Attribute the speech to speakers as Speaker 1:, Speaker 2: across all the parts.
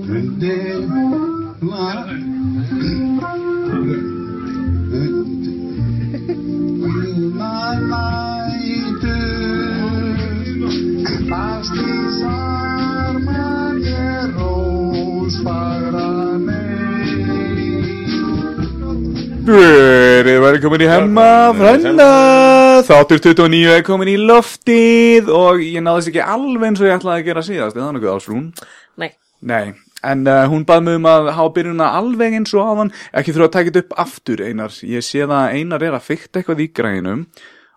Speaker 1: 근데 말 my night pastis armageros para
Speaker 2: Verið velkomin í hemma frænda Þáttur 29 er komin í loftið og ég náðist ekki alveg eins og ég ætlaði að gera síðast en það er nokkuð ásrún
Speaker 3: Nei,
Speaker 2: Nei, en uh, hún bað mig um að hafa byrjunna alveg eins og áðan ekki þurfa að taka þetta upp aftur Einar ég sé það að Einar er að fykta eitthvað í grænum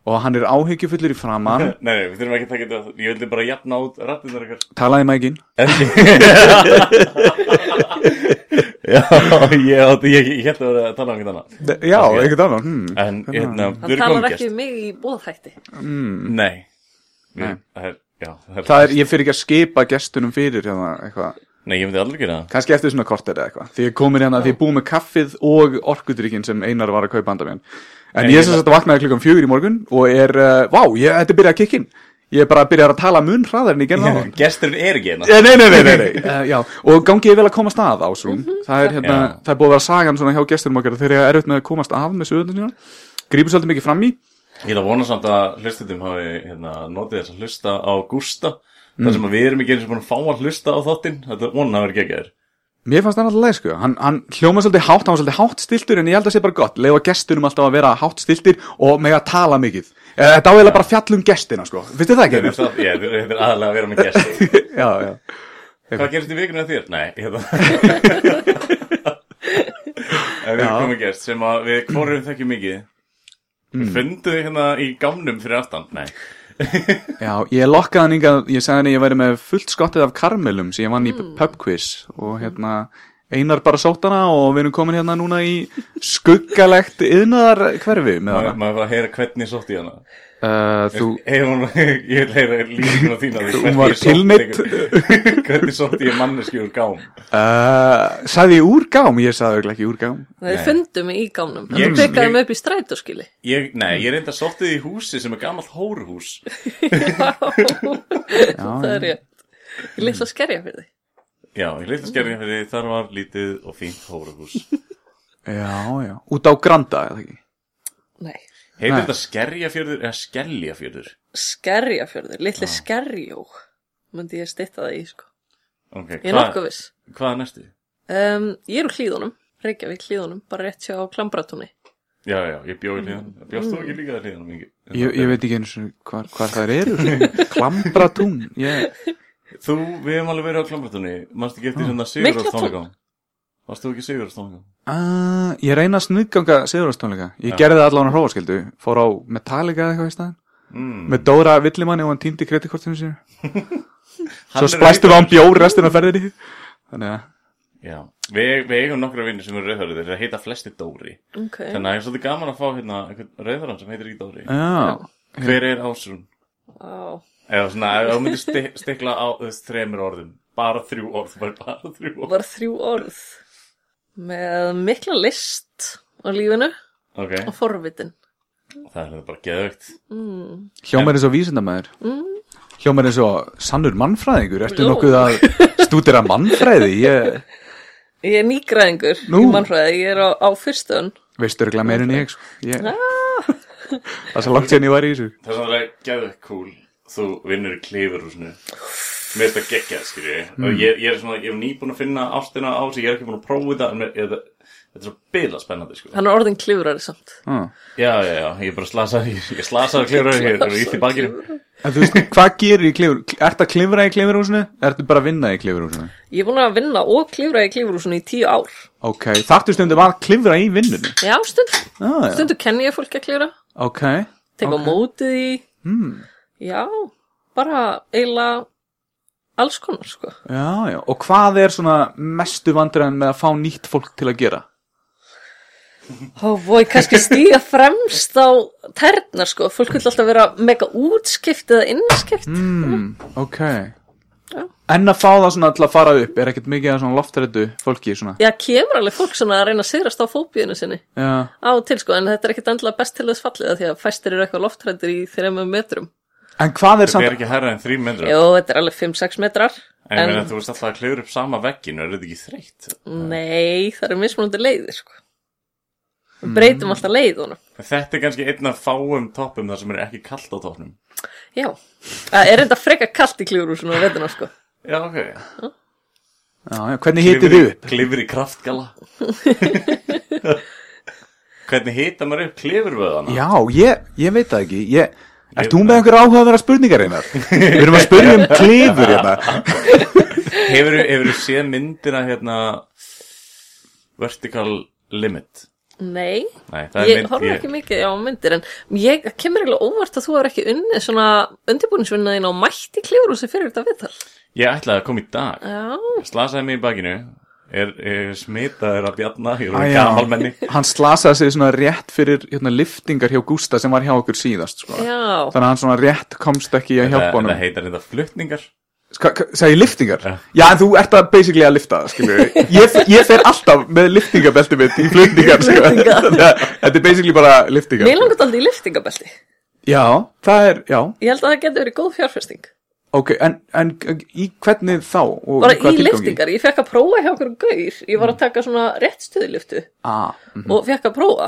Speaker 2: og hann er áhyggjufullur í framann
Speaker 4: Nei, nei, við þurfum ekki að taka þetta aftur. Ég vildi bara jafna út rættinnar ykkar
Speaker 2: talaði mækin
Speaker 4: Já, ég, átti- ég, ég held að tala um eitthvað annað
Speaker 2: Já,
Speaker 4: Ok.
Speaker 2: ekkert annað hmm.
Speaker 4: En, hérna,
Speaker 3: hann
Speaker 4: við erum
Speaker 3: talar
Speaker 4: komið
Speaker 3: ekki
Speaker 4: gæst
Speaker 3: um mig í bóðhætti.
Speaker 4: Nei Við-
Speaker 2: um- Nei.
Speaker 4: Það er, já það er,
Speaker 2: Það er, ég fyrir ekki að skipa gestunum fyrir hérna eitthvað
Speaker 4: Nei, ég myndi aldrei gera það
Speaker 2: Kanski eftir svona korter eða eitthvað Því ég komir hérna, því ég er búið með kaffið og orkudrykkin sem Einar var að kaupa handa mér En
Speaker 4: Nei,
Speaker 2: ég
Speaker 4: ég
Speaker 2: sem sagt vaknaði klukkan fjögur í morgun og er, uh, vá, ég, þetta er byrjað að kikkin Ég er bara að byrja að tala mun hraðar en ég gerði áðan
Speaker 4: Gesturinn er ekki hérna
Speaker 2: Eh, Nei, nei, nei, nei, nei. Uh, já, og gangi ég vel að komast að ásum það, er, hérna,
Speaker 4: Já.
Speaker 2: það er búið að vera sagan svona hjá gestunum okkar Þeir eru erfitt með að komast af með sögundinu Grípur svolítið mikið fram í
Speaker 4: Ég er að vona samt að hlustutum hafi hérna, notið þess að hlusta á Gústa
Speaker 2: Mm.
Speaker 4: þar sem að við erum ekki eins og búin að fá að hlusta á þáttinn Þetta er vona að vera geggjær
Speaker 2: Mér fannst hann alltaf leið sko, hann, hann hljóma svolítið hátt, hann var svolítið hátt stiltur en ég held að sé bara gott, leiða gestunum alltaf að vera hátt stiltir og mega tala mikið. Eh, Þetta áhegilega bara fjall um gestina sko, finnst þið það ekki? Einar?
Speaker 4: Þetta er aðalega að vera með gesti
Speaker 2: Já, já.
Speaker 4: Hvað gerist í vikunni að þér? Nei, hérna En við
Speaker 2: Já.
Speaker 4: erum komið gest sem að við hvorum þekkjum mikið Við
Speaker 2: Hmm.
Speaker 4: fundum þig hérna í gamnum fyrir aftan Nei,
Speaker 2: Já, ég lokkaði hann yngað, ég sagði henni að ég væri með fullt skottið af karmelum sem ég vann í pub quiz og hérna einar bara sótt hana og við erum komin hérna núna í skuggalegt yðnaðar hverfi með
Speaker 4: maður
Speaker 2: hana.
Speaker 4: maður var að heyra hvernig ég sótt í hana
Speaker 2: Uh, þú,
Speaker 4: Hefur hún, ég vil heyra lýsinguna þína því
Speaker 2: Hún
Speaker 4: hvernig
Speaker 2: var
Speaker 4: ég sótti
Speaker 2: tilneydd.
Speaker 4: þig- Hvernig sótt ég manneski úr gám
Speaker 2: uh, sagði ég úr gám? Ég sagði örugglega ekki úr gám.
Speaker 3: Þeir
Speaker 4: Nei.
Speaker 3: fundu mig í gánum,
Speaker 4: Ég-
Speaker 3: hann pekkaði
Speaker 4: ég-
Speaker 3: mig upp í strætóskili.
Speaker 4: ég, Nei, ég reynda sótti þig í húsi sem er gamalt hóruhús
Speaker 3: það er rétt. Ég lýst að skerja fyrir þig.
Speaker 4: Já, ég leita skerðin fyrir þar var lítið og fínt hóruhús
Speaker 2: Já, já. Út á Granda, eða ekki?
Speaker 3: Nei,
Speaker 4: Heitir
Speaker 2: Nei.
Speaker 4: þetta skerjafjörður eða skeljafjörður?
Speaker 3: skerja fyrir þig, litli
Speaker 4: Ah.
Speaker 3: skerjó, myndi ég stitta það í, sko.
Speaker 4: Okay,
Speaker 3: Ég er nokkuð viss.
Speaker 4: hvað er næstu?
Speaker 3: Um, ég er úr hlýðunum, Reykjavík hlýðunum, bara rétt hjá Klambratúni.
Speaker 4: Já, já, ég bjóði hlýðan Bjóðst þú ekki líka hlýðan mingi?
Speaker 2: Ég, ég veit ekki eins og hvar, hvar þær eru Klambratún ég,
Speaker 4: Þú, við hefum alveg verið á klambratunni Manstu
Speaker 2: Mm.
Speaker 4: ekki eftir hérna svona
Speaker 3: Mikla
Speaker 4: Sigurðars
Speaker 3: tungl.
Speaker 4: tónleikam? Varst þú ekki Sigurðars tónleikam?
Speaker 2: uh, ég reyna að snugganga Sigurðarstónleika Ég
Speaker 4: Já.
Speaker 2: gerði það allan á hrófaskildu Fór á Metallica eða eitthvað í staðin
Speaker 4: Mm.
Speaker 2: Með Dóra Villimanni og hann týndi kreditkortinu sínu Svo splæstu við hann bjór restina af ferðinni Þannig að
Speaker 4: Já, við, við eigum nokkra vinnir sem eru rauðhörður Þeir heita flesti Dóri
Speaker 3: Ok,
Speaker 4: Þannig að ég er svolítið gaman að fá hérna einhvern rauðhörðan sem heitir ekki Dóri
Speaker 2: Já,
Speaker 4: Hver er Ásrún?
Speaker 3: á,
Speaker 4: Eða svona, ef þú myndir sti stikla á þú veist, þremur orðum Bara þrjú orð, bara, bara þrjú orð
Speaker 3: var þrjú orð með mikla list á lífinu
Speaker 4: Ok,
Speaker 3: og forvitin.
Speaker 4: það er hérna bara geðvögt
Speaker 2: hljómar eins og vísindamæður Hljómar eins og sannur mannfræðingur Ertu
Speaker 3: Jó.
Speaker 2: nokkuð að stúdera mannfræði ég,
Speaker 3: Ég er nýgræðingur
Speaker 2: Nú.
Speaker 3: í mannfræði, ég er á, á fyrstun.
Speaker 2: Veistu örgulega meir en ég, sko. ég Það er svo langt sér en ég var í þessu
Speaker 4: Það er sannlega geðvegt cool Þú vinnur í klifurhúsinu Mér finnst það geggjað, skilji
Speaker 2: Mm.
Speaker 4: Og ég, ég er svona, ég hef nýbúin að finna ástina á þessu Ég er ekki búin að prófa þetta En mér- ég- þetta þetta er svo bila spennandi, sko
Speaker 3: Hann er orðin klifrari samt.
Speaker 2: ah.
Speaker 4: Já, já, já, ég er bara slasað Ég, ég slasaði klifurhúsinu, ég er ítt í bakinu
Speaker 2: En þú veist, hvað gerir í klifur? Ertu að klifra í klifurhúsinu? Ertu bara að vinna í klifurhúsinu?
Speaker 3: Ég er búin að vinna og klifra í klifurhúsinu í tíu ár.
Speaker 2: Ok, þarftu stundum að klifra í vinnunni?
Speaker 3: Já, stundum.
Speaker 2: Ah, já.
Speaker 3: Stundum kenni ég fólki að klifra.
Speaker 2: Ok,
Speaker 3: Tek á
Speaker 2: Ok.
Speaker 3: mótið í.
Speaker 2: mm.
Speaker 3: Já, bara eiginlega alls konar, sko.
Speaker 2: já, já. Og hvað er svona mestu vandræðan með að fá nýtt fólk til að gera?
Speaker 3: Ó, bói, kannski stíga fremst á ternar, sko. Fólk vil alltaf vera mega útskipt eða innskipt.
Speaker 2: Mm. Ok.
Speaker 3: Já.
Speaker 2: En að fá það svona til að fara upp, er ekkert mikið að svona loftrættu fólki svona?
Speaker 3: Já, kemur alveg fólk svona að reyna að sigrast á fóbíunum sinni.
Speaker 2: Já,
Speaker 3: Á og til, sko, en þetta er ekkit endilega best til þess fallið af því að fæstir eru eitthvað loftrættir í þremum metrum.
Speaker 2: en hvað er
Speaker 4: Við
Speaker 2: samt...
Speaker 4: erum ekki herra en þrý myndra
Speaker 3: Jó, þetta er alveg 5-6 metrar.
Speaker 4: En ég
Speaker 3: En-
Speaker 4: meina þú veist alltaf að klifur upp sama vegginu, er þetta ekki þreytt?
Speaker 3: Nei, það eru mismunandi leiðir sko. Við breytum alltaf leiðunum.
Speaker 4: Þetta er kannski einn af fáum toppum þar sem er ekki kalt á toppnum.
Speaker 3: Já, það er enda freka kalt í klifurhúsinu á vettuna sko.
Speaker 4: Já, ok.
Speaker 2: Já, já, hvernig hitið þið upp?
Speaker 4: Klifur í kraftgala. Hvernig hita maður upp klifurvöðana?
Speaker 2: Já, ég, ég veit það ekki ég, Ert
Speaker 4: Ég-
Speaker 2: þú með einhver áhuga að vera spurningar einar? Við erum að spurja um klifur hérna
Speaker 4: Hefur þú séð myndina hérna Vertical Limit?
Speaker 3: Nei,
Speaker 4: Nei, það er
Speaker 3: ég
Speaker 4: mynd
Speaker 3: horfði ekki mikið á myndir en ég það kemur eiginlega óvart að þú hefur ekki unnið svona undirbúinsvinnaðin á mætt í klifurhúsi fyrir þetta viðtal.
Speaker 4: Ég ætlaði að koma í dag.
Speaker 3: Já,
Speaker 4: Slasaði mig í bakinu. Er, er smitaður að bjarna, ég
Speaker 2: Á,
Speaker 4: er
Speaker 2: já.
Speaker 4: gamalmenni.
Speaker 2: Hann slasaði sig svona rétt fyrir hérna, liftingar hjá Gústa sem var hjá okkur síðast sko.
Speaker 3: já,
Speaker 2: Þannig að hann svona rétt komst ekki í að hjálpa
Speaker 4: Það
Speaker 2: honum
Speaker 4: heitar þetta flutningar.
Speaker 2: Ska- ka- Sagði ég liftingar?
Speaker 4: Já.
Speaker 2: Já, en þú ert að basically að lifta skilur. ég, ég fer alltaf með liftingabelti mitt í flutningar sko. Þannig að Þetta er basically bara liftingar
Speaker 3: mér langar þetta aldrei í liftingabelti.
Speaker 2: Já, það er, já,
Speaker 3: Ég held að það getur verið góð fjárfesting.
Speaker 2: ok En, en í hvernig þá? og
Speaker 3: Bara
Speaker 2: hvaða
Speaker 3: í
Speaker 2: tilgangi?
Speaker 3: liftingar, ég fekk að prófa hjá okkur gaur, ég var að taka svona réttstöðiliftu
Speaker 2: ah, mhm.
Speaker 3: og fekk að prófa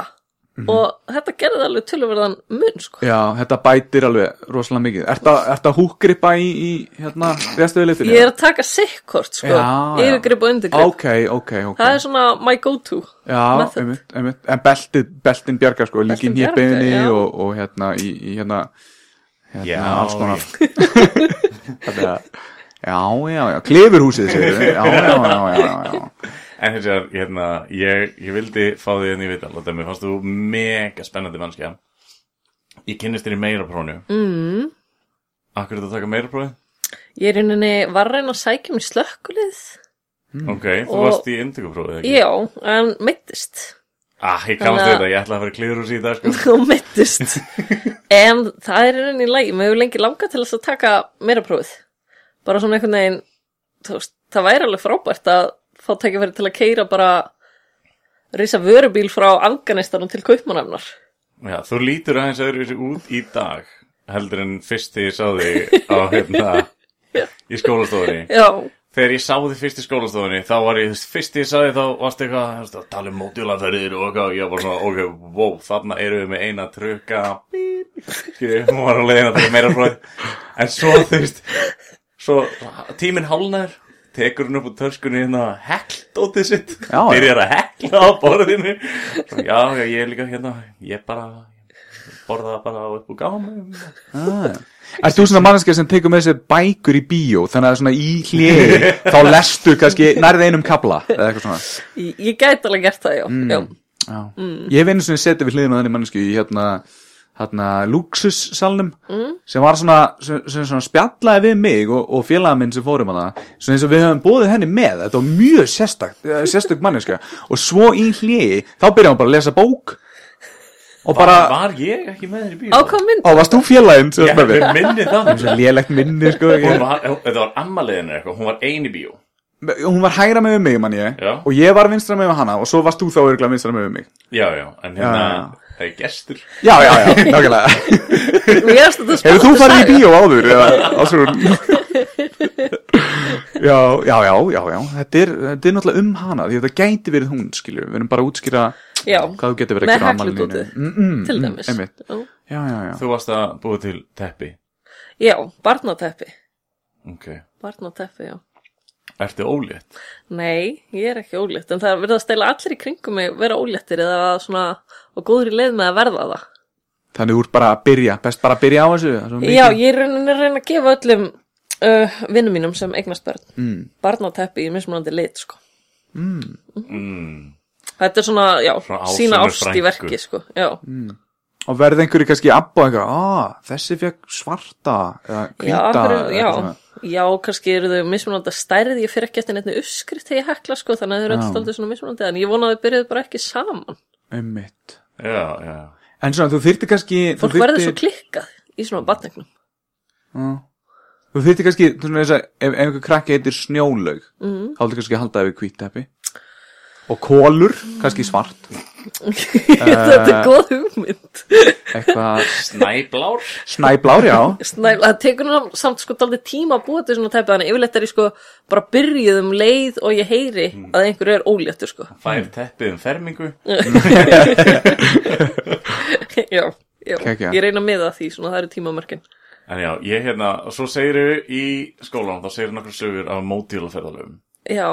Speaker 3: og þetta gerði alveg tölverðan mun sko.
Speaker 2: Já, þetta bætir alveg rosalega mikið. Ert að, ert að húkripa í, í hérna, réðstöðu liftinu?
Speaker 3: Ég er að taka sikkort sko,
Speaker 2: Já, já.
Speaker 3: yfirgrip og undirgrip.
Speaker 2: Ok, ok, ok.
Speaker 3: Það er svona my go-to.
Speaker 2: Já,
Speaker 3: method.
Speaker 2: einmitt, einmitt. En beltið, beltin bjargar sko, líkin
Speaker 3: Beltin
Speaker 2: hér beðinni
Speaker 3: bjargar, já.
Speaker 2: og, og hérna í, í hérna, hérna,
Speaker 4: Já,
Speaker 2: alls konar. Þannig að, já, já, já, klifurhúsið segir við. Já, já, já, já, já, já.
Speaker 4: En hins vegar, hérna, ég, ég vildi fá því en ég veit alveg, mér fannst þú mega spennandi mannskja. Ég kynnist þér í meira prófnu. Mm. Akkur er þetta að taka meira prófið?
Speaker 3: Ég er inninni var að reyna að sækja mér slökkulið.
Speaker 2: Hmm.
Speaker 4: Ok, þú
Speaker 3: Og-
Speaker 4: varst í inntökuprófið, ekki?
Speaker 3: Já, en mittist.
Speaker 4: Ah, ég kannast
Speaker 3: Þannig að-
Speaker 4: þetta, ég ætla að fara klirur úr síða, sko.
Speaker 3: og mittist en það er rauninni í lagi mér hefur lengi langað til þess að taka meira prófið bara svona einhvern veginn þú veist, það væri alveg frábært að fá tækifæri til að keira bara reysa vörubíl frá Afganistanum til Kaupmannafnar
Speaker 4: Já, þú lítur aðeins öðruvísi út í dag, heldur en fyrst þegar ég sá þig á, hérna, í skólastofunni.
Speaker 3: já,
Speaker 4: Þegar ég sá þig fyrst í skólastofunni, þá var ég, þú veist, fyrst þegar ég sá þig, þá varst eitthvað, þú veist, að tala um mótjólaferðir og eitthvað, og ég var svona, ok, wow, þarna erum við með eina trukka, skilju, hún var á leiðin að taka meira fróð, en svo, þú veist, svo, tíminn hálnaður, tekur hún upp úr törskunni hérna hekldótið sitt,
Speaker 2: Já, já.
Speaker 4: byrjar að hekla á borðinu, Svo, já, já, ég er líka hérna, ég bara, borða bara upp úr gámum,
Speaker 2: Ah, já. Ert þú svona mannskja sem tekur með sér bækur í bíó, þannig að svona í hliði, þá lestu kannski nærði einum kabla, eða eitthvað svona.
Speaker 3: ég, ég gæti alveg gert það já,
Speaker 2: Mm.
Speaker 3: já.
Speaker 2: Já. Ég hef einu sinni setið við hliðin á þenni mannsku í hérna, hérna Luxussalnum sem var svona, sem, sem svona spjallaði við mig og, og félaga minn sem fórum hana svona eins og við höfum bóðið henni með þetta var mjög sérstakt, eh, sérstakt manneska og svo í hliði, þá byrjaði hún bara að lesa bók og bara,
Speaker 4: var ég ekki með þér í bíó?
Speaker 3: á hvað mynd
Speaker 2: og varst þú félaginn sem
Speaker 4: Ég
Speaker 2: var með
Speaker 4: hef
Speaker 2: mér?
Speaker 4: minni það,
Speaker 2: Svo lélegt minni sko
Speaker 4: Hún
Speaker 2: ég,
Speaker 4: var, þetta var ammaliðinu eitthvað, hún var ein í bíó
Speaker 2: hún var hægra með mig mann ég
Speaker 4: Já.
Speaker 2: og ég var vinstra með hana og svo varst þú þá örgulega vinstra með mig
Speaker 4: Já, já, en
Speaker 2: Já,
Speaker 4: hérna,
Speaker 2: já, já.
Speaker 4: það er gestur
Speaker 2: já, já, já, nákvæmlega
Speaker 3: mér erst þetta
Speaker 2: Hefur
Speaker 3: spennandi
Speaker 2: þú farið í
Speaker 3: saga.
Speaker 2: bíó áður? Eða, ásrún? já, já, já, já, já. Þetta, er, þetta er náttúrulega um hana því að þetta gæti verið hún, skilju við erum bara að útskýra
Speaker 3: já,
Speaker 2: hvað þú getur verið
Speaker 3: með
Speaker 2: að gera á afmælinu
Speaker 3: hekludótið
Speaker 2: þínu. Mm, mm,
Speaker 3: til
Speaker 2: mm,
Speaker 3: dæmis
Speaker 2: einmitt.
Speaker 3: já,
Speaker 2: Já, já, já.
Speaker 4: Þú varst að búa til teppi
Speaker 3: já barnateppi
Speaker 4: Ok,
Speaker 3: barnateppi, já
Speaker 4: ertu ólétt?
Speaker 3: Nei, ég er ekki ólétt, en það verða að stela allir í kringum mig vera óléttir eða svona og góður í leið með að verða það.
Speaker 2: Þannig úr bara að byrja, best bara að byrja á þessu það er svo mikið.
Speaker 3: Já, ég er rauninni að reyna að gefa öllum uh, vinnum mínum sem eignast börn, mm. barnateppi í mismunandi lit, sko.
Speaker 4: Mm.
Speaker 3: Þetta er svona, já,
Speaker 4: Svona Ásrúnu
Speaker 3: sína ást
Speaker 4: frænku.
Speaker 3: í verki, sko, já.
Speaker 2: Og verði einhverju kannski abba og eitthvað, ah, þessi fekk svarta eða
Speaker 3: Já,
Speaker 2: hvíta
Speaker 3: akkur,
Speaker 2: eða
Speaker 3: já,
Speaker 2: eitthvað svona.
Speaker 3: já, kannski eru þau mismunandi að stærð, ég fyrir ekki eftir neitt uppskrift þegar ég hekla, sko, þannig að þau eru
Speaker 2: Já.
Speaker 3: alltaf aldrei svona mismunandi, en ég vona að þau byrjuðu bara ekki saman.
Speaker 2: Einmitt.
Speaker 4: Já, já
Speaker 2: En svona, þú þyrti kannski þú
Speaker 3: Fólk verður
Speaker 2: þyrftir-
Speaker 3: svo klikkað í svona batningnum.
Speaker 2: Já. Þú þyrfti kannski, þú veist að ef, ef einhver krakki heitir snjólaug, mm. þá þurfti kannski að halda það við kvít teppi. og kólur, kannski svart Eh.
Speaker 3: Þetta er góð hugmynd
Speaker 2: eitthvað
Speaker 4: Snæblár
Speaker 2: snæblár, já
Speaker 3: Snæf, það tekur nú samt sko daldið tíma að búa til svona tæpið þannig yfirleitt er ég sko bara byrjuð um leið og ég heyri
Speaker 2: Mm.
Speaker 3: að einhverju er óléttur sko
Speaker 4: Fær teppið um fermingu
Speaker 3: já, já.
Speaker 2: Kekja.
Speaker 3: ég reyna með að því svona það eru tímamörkin
Speaker 4: En já, ég hérna, svo segiru í skólanum, þá segiru nokkur sögur af módílaferðalöfum
Speaker 3: já,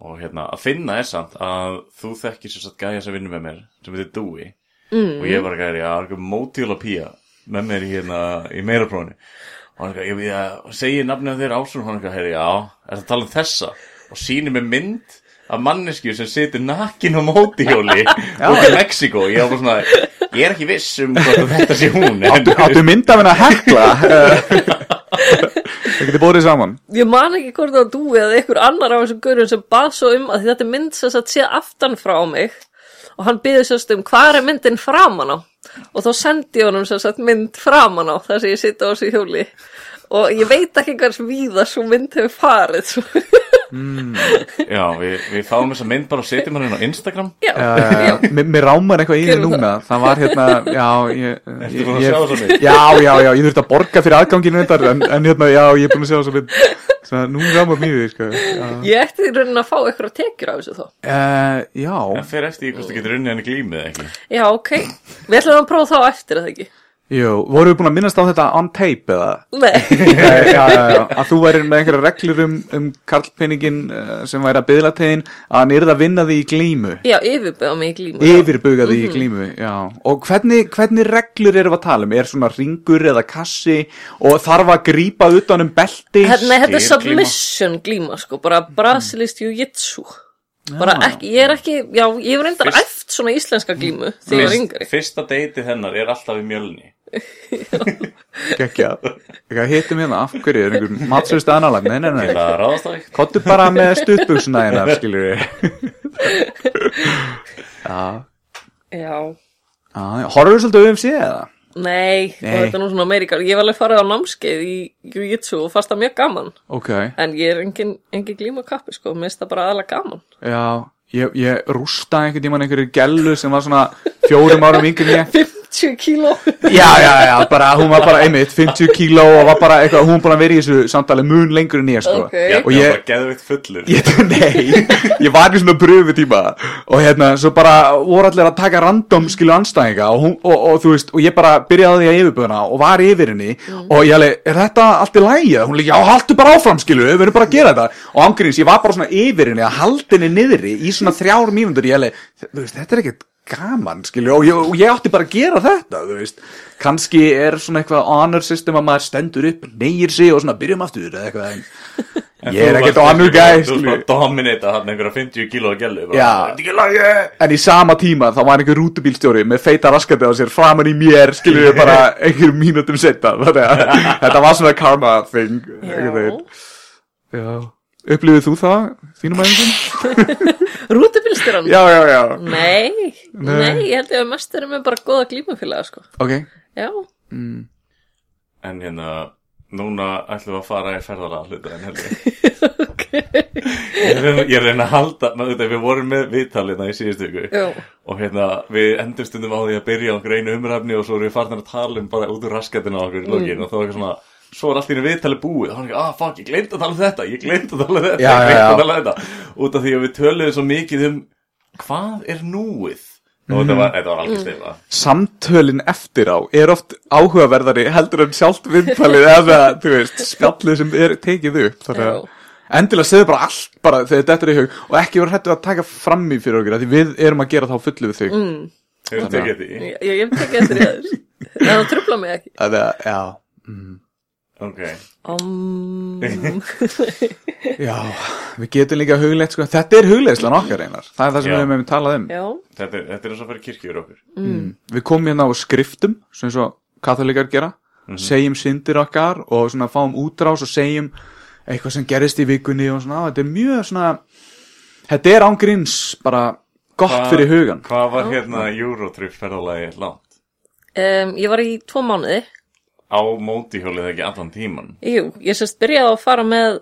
Speaker 4: og hérna, að finna er samt að þú þekkir sér satt gæja sem vinnur með mér sem heitir Dewey mm. og ég var gæri að argu módíla pía með mér í hérna, í meiraprófinu og hann eitthvað, ég við að segja nafnið á þér ásum hann eitthvað, herri, já, er það tala um þessa og sýnir með mynd af manneskju sem situr nakin á mótíhjóli út í Mexiko ég, var bara svona, ég er ekki viss um hvort þetta sé hún en-
Speaker 2: áttu mynd af henni að hekla það getur bórið saman
Speaker 3: ég man ekki hvort það var þú eða einhver annar af þessum gaurum sem bað svo um að því þetta er mynd sem satt sé aftan frá mig og hann byði sérst um hvað er myndin framan á og þá sendi ég honum sérst mynd framan á þar sem ég sita á þessu hjóli og ég veit ekki hvers víða svo mynd hefur farið svo.
Speaker 4: Já, við, við fáum þessa mynd bara og setjum hann inn á Instagram
Speaker 3: já, já,
Speaker 2: uh, mér, mér rámar eitthvað í þið
Speaker 3: Gerum
Speaker 2: núna það var hérna, já ég,
Speaker 4: Ertu
Speaker 2: ég,
Speaker 4: búin að sjá
Speaker 2: ég,
Speaker 4: þessa mynd?
Speaker 2: já, já, já, ég þurfti að borga fyrir aðganginu þetta en, en hérna, já, ég er búin að sjá þessa mynd Svona, nú rámar mér í því, sko já,
Speaker 3: ég ætti í raunin að fá eitthvað tekjur af þessu þó
Speaker 2: uh, já,
Speaker 4: Það fer eftir í hvort þú getur unnið henni glímið eða ekki
Speaker 3: já, ok, við ætlum að prófa þá eftir er það ekki
Speaker 2: jú, voru við búin að minnast á þetta on tape eða?
Speaker 3: nei
Speaker 2: já, já, já, að þú værir með einhverja reglur um, um karlpenningin uh, sem væri að byðla tegin að hann yrði að vinna því í glímu
Speaker 3: Já, yfirbuga mig í glímu
Speaker 2: yfirbugaði í glímu, já og hvernig, hvernig reglur erum við að tala um er svona ringur eða kassi og þarf að grípa utan um belti
Speaker 3: Hérna, þetta er
Speaker 4: Skýr glíma.
Speaker 3: submission glíma, sko, bara brasilist jiu-jitsu Bara ekki, ég er ekki, já, ég hef reyndar
Speaker 4: Fyrst-
Speaker 3: æft svona íslenska glímu þegar ég var yngri
Speaker 4: Fyrsta deiti hennar er alltaf í mjölni
Speaker 2: ekki að hittum hérna, af hverju er einhver matsöðust analag, nei, nei, nei
Speaker 4: Það ráðast á eitt
Speaker 2: kottu bara með stuttbugsuna hérna, skilur við já,
Speaker 3: Já,
Speaker 2: já, horfum við svolítið um síða eða?
Speaker 3: nei, og
Speaker 2: Nei.
Speaker 3: þetta er nú svona meiri gal- Ég hef alveg farið á námskeið í jiu-jitsu og fast það mjög gaman
Speaker 2: ok,
Speaker 3: En ég er engin, engin glíma kappi, sko, mér finnst það bara aðalega gaman
Speaker 2: já ég, ég rústa einhvern tímann einhverju gellu sem var svona fjórum árum yngri en ég
Speaker 3: 50 kíló
Speaker 2: Já, já, já, bara, hún var bara einmitt 50 kíló og var bara eitthvað, hún var bara að vera í þessu samtali mun lengur en ég, sko
Speaker 3: Ok.
Speaker 4: Ég
Speaker 2: Og
Speaker 4: er
Speaker 2: ég,
Speaker 4: bara geðveikt fullur
Speaker 2: ég, nei, ég var í svona pröfu tíma og hérna, svo bara voru allir að taka random skilu anstæðinga og, hún, og, og þú veist, og ég bara byrjaði á því að yfirbúðuna og var yfir henni og ég alveg, er þetta allt í lagi? Hún leik, já, haltu bara áfram skilu, við erum bara að gera þetta og ámgríns, ég var bara svona yfir henni að halda henni niðri í svona þrjár mínútur, ég alveg, þú veist, þetta er ekkert gaman, skilju, og, ég- og ég átti bara að gera þetta, þú veist, kannski er svona eitthvað honor system að maður stendur upp, neyir sig og svona byrjum aftur eða eitthvað, en ég er ekkert honor guy,
Speaker 4: Þú
Speaker 2: skilju
Speaker 4: bara dominita hann einhverja 50 kíló að gælu
Speaker 2: Já.
Speaker 4: Það er ekki lagi
Speaker 2: En í sama tíma þá var einhver rútubílstjóri með feita raskandi á sér framan í mér skilur við bara einhverjum mínutum setna þannig að þetta var svona karma thing einhvern veginn. Já. Upplifið þú það þínum aðeinsum?
Speaker 3: Rútubílstyrran
Speaker 2: Já, já, já.
Speaker 3: Nei, nei, ég held ég að mest erum við bara góða glímufélaga, sko
Speaker 2: Ok.
Speaker 3: Já,
Speaker 4: En hérna, núna ætlum við að fara í ferðalega hluta en heldur
Speaker 3: ok
Speaker 4: Ég er að reyna- ég er að reyna að halda, maður þetta við vorum með viðtalina í síðustu ykkur
Speaker 3: Já,
Speaker 4: og hérna við endur stundum á því að byrja á greinu umræfni og svo erum við farnar að tala um bara út úr raskatina á okkur í
Speaker 2: Mm.
Speaker 4: lokin og þá er eitthvað svona svo er allt í einu viðtalið búið og hann er ekki, ah fuck, ég gleyndi að tala um þetta, ég gleyndi að tala um þetta
Speaker 2: Já,
Speaker 4: ég gleyndi
Speaker 2: já, já.
Speaker 4: að tala um þetta út af því að við töluðum svo mikið um hvað er núið
Speaker 2: Mhm.
Speaker 4: og þetta var, þetta var
Speaker 2: Mm.
Speaker 4: algjör stefa
Speaker 2: Samtölin eftir á er oft áhugaverðari heldur en sjálft viðtalið eða þú veist spjallið sem er tekið upp þannig
Speaker 3: Já.
Speaker 2: að Endilega segðu bara allt bara þegar þetta er í hug og ekki vera hrættu að taka fram í fyrir okkur af því við erum að gera þá fullu við þig mm.
Speaker 4: hefur þetta tekið því
Speaker 3: Hmm. ég, ég hef tekið eftir í aður Það trubla mig ekki
Speaker 2: að, Já,
Speaker 4: ok,
Speaker 3: Um,
Speaker 2: Já, við getum líka hugleitt sko, þetta er hugleiðslan okkar einar, það er það sem
Speaker 4: Já.
Speaker 2: við hefum talað um. Mm.
Speaker 3: já,
Speaker 4: þetta, er- þetta er eins og fyrir kirkjur okkur
Speaker 2: Við komum hérna á skriftum, sem svo katholikar gera, segjum syndir okkar og svona fáum útrás og segjum eitthvað sem gerist í vikunni og svona, þetta er mjög svona, þetta er ángríns bara gott
Speaker 4: Hvað-
Speaker 2: fyrir hugan.
Speaker 4: hvað var hérna Eurotrip ferðalagi langt?
Speaker 3: um, ég var í tvo mánuði
Speaker 4: á mótihjólið ekki allan tíman
Speaker 3: Jú, ég sérst byrjaði á að fara með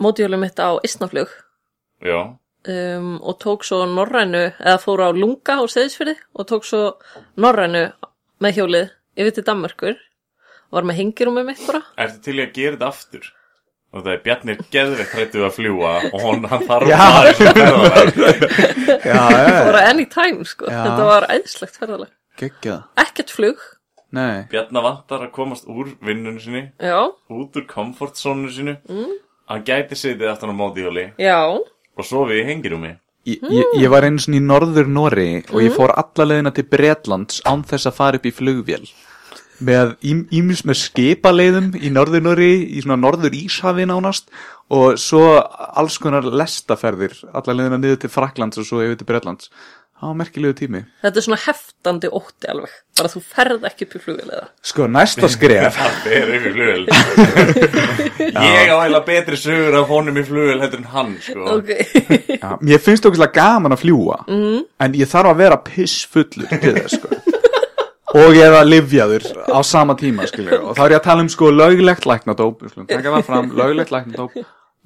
Speaker 3: mótjólum mitt á Ísnaflug
Speaker 4: já,
Speaker 3: um, og tók svo norrænu eða fór á lunga á seðisfyrði og tók svo norrænu með hjólið yfir til Danmörkur og var með hengirúmið mitt bara
Speaker 4: Ertu til í að gera þetta aftur? Og það er Bjarnir geðveikt hrættu að fljúa og hon, hann þarf
Speaker 2: Já.
Speaker 4: að fara í svona ferðalag.
Speaker 2: já,
Speaker 3: Það
Speaker 2: já,
Speaker 3: var anytime sko,
Speaker 2: Já.
Speaker 3: þetta var æðislegt ferðalega
Speaker 2: geggjað
Speaker 3: Ekkert flug,
Speaker 2: nei,
Speaker 4: Bjarnar vantar að komast úr vinnunum sinni,
Speaker 3: já,
Speaker 4: út úr komfortzónu sinu. Mm. Hann gæti setið aftan á mótíhjóli
Speaker 3: já
Speaker 4: og sofið í hengirúmi.
Speaker 2: ég, ég, ég var eins og í norður Nóri og ég fór alla leiðina til Bretlands án þess að fara upp í flugvél með ímis með skipaleiðum í norður Nóri, í svona norður Íshafi nánast og svo alls konar lestaferðir alla leiðina niður til Fraklands og svo yfir til Bretlands það var merkilegu tími
Speaker 3: Þetta er svona heftandi ótti alveg bara þú ferð ekki upp í flugvéliða
Speaker 2: sko næsta skref
Speaker 4: Það er upp í flugvel. Ég á heila betri sögur af honum í flugvel heldur en hann, sko.
Speaker 3: Ok,
Speaker 2: Já, mér finnst okkur gaman að fljúa en ég þarf að vera pissfullur til þess sko. og ég er að livjaður á sama tíma skilur, og þá er ég að tala um sko löglegt læknadóp við skulum taka það fram, löglegt læknadóp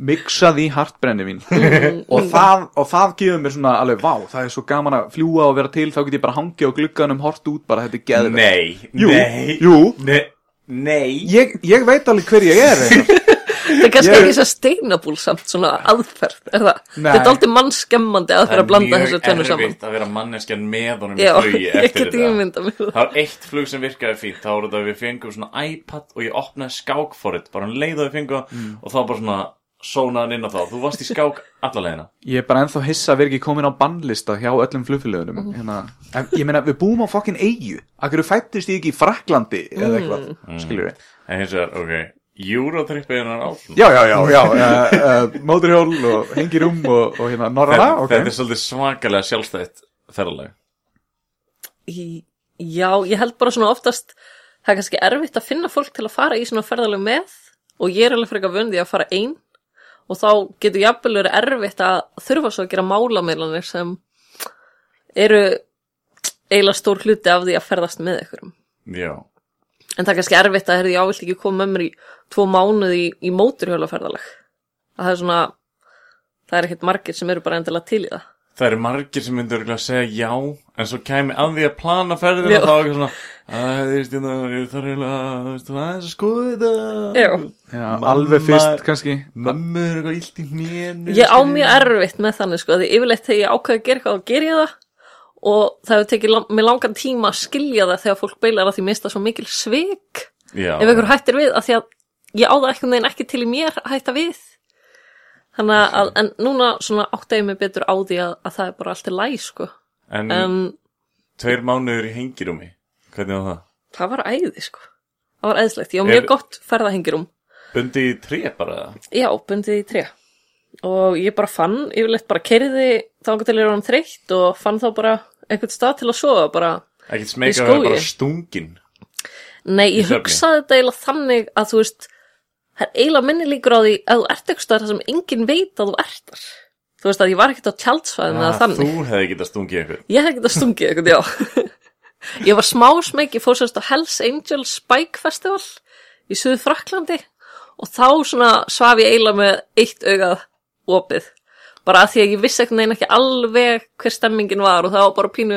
Speaker 2: miksað í hart brennivín og, það, og það gefur mér svona alveg vá, það er svo gaman að fljúa og vera til þá get ég bara hangið á glugganum hort út bara þetta er geðvegt
Speaker 4: Nei,
Speaker 2: Jú,
Speaker 4: nei,
Speaker 2: jú.
Speaker 4: nei, nei.
Speaker 2: ég, ég veit alveg hver ég er einar.
Speaker 3: það er kannski
Speaker 2: Ég-
Speaker 3: ekki svo steinabúl samt svona aðferð er það?
Speaker 2: Nei.
Speaker 3: Þetta er aldrei mannskemmandi aðferð að blanda þessu tönnu
Speaker 4: Það er mjög
Speaker 3: saman
Speaker 4: erfitt að vera manneskjan með honum í
Speaker 3: Já,
Speaker 4: flugi
Speaker 3: ég
Speaker 4: eftir
Speaker 3: get
Speaker 4: þetta.
Speaker 3: ímynda mér það
Speaker 4: Það var eitt flug sem virkaði fínt, þá voru þetta að við fengum svona iPad og ég opnaði skák for it, bara hann leiði að við fengum mm. og þá bara svona sónaðan inn á þá, þú varst í skák alla leiðina.
Speaker 2: Ég er bara ennþá hissa að vera ekki komin á bannlista hjá öllum flugfélögunum hérna, en, Ég meina, við búum á fokkin eigu Akkur fættist ég ekki í Fraklandi eða eitthvað,
Speaker 4: Mm.
Speaker 2: skiljur við
Speaker 4: En hins vegar, ok, Eurotrip er hennar áflug.
Speaker 2: Já, já, já, já, uh, uh, móturhjól og hengirúm og, og hérna norra,
Speaker 4: þetta,
Speaker 2: ok
Speaker 4: þetta er svolítið svakalega sjálfstætt ferðalega.
Speaker 3: Í- Já, ég held bara svona oftast það er kannski erfitt að finna fólk til að fara í svona ferðalög með og ég er alveg frekar vöndi að fara ein og þá getur jafnvel verið erfitt að þurfa svo að gera málamiðlanir sem eru eiginlega stór hluti af því að ferðast með ykkurum
Speaker 4: Já,
Speaker 3: En það er kannski erfitt að herði ávilt ekki koma með mér í tvo mánuði í, í móturhjólaferðalag. Að það er svona, það er ekkert margir sem eru bara endilega til í það.
Speaker 4: það eru margir sem myndur að segja já, en svo kæmi að því að plana ferðina
Speaker 3: Já.
Speaker 4: og þá er ekki svona, að þú veist, hérna, ég þarf eiginlega, þú veist, aðeins að skoða þetta.
Speaker 3: Já.
Speaker 2: já,
Speaker 4: Mamma-
Speaker 2: Alveg fyrst kannski
Speaker 4: Mömmu er eitthvað illt í hnénu.
Speaker 3: Ég á mjög erfitt með þannig sko, því yfirleitt þegar ég ákveð að gera eitthvað, þá ger ég það og það hefur tekið lang, mig langan tíma að skilja það þegar fólk beilar að því mista svo mikil svik
Speaker 4: Já.
Speaker 3: ef einhver hættir við, að því að ég á það eitthvað neginn ekki til í mér að hætta við. Þannig að, en núna svona átta ég mig betur á því að, að það er bara allt í læg sko.
Speaker 4: En
Speaker 3: En
Speaker 4: tveir mánuður í hengirúmi hvernig var það?
Speaker 3: Það var æði, sko. Það var æðislegt. Ég á
Speaker 4: Er-
Speaker 3: mjög gott ferðahengirum.
Speaker 4: Bundi í tré bara eða?
Speaker 3: Já, bundið í tré. Og ég bara fann, yfirleitt bara kerði þangað til ég var um þreytt og fann þá bara einhvern stað til að sofa bara.
Speaker 4: ekkert
Speaker 3: Í
Speaker 4: smeka
Speaker 3: skógi?
Speaker 4: að vera bara stungin
Speaker 3: Nei,
Speaker 4: Í
Speaker 3: ég
Speaker 4: svefni.
Speaker 3: hugsaði þetta eiginlega þannig að þú veist, það er eiginlega minni líkur á því að þú ert eitthvað þar sem enginn veit að þú ert þar. Þú veist að ég var ekkert á tjaldsvæðinu eða
Speaker 4: Ah, þú
Speaker 3: þannig.
Speaker 4: hefði getað stungið einhver
Speaker 3: Ég hef ekkert að stungið eitthvað, já. ég var smá smeg, ég fór sérst á Hells Angels Bike Festival í Suðu Fraklandi og þá svona svaf ég eiginlega með eitt augað opið. Bara að því að ég vissi eitthvað neina ekki alveg hver stemmingin var og það var bara pínu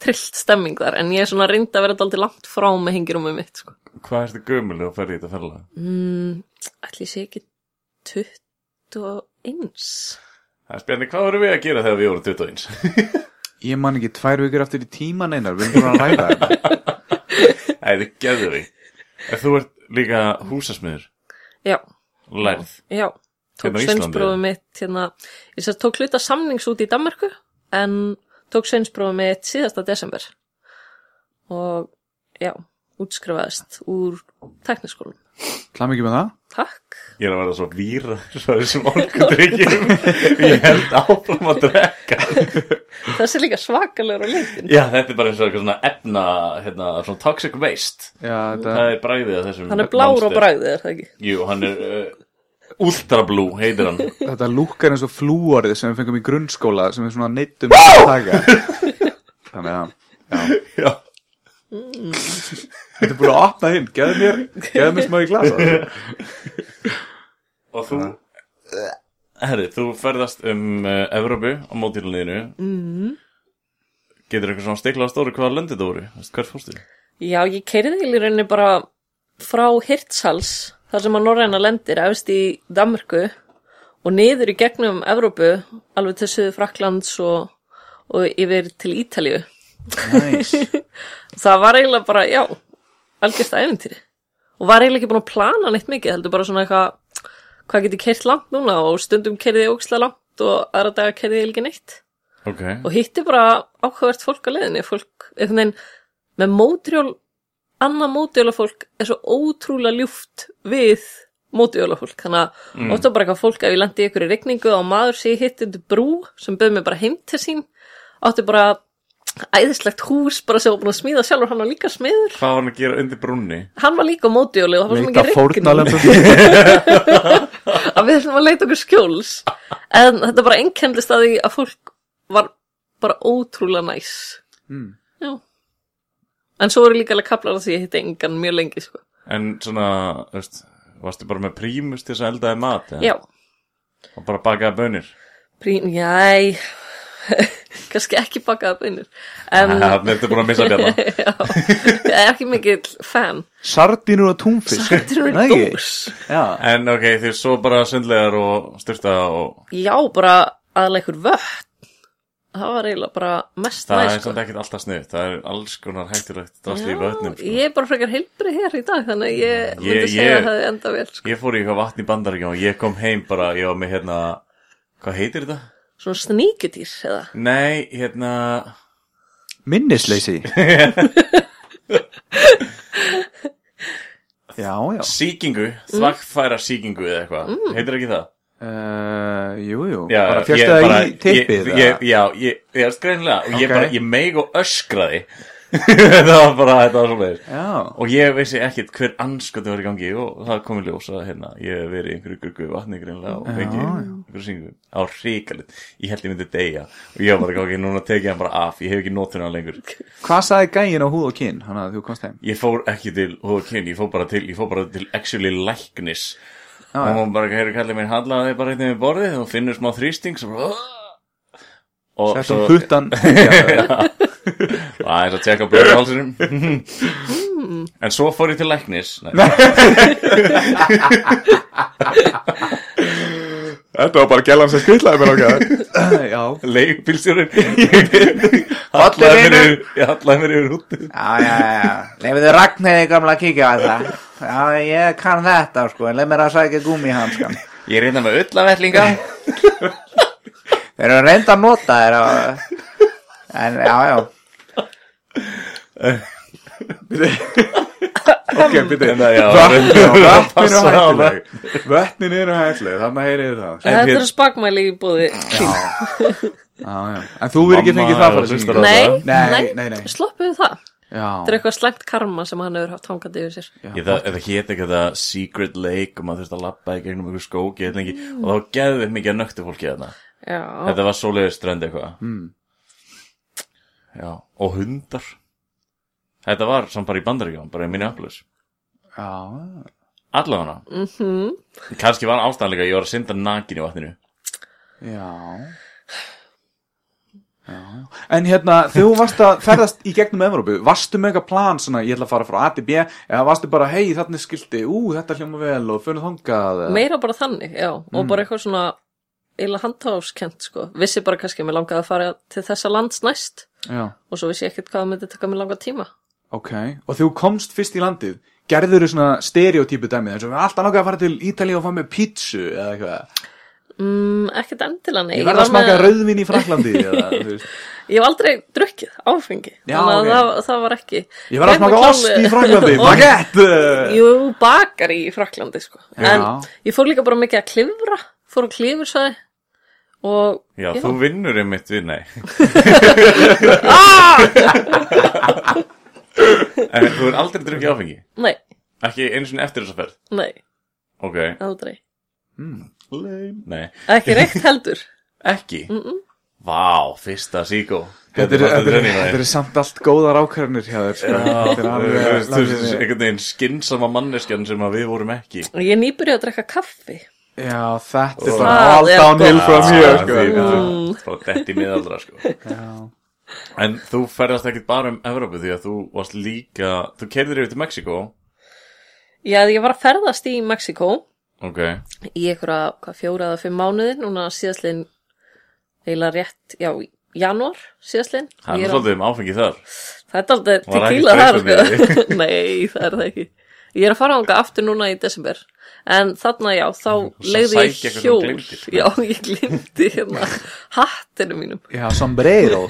Speaker 3: trillt stemming þar en ég er svona reyndi að vera þetta aldrei langt frá með hengir um mig mitt sko.
Speaker 4: hvað ertu gömul og ferði þetta ferðalega?
Speaker 3: Mm, ætli ég sé ekki 21.
Speaker 4: Það er spjarni, hvað vorum við að gera þegar við vorum 21?
Speaker 2: Ég man ekki tvær vikur aftur í tíman einar Við erum búin að ræða þetta
Speaker 4: Æ, þið geður því En þú ert líka húsasmiður
Speaker 3: Já.
Speaker 4: lærð
Speaker 3: Já, tók
Speaker 4: Hérna á Íslandi,
Speaker 3: sveinsbrófið
Speaker 4: eða?
Speaker 3: mitt hérna, ég sér tók hluta samnings út í Danmarku en tók sveinsbrófið mitt síðasta desember og já, útskrifaðist úr tækniskólan.
Speaker 2: Klam ekki með um það
Speaker 3: Takk.
Speaker 4: ég er að verða svo víra svo þessum orkundryggjum ég held áfram að drekka
Speaker 3: Þessi er líka svakalegur á leitin.
Speaker 4: já, þetta er bara eins og eitthvað svona efna hérna, svona toxic waste
Speaker 2: Já, þetta,
Speaker 4: það er bræðið að þessum
Speaker 3: Hann er blár á
Speaker 4: monster.
Speaker 3: bragðið, er það ekki?
Speaker 4: Jú, hann er uh, Ultra Blue, heitir hann
Speaker 2: þetta lúkkar eins og flúorið sem við fengum í grunnskóla sem við svona neittum að taka Þannig að
Speaker 4: Já,
Speaker 2: Þetta er búin að opna hinn, geðu sko. mér, geðu mér smá í glasa
Speaker 4: og þú Herri, þú ferðast um uh, Evrópu á mótílunniðinu mm.
Speaker 3: Mhm.
Speaker 4: Getur eitthvað svona stiklað á stóru hvaða löndið þú voru? Þú veist, Hvert fórstu?
Speaker 3: Já, ég keiriði í rauninni bara frá Hirtshals, þar sem að Norræna lendir, efst í Danmörku og niður í gegnum Evrópu, alveg til Suður Fraklands og, og yfir til Ítalíu.
Speaker 2: Næs
Speaker 3: Það var eiginlega bara, já, algjörst æventýri. Og var eiginlega ekki búin að plana neitt mikið, heldur bara svona eitthvað, hvað geti keirt langt núna og stundum keiriði ógislega langt og aðra daga keiriði ekki neitt.
Speaker 4: Ok
Speaker 3: og hitti bara áhugavert fólk á leiðinni fólk, einhvern veginn með mótrjól, annað mótrjólafólk er svo ótrúlega ljúft við mótrjólafólk þannig að mm. ofta bara eitthvað fólk ef ég lendi í ykkur í regningu og maður sé hitt undir brú sem bauð mig bara heim til sín átti bara æðislegt hús bara sem var búin að smíða sjálfur hann var líka smiður
Speaker 4: Hvað var hann að gera undir brunni?
Speaker 3: hann var líka mótrjóli og það var svo
Speaker 2: Leita
Speaker 3: mikið regning
Speaker 2: fórnalöndum
Speaker 3: að við ætlum að leita okkur skjóls en þetta bara einkendlist að því að fólk var bara ótrúlega næs
Speaker 2: Mm.
Speaker 3: já en svo eru líka alveg kaplar að því ég hitti engan mjög lengi sko.
Speaker 4: En svona, þú veist, varstu bara með prímus til þess að eldaði mat? eða?
Speaker 3: já,
Speaker 4: Og bara bakaði bönir?
Speaker 3: prín, jæ kannski ekki bakaða beinir en
Speaker 4: Þannig að þetta er búin að missa bjalla
Speaker 3: já, ég er ekki mikill fan
Speaker 2: Sardínur og túnfisk
Speaker 3: þetta
Speaker 2: Nei,
Speaker 3: er mér
Speaker 2: ekki?
Speaker 3: dós
Speaker 2: Já,
Speaker 4: En ok, því svo bara sundlegar og styrta og
Speaker 3: já, bara aðlega ykkur vötn það var eiginlega bara mest
Speaker 4: það
Speaker 3: næs
Speaker 4: er
Speaker 3: sko.
Speaker 4: samt ekkert alltaf snið Það er alls konar hættulegt drast í
Speaker 3: Já,
Speaker 4: vötnum sko.
Speaker 3: Ég er bara frekar heilbrið hér í dag þannig að ég myndi
Speaker 4: Ég-
Speaker 3: segja
Speaker 4: ég-
Speaker 3: að það hefði enda vel sko.
Speaker 4: Ég fór í eitthvað vatn í bandaríkjum og ég kom heim bara, ég var með hérna Hvað heitir þetta?
Speaker 3: Svona sníkudýr eða
Speaker 4: Nei, hérna
Speaker 2: minnisleysi Já, já
Speaker 4: Sýkingu,
Speaker 2: Mm.
Speaker 4: þvagfæra sýkingu eða eitthvað Heitir ekki það?
Speaker 2: Uh, jú, jú,
Speaker 4: Já,
Speaker 2: Mm. bara
Speaker 4: ég
Speaker 2: fjöxtu það
Speaker 4: bara-
Speaker 2: í tippið
Speaker 4: ég, ég, Já, ég, ég er skreinlega og ég
Speaker 2: Ok.
Speaker 4: bara, ég meig og öskraði Það var bara, þetta var svo leiðis
Speaker 2: Já,
Speaker 4: Og ég vissi ekkert hver anskot var í gangi og það kom í ljós að hérna, ég hef verið í einhverju guggu vatni greinlega og fengi
Speaker 2: já.
Speaker 4: einhverju syngu á ríkalit. Ég held ég myndi deyja og ég var bara ekki, núna tekið hann bara af, ég hef ekki nótun hann lengur.
Speaker 2: hvað sagði gæin á húð og kinn hann að þú komst heim?
Speaker 4: Ég fór ekki til hóðkinn, ég fór bara til, ég fór bara til actually læknis.
Speaker 2: Já,
Speaker 4: og
Speaker 2: já.
Speaker 4: hún bara, heyrðu kallið minn, hallaði þig bara einnig við borðið og finnur smá þrýsting sem bara... Og
Speaker 2: Þetta
Speaker 4: svo,
Speaker 2: er puttan Já, já.
Speaker 4: það er svo að tjekka blöðu hálsinum. en svo fór ég til læknis. Nei.
Speaker 2: Þetta var bara gælan sem skvillaði mér okkar Já,
Speaker 4: leigubílstjórin hallaði mér yfir ég hallaði mér yfir húttu
Speaker 5: Já, já, já, leifiðu Ragnheiði gamla að kíkja á það Já, ég kann þetta sko, en leið mér að sækja gúmihanskan
Speaker 4: ég er reynda með ullavellinga
Speaker 3: Eh,
Speaker 5: Þeir eru reynda að nota þér og... En, já, já
Speaker 2: ok, byrju
Speaker 4: en það já,
Speaker 2: Vötnin
Speaker 4: já,
Speaker 2: eru
Speaker 4: það passa á það.
Speaker 2: hættuleg Vötnin eru hættuleg, þannig að heyrið það
Speaker 4: En hérna-
Speaker 3: Þetta
Speaker 4: hér-
Speaker 3: eru spakmæli í búði
Speaker 2: Já, já, en þú verður ekki
Speaker 4: Mamma
Speaker 2: fengið það
Speaker 4: er að
Speaker 2: fyrir
Speaker 4: hlusta
Speaker 2: sig
Speaker 4: á-
Speaker 3: Nei,
Speaker 2: Nei,
Speaker 3: nei,
Speaker 2: nei, nei.
Speaker 3: sloppuðu það Þetta er
Speaker 2: Já,
Speaker 3: eitthvað slæmt karma sem hann hefur haft hangandi yfir sér
Speaker 4: Ég, það, það hét ekki það Secret Lake og maður þurfti að labba í gegnum einhver skók ég veit lengi, og það var geðið mikið að nöktu fólki þarna
Speaker 3: Já,
Speaker 4: þetta var svoleiðið strönd eitthvað mm. já, og hundar þetta var samt bara í bandaríkjum bara í minni aflöðs
Speaker 2: já,
Speaker 4: allavega mm
Speaker 3: Mhm.
Speaker 4: -hmm. kannski var ástæðanlega ég var að synda nakin í vatninu
Speaker 2: já Já, já. En hérna, þú varst að ferðast í gegnum Evrópu, varstu með eitthvað plan svona, ég ætla að fara frá A til B eða varstu bara, hei, þarna er skilti, ú, þetta hljóma vel og fyrir þangað eða-
Speaker 3: meira bara þannig, já Og bara eitthvað svona eiginlega handháskent sko Vissi bara kannski að mér langaði að fara til þessa lands næst
Speaker 2: Já,
Speaker 3: Og svo vissi ég ekkert hvað það myndi taka mér langa tíma
Speaker 2: ok Og þú komst fyrst í landið, gerður þú svona stereotypu dæmið, eins og við alltaf nokkað að fara til Ítalíu og fá með pítsu eða eitthvað
Speaker 3: mm, Ekkert endilega, nei
Speaker 2: Ég verða
Speaker 3: var
Speaker 2: að smaka
Speaker 3: með-
Speaker 2: rauðvin í Fraklandi eða, þú veist
Speaker 3: Ég hef aldrei drukkið áfengi
Speaker 2: Já,
Speaker 3: Þannig að
Speaker 2: ok.
Speaker 3: það, það var ekki
Speaker 2: Ég var að
Speaker 3: Nema
Speaker 2: smaka
Speaker 3: klámi-
Speaker 2: ost í Fraklandi
Speaker 3: Ost.
Speaker 2: Baguette
Speaker 3: Jú, bakar í Fraklandi sko. En
Speaker 2: Já.
Speaker 3: ég fór líka bara mikið að klifra Fór að klifur sæði Og
Speaker 4: já, þú vinnur einmitt við, nei Ah! en þú er aldrei drukkið áfengi
Speaker 3: Nei,
Speaker 4: Ekki einu sinni eftir þessa ferð
Speaker 3: nei,
Speaker 4: Ok
Speaker 3: aldrei
Speaker 4: Lame. Nei,
Speaker 3: Ekki reykt heldur
Speaker 4: ekki Vá, fyrsta síkó
Speaker 2: Þetta eru- þetta eru- þetta
Speaker 4: er
Speaker 2: eru samt allt góðar ákvarðanir hjá þér sko. Þetta er alveg-
Speaker 4: Einhvern veginn skinsama manneskjan sem að við vorum ekki
Speaker 3: Ég er nýbyrjuð að drekka kaffi
Speaker 2: Já, þetta er
Speaker 4: Og-
Speaker 2: bara
Speaker 3: Það
Speaker 2: all
Speaker 3: er
Speaker 2: downhill
Speaker 3: gott.
Speaker 2: from here
Speaker 4: Ah,
Speaker 2: sko.
Speaker 4: því-
Speaker 2: Já.
Speaker 4: því- Frá detti miðaldra sko
Speaker 2: Já.
Speaker 4: En þú ferðast ekkit bara um Evrópu því að þú varst líka Þú keirðir yfir til Mexiko
Speaker 3: Já, ég var að ferðast í Mexiko
Speaker 4: Ok,
Speaker 3: í einhverja, hvað, fjóra eða fimm mánuði núna síðastlinn eiginlega rétt, já, í janúar síðastlinn.
Speaker 4: það
Speaker 3: Ég er
Speaker 4: er nú
Speaker 3: að-
Speaker 4: svolítið um áfengi þar
Speaker 3: Það er aldrei
Speaker 4: Var það ekki
Speaker 3: tequila þar,
Speaker 4: streitandi?
Speaker 3: sko. Nei, það er það ekki. Ég er að fara ánga aftur núna í desember. En þarna, já, þá leiði
Speaker 4: sækja
Speaker 3: ég
Speaker 4: eitthvað sem
Speaker 3: hjól.
Speaker 4: þú gleymdir. sko.
Speaker 3: Já, ég glimti hérna hattinu mínum.
Speaker 2: Já, sombrero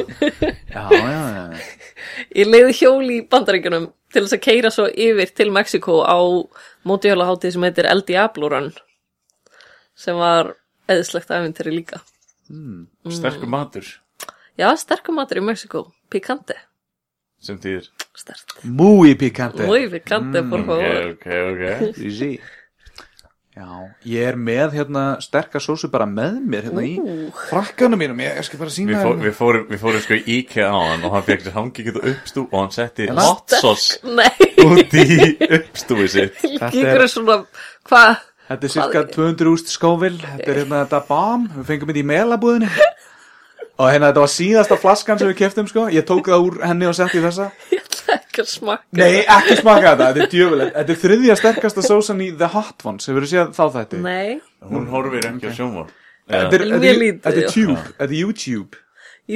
Speaker 2: Já, já, já
Speaker 3: Ég leiði hjól í bandaríkjunum til þess að keira svo yfir til Mexiko á mótihjólaháttið sem heitir El Diablo Run sem var eðislegt æfintari líka.
Speaker 4: Sterkur matur
Speaker 3: Já, sterkum matur í Mexiko, pikante,
Speaker 4: sem þýðir
Speaker 3: stert.
Speaker 2: Muy picante
Speaker 3: Mói pikante, por
Speaker 4: Ok,
Speaker 3: favor.
Speaker 4: ok, ok
Speaker 2: Sí, sí. Já, ég er með hérna sterka sósu bara með mér hérna í frakkanum mínum, ég skal bara hérna.
Speaker 4: Við,
Speaker 2: sína
Speaker 4: fó, við, fórum, við fórum sko í IKEA á hann og hann fekk sér hangi getur uppstú og hann setti
Speaker 2: En
Speaker 4: hot sauce
Speaker 3: Nei,
Speaker 4: út í uppstúi sitt
Speaker 2: Þetta
Speaker 3: ekki ykkur
Speaker 2: er-
Speaker 3: svona, hvað?
Speaker 2: Þetta er cirka 200 úst skóvil, þetta er hérna þetta bám, við fengum þetta í melabúðinni og hérna þetta var síðasta flaskan sem við keftum sko, ég tók það úr henni og setti í þessa
Speaker 3: Ég ætla ekki að smakka.
Speaker 2: Nei, ekki smaka þetta, þetta er djöfulegt, þetta er þriðja sterkasta sósan í The Hot Ones, hefur þú séð þá þetta?
Speaker 3: Nei,
Speaker 4: Hún horfir ekki á sjónvar
Speaker 2: Þetta er, þetta
Speaker 3: Mjög
Speaker 2: er,
Speaker 3: lítið,
Speaker 2: þetta
Speaker 3: já.
Speaker 2: er Tube, þetta er YouTube,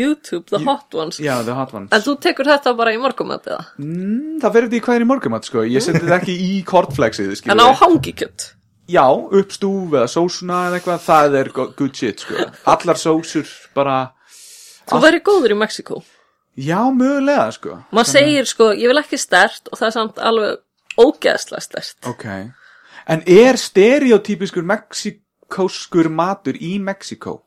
Speaker 3: YouTube, the hot ones.
Speaker 2: já The Hot Ones
Speaker 3: En þú tekur þetta bara í morgumat eða?
Speaker 2: Mm, Það verður þetta í hvað er í morgumat sko Ég seti þetta ekki í kortflexið
Speaker 3: En á hangikjött.
Speaker 2: Já, uppstúf eða sósuna eða eitthvað Það er go- good shit sko Allar sósur bara
Speaker 3: Þú væri góður í Mexiko.
Speaker 2: Já, mögulega sko
Speaker 3: maður segir sko, ég vil ekki stert og það er samt alveg ógeðslega stert
Speaker 2: Ok En er stereotypiskur mexikóskur matur í Mexiko?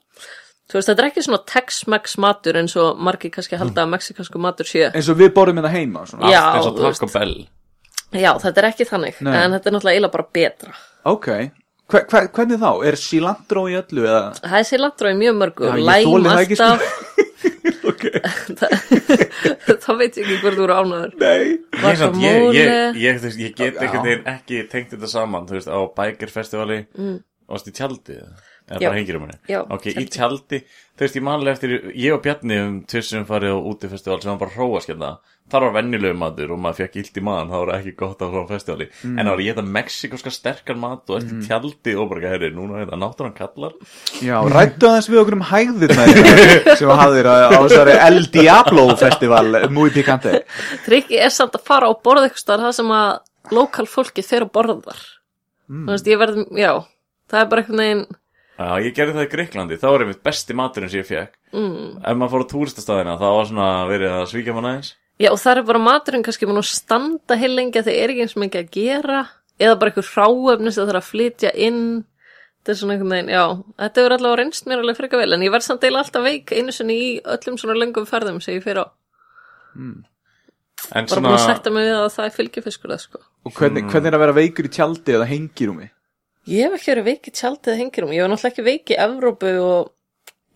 Speaker 3: þú veist, þetta er ekki svona Tex-Mex matur eins og margir kannski
Speaker 2: Mm.
Speaker 3: halda að mexikansku matur sé
Speaker 2: Eins og við borðum þetta heima svona.
Speaker 3: Já,
Speaker 4: Allt eins og
Speaker 3: þú veist.
Speaker 4: Taco Bell
Speaker 3: já, þetta er ekki þannig,
Speaker 2: Nei.
Speaker 3: en þetta er náttúrulega eila bara betra
Speaker 2: Ok hver, hver, Hvernig þá? Er cilantro í öllu eða?
Speaker 3: það er sér landröð mjög mörgu,
Speaker 2: Já, ég þoli
Speaker 3: læm
Speaker 2: það ekki, sko.
Speaker 3: alltaf
Speaker 2: Ok
Speaker 3: það veit ég ekki hvort þú eru ánæður
Speaker 2: Nei
Speaker 4: Ég, samt, ég, ég,
Speaker 3: guacamole.
Speaker 4: ég, þú veist, ég get
Speaker 2: Já.
Speaker 4: einhvern veginn ekki tengt þetta saman þú veist, á bækerfestivali mm. varst í tjaldi eða
Speaker 3: Já.
Speaker 4: bara hengir um henni
Speaker 3: Já,
Speaker 4: ok, í
Speaker 3: tjaldi.
Speaker 4: tjaldi, þú veist, ég manlega eftir ég og Bjarni um tvisum farið á útifestival sem var bara hróaskjönda þar var vennilegu matur og maður fekk illt í maðan það var ekki gott á svona festivali en það var ég þetta mexikoska sterkan mat og eftir tjaldi og bara, herri, núna er þetta náttúran kallar
Speaker 2: Já, rættu aðeins við okkur um hægðirna þínar sem hafðir á, á þessari El Diablo festival Muy Picante
Speaker 3: trikki er samt að fara og borða eitthvað staðar það sem að lokal fólki fer og borðar þú veist, ég verð, já það er bara einhvern veginn
Speaker 4: Já, ég gerði það í Greiklandi, það var einmitt besti maturinn sem ég fekk mm. Ef maður fór á túristastæðina, það var svona verið að svíkja mann aðeins
Speaker 3: Já, og það er bara maturinn kannski mun að standa heil lengi að það er ekki eins mikið að gera eða bara einhver hráefni sem það þarf að flytja inn þetta er svona einhvern veginn, já þetta hefur allavega reynst mér alveg frekar vel en ég verð samt eila alltaf veik einu sinni í öllum svona lengum ferðum sem ég fyrir á
Speaker 4: En
Speaker 3: bara búin að setja mig við að það er fylgjufiskur það sko
Speaker 2: Og hvernig, hvernig er að vera veikur í tjaldi eða hengirúmi?
Speaker 3: Ég hef ekki verið veik í tjaldið hengirum ég var náttúrulega ekki veik í Evrópu og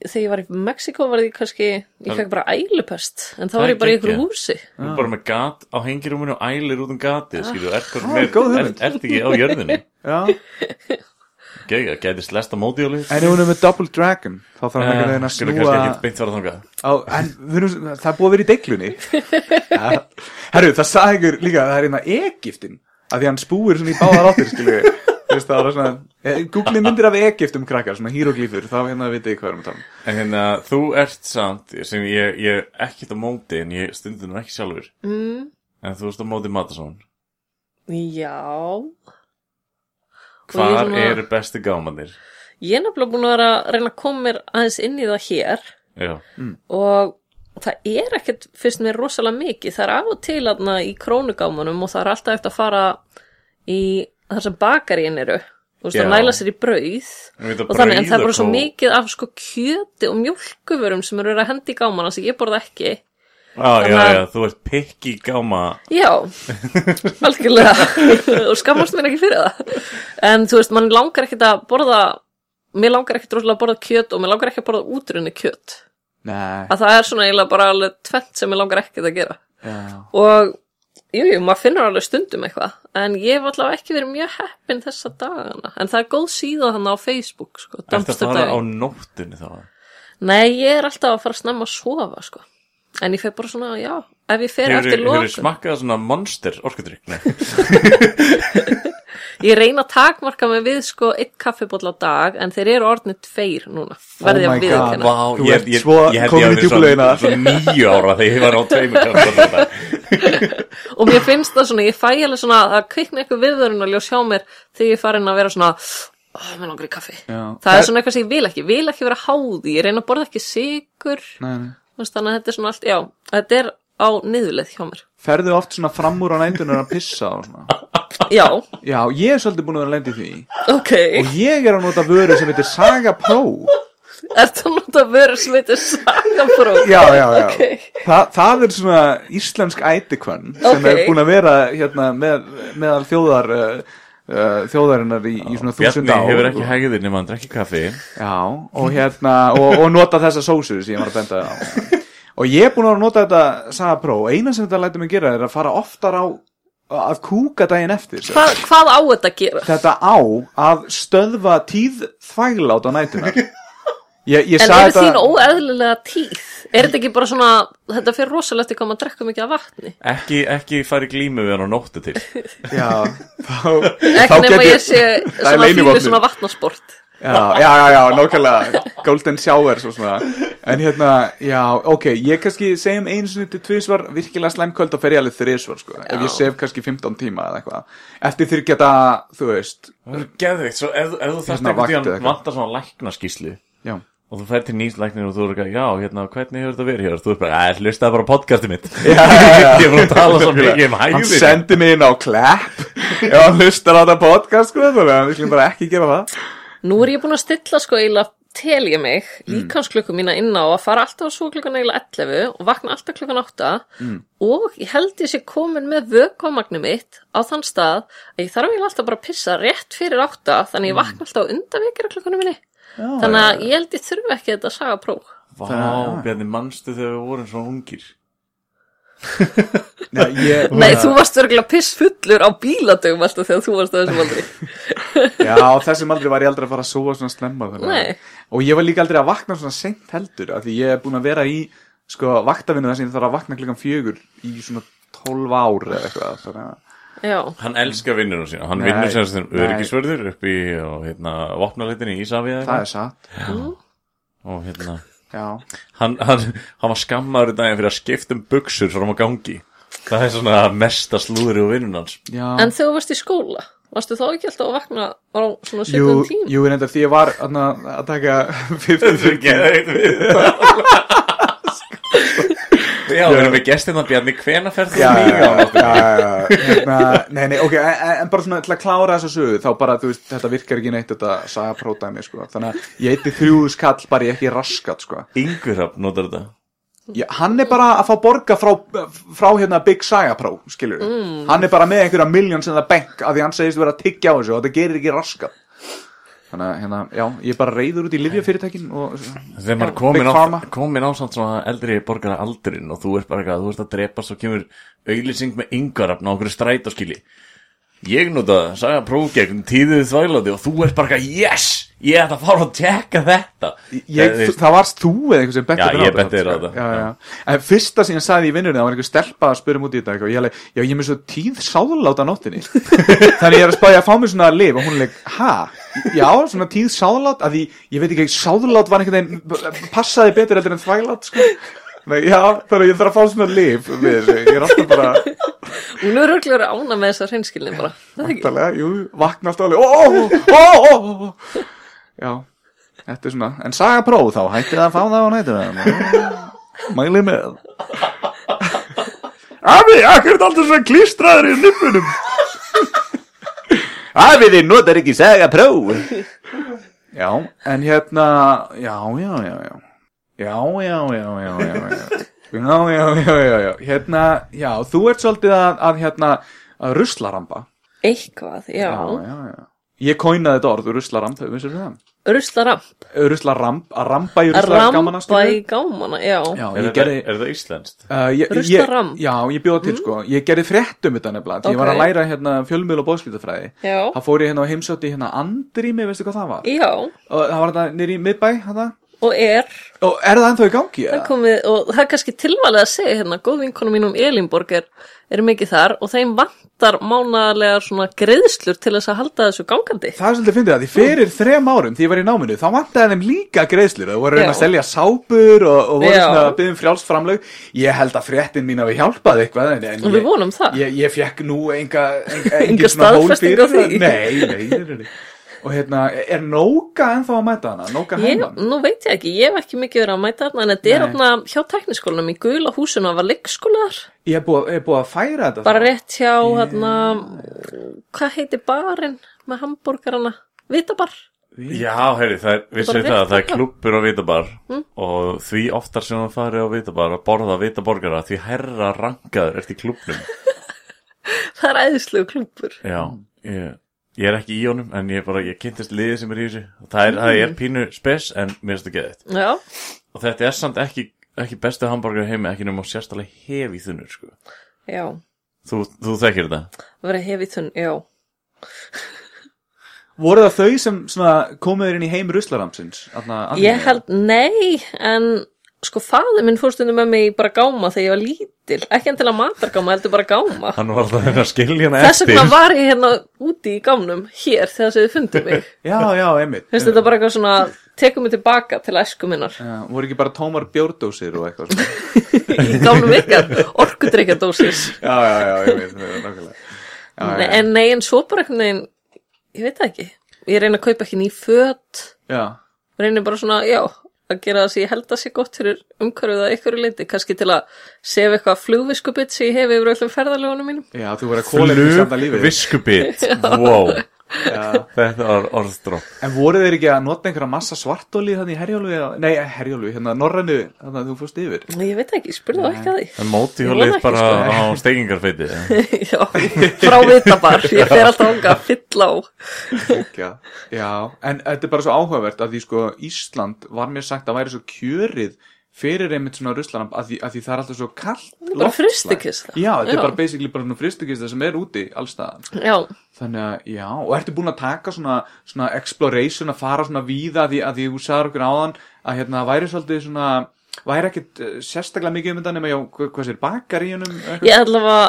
Speaker 3: þegar ég var í Mexiko var ég kannski ég fekk bara ælupest en þá
Speaker 4: Það
Speaker 3: var
Speaker 4: er
Speaker 3: ég bara í
Speaker 4: geggjað.
Speaker 3: einhverju húsi
Speaker 4: Þú er bara með gat á hengirúminu og ælir út um gatið, skilju, ert hvað
Speaker 2: Ah, góð
Speaker 4: með,
Speaker 2: hugmynd.
Speaker 4: ert ert ekki á jörðinu.
Speaker 2: Já,
Speaker 4: Gæja, gæti slesta mótjólið.
Speaker 2: en ef hún er með Double Dragon þá þarf hann einhvern veginn að snúa
Speaker 4: Eh, kannski ekki beint fara þangað.
Speaker 2: á, En við erum, það er búið að vera í deiklunni ja. Herru, það sagði ykkur líka að það er einna Egiptin að því hann spúir svona í báðar áttir skilju Þú veist, það var svona eh, Google myndir af Egiptum krakkar, svona híroglífur þá hérna vitið þið hvað við erum að tala um
Speaker 4: En hérna, þú ert samt, sem ég, ég ekkert á móti, en ég stundi nú ekki sjálfur.
Speaker 3: mm,
Speaker 4: En þú ert á móti Matasón.
Speaker 3: Já Og ég
Speaker 4: Hvar
Speaker 3: svona-
Speaker 4: eru bestu gámanir?
Speaker 3: Ég er nefnilega búin að vera að reyna að koma mér aðeins inn í það hér
Speaker 4: Já,
Speaker 3: og það er ekkert fyrst mér rosalega mikið. Það er af og til aðna í krónugámanum og það er alltaf eftir að fara í þar sem bakaríin eru. Þú veist,
Speaker 4: Já.
Speaker 3: að næla sér í brauð
Speaker 4: Ég veit að
Speaker 3: og þannig, en
Speaker 4: brauð
Speaker 3: það er
Speaker 4: og
Speaker 3: bara svo
Speaker 4: kó-
Speaker 3: mikið af sko kjöti og mjólkuvörum sem eru verið að hendi í gámana sem ég borða ekki.
Speaker 4: ah, já,
Speaker 3: Þannig-
Speaker 4: já, þú ert pikki gáma.
Speaker 3: Já, algjörlega og skammast mér ekki fyrir það en þú veist, mann langar ekkert að borða mér langar ekkert rosalega að borða kjöt og mér langar ekki að borða útrunni kjöt
Speaker 2: Nei,
Speaker 3: að það er svona eiginlega bara alveg tvent sem mér langar ekkert að gera
Speaker 2: já,
Speaker 3: og jú, jú, maður finnur alveg stundum eitthvað, en ég hef allavega ekki verið mjög heppin þessa dagana, en það er góð síða þannig á Facebook, sko,
Speaker 4: Ertu að fara á
Speaker 3: dumpsterdaginn.
Speaker 4: nóttinu þá?
Speaker 3: Nei, ég er alltaf að fara snemma að sofa, sko, en ég fer bara svona, já, ef ég fer eftir
Speaker 4: Hefur
Speaker 3: lokum,
Speaker 4: smakkað svona monster orkudrykk? Nei.
Speaker 3: ég reyna að takmarka mig við, sko, eitt kaffibóll á dag, en þeir eru orðnir tveir núna, verði
Speaker 2: Oh my God,
Speaker 3: ég að viðurkenna.
Speaker 4: Vá,
Speaker 2: Þú
Speaker 4: ég,
Speaker 2: ert
Speaker 4: ég,
Speaker 2: svo
Speaker 4: ég held
Speaker 2: komin í
Speaker 4: ég að verið
Speaker 2: djúplaugina.
Speaker 4: svona, svona nýju ára þegar ég var á tveimur kaffi þarna.
Speaker 3: og mér finnst það svona, ég fæ alveg svona að kvikna eitthvað viðvörun og ljós hjá mér þegar ég er farin að vera svona oh, mér langar í kaffi,
Speaker 2: Já.
Speaker 3: það er svona eitthvað sem ég vil ekki ég vil ekki vera háði, ég reyna að borða ekki sigur,
Speaker 2: Nei, nei.
Speaker 3: þannig að þetta er svona allt já, þetta er á niðurleið hjá mér
Speaker 2: Ferðu oft svona fram úr á nættunum að pissa og svona?
Speaker 3: já,
Speaker 2: Já, ég er svolítið búin að vera að lendi því.
Speaker 3: ok,
Speaker 2: Og ég er að nota vöru sem heitir Saga Pro.
Speaker 3: er það nátt að vera sem þetta er sagabró
Speaker 2: Já, já, já.
Speaker 3: Ok.
Speaker 2: Þa, það er svona íslensk ætikvann sem
Speaker 3: Ok.
Speaker 2: er búin að vera hérna, með, meðal þjóðar, uh, uh, þjóðarinnar í, í svona þúsund
Speaker 4: Bjarni
Speaker 2: ár.
Speaker 4: hefur ekki hægðir nema hann drekki kaffi.
Speaker 2: Já, og hérna, og, og nota þessa sósu sem ég var að benda á. Og ég er búin að nota þetta Saga Pro og eina sem þetta lætur mig gera er að fara oftar á að kúka daginn eftir.
Speaker 3: Hva, hvað á þetta að gera?
Speaker 2: þetta á að stöðva tíð þvæglát á nætunar ég, ég
Speaker 3: En
Speaker 2: sagði
Speaker 3: eru
Speaker 2: þetta-
Speaker 3: þín óeðlilega tíð? Er þetta ekki bara svona, þetta fyrir rosalegt ekki að maður drekka mikið af vatni?
Speaker 4: Ekki, ekki fari glímu við hann á nóttu til.
Speaker 2: já, þá,
Speaker 3: Ekki nema ég sé
Speaker 2: er
Speaker 3: svona fílu
Speaker 2: leynivopnið.
Speaker 3: svona vatnasport.
Speaker 2: já, já, já, já, nákvæmlega golden showers og svona en hérna, já, ok, ég kannski segjum einu sinni til tvísvar, virkilega slæmkvöld og fer ég alveg þrísvar, sko, ef ég sef kannski 15 tíma eða eitthvað, eftir því geta þú veist,
Speaker 4: Það er geðvikt, svo ef, ef þú þarft
Speaker 2: Hérna,
Speaker 4: einhvern
Speaker 2: vakti eða
Speaker 4: tíðan
Speaker 2: eitthvað.
Speaker 4: vantar svona læknaskíslu
Speaker 2: já
Speaker 4: og þú fær til nýs læknir og þú eru ekki, já, hérna, hvernig hefur þetta verið hér? Þú er bara, að hlustaði bara á podcastið mitt.
Speaker 2: Já, já, já.
Speaker 4: Ég er bara að tala svo mikið um
Speaker 2: hann
Speaker 4: hægðir.
Speaker 2: sendi mig inn á Clap ef hann hlustar á þetta podcast sko, þannig að við skulum bara ekki gera það
Speaker 3: Nú er ég búin að stilla sko eiginlega tel ég mig
Speaker 2: Mm.
Speaker 3: líkansklukku mína inn á að fara alltaf að svo klukkan eiginlega 11 og vakna alltaf klukkan 8
Speaker 2: Mm.
Speaker 3: og ég held ég sé komin með vökuamagnu mitt á þann stað að ég þarf eiginlega alltaf bara að pissa rétt fyrir 8 þannig
Speaker 2: Mm.
Speaker 3: ég vakna alltaf á undanvekjara klukkanum minni þannig að ég held ég þurfi ekki þetta saga próf
Speaker 4: Vá, Bjarni, manstu þegar við vorum svona ungir?
Speaker 2: Nei, ég,
Speaker 3: Nei, þú varst örgulega piss fullur á bíladögum alltaf þegar þú varst á þessum aldrei
Speaker 2: Já, á þessum aldrei var ég aldrei að fara að sóa svona snemma þannig að-
Speaker 3: Nei.
Speaker 2: Og ég var líka aldrei að vakna svona seint heldur af Því ég er búin að vera í sko, vaktavinu þess að ég þarf að vakna klukkan fjögur Í svona 12 ár eða eitthvað þannig að-
Speaker 3: Já,
Speaker 4: Hann elskar vinnunum sína, hann
Speaker 2: Nei,
Speaker 4: vinnur sem þessum
Speaker 2: nei.
Speaker 4: öryggisvörður upp í, og, hérna, vopnaleitinni í Ísafi eða
Speaker 2: Það er
Speaker 4: eitthvað.
Speaker 2: satt
Speaker 3: Mm.
Speaker 4: og hérna,
Speaker 2: Já,
Speaker 4: hann, hann, hann var skammaður í daginn fyrir að skipta um buksur frá hann á gangi það er svona mesta slúður í vinnun hans
Speaker 2: já
Speaker 3: en þegar þú varst í skóla varstu þá ekki alltaf að vakna á svona
Speaker 2: Jú,
Speaker 3: sjöfum tím?
Speaker 2: jú, reyndar því ég var þarna, að taka 50
Speaker 4: já, við erum með gestina Bjarni hvena fer þú
Speaker 2: Já, já,
Speaker 4: nýja á
Speaker 2: já, já, já, hérna, nei, nei, ok, en, en bara svona til að klára þessa sögu, þá bara, þú veist, þetta virkar ekki neitt þetta sagapródæmi, sko, þannig að ég eitti þrjúðu skall bara ég ekki raskat, sko.
Speaker 4: Ingurhafn notar þetta
Speaker 2: Já, hann er bara að fá borga frá, frá hérna Big Saga Pro, skilur við. Hann er bara með einhverja miljón sem það bank af því hann segist vera að tyggja á þessu og þetta gerir ekki raskat. Þannig að, hérna, já, ég er bara reyður út í livjafyrirtækin og...
Speaker 4: þegar maður
Speaker 2: Big
Speaker 4: komin á,
Speaker 2: Pharma.
Speaker 4: komin á samt svona eldri borgara aldrin og þú ert bara eitthvað, þú ert að drepa svo kemur auðlýsing með yngarafn á okkur strætóskili ég nota saga prófgegn tíðið þvæglandi og þú ert bara eitthvað, yes ég ætla að fara að tjekka þetta
Speaker 2: Ég,
Speaker 4: Eða, þú veist,
Speaker 2: það varst þú eða einhver sem benti
Speaker 4: Já,
Speaker 2: mér á
Speaker 4: ég
Speaker 2: þetta,
Speaker 4: benti þér á
Speaker 2: sko.
Speaker 4: þetta.
Speaker 2: Já, já, já. En fyrsta sem ég sagði í vinnunni, það var einhver stelpa að spyrja mútið í dag og ég alveg, já, ég er með svo tíð sáðláta nóttinni. Þannig ég er að spája að fá mér svona að lif og hún er leik, ha? Já, svona tíð sáðlát, að því, ég veit ekki, sáðlát var einhvern veginn, passaði betur heldur en þvæglát, sko. Nei, já, þannig að ég þarf að fá svona lif við þessu, ég er alltaf bara,
Speaker 3: Hún er örgulega ána með þessar hreinskilni bara Það er ekki-
Speaker 2: talega, jú, vakna alltaf alveg, ó, ó, ó, ó, ó, ó, já, þetta er svona, en saga próf þá, hættið að fá það á nættu, mælið með. Afi, akkur er alltaf svona klístraður í nippunum? Afi, þið notar ekki saga próf. Já, en hérna, já, já, já, já, já, já, já, já, já, já. Já, já, já, já, já, hérna, já, þú ert svolítið að, að hérna, að ruslarampa
Speaker 3: Eitthvað, já,
Speaker 2: já, já, já. Ég kóinaði þetta orð, ruslaramp, þau vissir það.
Speaker 3: Ruslaramp
Speaker 2: Rusla ramp, að rampa í rusla gaman að
Speaker 3: Rampa
Speaker 2: skilu
Speaker 3: í gámana, já,
Speaker 2: Já,
Speaker 4: Er
Speaker 2: ég
Speaker 4: þetta-
Speaker 2: gerði
Speaker 4: er þetta íslenskt?
Speaker 2: Uh, ég,
Speaker 3: Rusla
Speaker 2: ég-
Speaker 3: ramp?
Speaker 2: Já, ég bjóða til sko Ég gerði frétt um þetta nefnilega Því ég var
Speaker 3: Mm. Ok.
Speaker 2: að læra hérna fjölmiðl og bóðskiptafræði
Speaker 3: Já.
Speaker 2: Það fór ég hérna og heimsótti hérna Andrými, veistu hvað það var?
Speaker 3: já
Speaker 2: Og það var þetta nýri í miðbæ hana.
Speaker 3: og er
Speaker 2: Og er það ennþá í gangi?
Speaker 3: það er komið, og það er kannski tilvalið að segja hérna, góð vinkona mínum Elinborg er, er mikið þar og þeim vantar mánaðarlega svona greiðslur til þess að halda þessu gangandi
Speaker 2: Það er svolítið fyndið að því fyrir þrem árum því ég var í náminu, þá vantaði þeim líka greiðslur og voru að reyna að
Speaker 3: Já.
Speaker 2: selja sápur og, og voru
Speaker 3: Já.
Speaker 2: svona að byggja um frjálst framlög ég held að fréttin mín hafi hjálpað eitthvað en, en
Speaker 3: Og við
Speaker 2: ég,
Speaker 3: vonum það.
Speaker 2: ég, ég fekk nú enga, enga,
Speaker 3: Enga
Speaker 2: engin svona hól fyrir
Speaker 3: staðfestingu á því.
Speaker 2: það. Nei, nei, nei, nei, nei. og hérna, er Nóka ennþá að mæta hana? Nóka
Speaker 3: Ég,
Speaker 2: Heimann?
Speaker 3: nú veit ég ekki, ég hef ekki mikið verið að mæta þarna en þetta er
Speaker 2: Nei.
Speaker 3: þarna hjá tekniskólanum í gula húsinu að var leikskólaðar
Speaker 2: Ég er búið, ég er búið að færa þetta
Speaker 3: bara
Speaker 2: þá.
Speaker 3: rétt hjá þarna hvað heitir barinn með hambúrgarana vitabar
Speaker 4: Já, heyri, það er, við
Speaker 3: bara
Speaker 4: séum það
Speaker 3: rétt
Speaker 4: að það er
Speaker 3: þarna.
Speaker 4: klubbur á vitabar og því oftar sem það farið á vitabar að borða vitaborgara því herra rankaður ert í klubbnum
Speaker 3: það er æðislegu klúpur
Speaker 4: Já, ég, ég er ekki í honum en ég bara, ég kynntist liðið sem er í þessu og það er, það
Speaker 3: Mhm.
Speaker 4: er pínu spes en mér finnst það geðið
Speaker 3: já,
Speaker 4: og þetta er samt ekki, ekki bestu hambúrgar heimi ekki nema sérstælega hefi þunur sko.
Speaker 3: já,
Speaker 4: þú, þú þekkir þetta
Speaker 3: verið hefið þunn, já
Speaker 2: Voru það þau sem svona, komuður inn í heim ruslaramsins? Þarna, Andrými?
Speaker 3: ég held, nei, en sko faður minn fór stundum með mig í bara gáma þegar ég var lítil, ekki enn til að matargáma heldur bara gáma
Speaker 4: hann var alltaf að reyna að skilja hana
Speaker 3: þess
Speaker 4: eftir
Speaker 3: vegna var ég hérna úti í gámnum hér þegar þið fundu mig
Speaker 2: Já, já, einmitt
Speaker 3: Þú veist, þetta er bara eitthvað svona, tekum mig tilbaka til æsku minnar
Speaker 2: Já, voru ekki bara tómar bjórdósir og eitthvað svona?
Speaker 3: í gámnum ykkar, orkudreikjadósis.
Speaker 2: Já, já, já, einmitt, nákvæmlega Já, já, já.
Speaker 3: En nei, en svo bara einhvern veginn, ég veit það ekki, ég reyna að kaupa ekki ný föt,
Speaker 2: Já,
Speaker 3: reyna bara svona, já, að gera það sem ég held að sé gott fyrir umhverfið að ykkur leiti, kannski til að sefa eitthvað flugviskubit sem ég hef yfir öllum ferðalögunum mínum.
Speaker 2: já, þú verður að kóla samt að
Speaker 4: flug,
Speaker 2: lífið
Speaker 4: viskubit wow,
Speaker 2: Já.
Speaker 4: þetta var orðdróp
Speaker 2: En voru þeir ekki að nota einhverja massa svartóli þannig í herjálfi, eða- nei, herjálfi, hérna norrænu, þannig að þú fórst yfir
Speaker 3: Ég veit það ekki, spurðu það ekki að því.
Speaker 4: En móti
Speaker 3: Ég vona
Speaker 4: hjólið
Speaker 3: ekki,
Speaker 4: bara á
Speaker 3: sko.
Speaker 4: steigingarfeiti
Speaker 3: já, frá vitabar, ég fer alltaf ánga að fylla á.
Speaker 2: Já, já, en þetta er bara svo áhugavert að því sko Ísland var mér sagt að væri svo kjörið fyrir einmitt svona ruslaramp að því, að því það er alltaf svo kallt
Speaker 3: er bara
Speaker 2: loftslag.
Speaker 3: frystikista.
Speaker 2: Já, þetta
Speaker 3: Já.
Speaker 2: er bara basically bara svona fristukista sem er úti allstaðan
Speaker 3: Já,
Speaker 2: Þannig að, já, og ertu búin að taka svona, svona exploration að fara svona víða að því að því þú sagðir okkur áðan að hérna það væri svolítið svona, væri ekkit eh, sérstaklega mikið um þetta nema já, hvað, hvað sér bakar í hennum?
Speaker 3: ég allavega,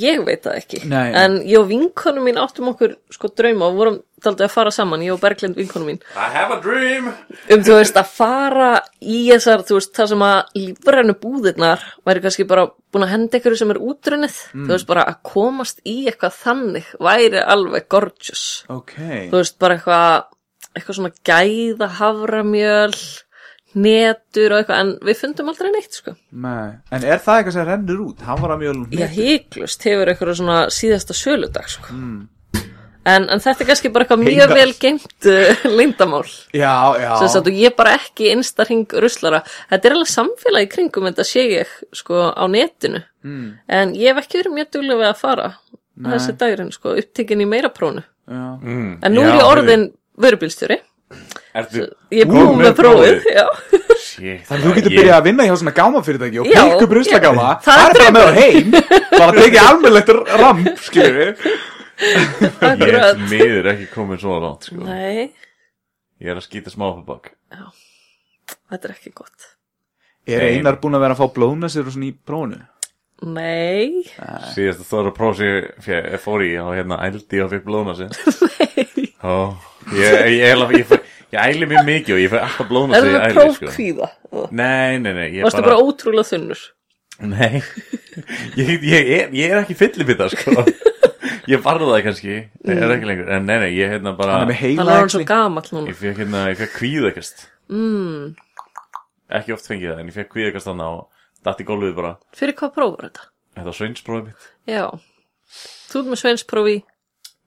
Speaker 3: ég veit það ekki.
Speaker 2: Nei.
Speaker 3: En ég og vinkonum mín áttum okkur sko drauma og vorum daldið að fara saman, ég og Berglind vinkonum mín.
Speaker 4: I have a dream
Speaker 3: um þú veist að fara í þessar þú veist það sem að lífrænu búðirnar væri kannski bara búin að henda ykkur sem er útrunnið þú veist bara að komast í eitthvað þannig væri alveg gorgeous
Speaker 2: Ok,
Speaker 3: þú veist bara eitthvað eitthvað svona gæða haframjöl netur og eitthvað en við fundum aldrei neitt sko
Speaker 2: með, en er það eitthvað sem rennur út? Hann var að mjög
Speaker 3: Já, hygglust hefur eitthvað svona síðasta söludag sko en, en þetta er kannski bara eitthvað mjög
Speaker 2: Heiðar.
Speaker 3: vel geimt lindamál
Speaker 2: Já, já,
Speaker 3: sem sagt og ég er bara ekki innsta hring ruslara, þetta er alveg samfélagi í kringum þetta sé ég sko á netinu mm. en ég hef ekki verið mjög duglega við að fara þessi dagurinn sko, upptekinn í meira prónu
Speaker 2: já.
Speaker 4: mm,
Speaker 3: en nú
Speaker 4: já,
Speaker 3: er ég orðin vörubílstjóri
Speaker 4: Ertu
Speaker 3: ég er búin með prófið já.
Speaker 4: Shit,
Speaker 2: Þannig að þú getur byrjað að vinna hjá svona gámafyrirtæki og
Speaker 3: Já,
Speaker 2: bygg upp ruslagáma,
Speaker 3: já. Það
Speaker 2: það
Speaker 3: er
Speaker 2: er bara með á heim, bara tekið almennlegt ramp, skilur við.
Speaker 4: Ég er
Speaker 3: akkurat
Speaker 4: miður ekki komin svo langt sko.
Speaker 3: nei,
Speaker 4: Ég er að skýta smá fyrir bak
Speaker 3: þetta er ekki gott
Speaker 2: Er
Speaker 4: Nei.
Speaker 2: Einar búin að vera að fá blóna sér og svona í prófunu?
Speaker 3: nei,
Speaker 4: Síðast að þóra próf sem ég fe- fór í og hérna ældi og fikk blóðna sér Ó, Ég ég ég ég- ég- ég æli mér mikið og ég fæ alltaf blóðna
Speaker 3: er
Speaker 4: sér
Speaker 3: það
Speaker 4: ég æli sko.
Speaker 3: prófkvíða Ó,
Speaker 4: Nei, nei, nei ég
Speaker 3: varstu bara ótrúlega þunnur
Speaker 4: Nei, ég, ég, ég, ég er ekki fyllibita sko Ég varða það kannski, ég er ekki lengur En nei, nei, ég hérna bara
Speaker 2: Hann er með
Speaker 3: þannig
Speaker 2: heila
Speaker 3: er Mm. hann svo gamall núna
Speaker 4: Ég fekk hérna, ég fekk kvíðakast mm. Ekki oft fengið það, en ég fekk kvíðakast þannig og datt í gólfið bara
Speaker 3: fyrir hvað prófur þetta?
Speaker 4: Þetta var sveinsprófið mitt,
Speaker 3: já, þú ert með sveinsprófi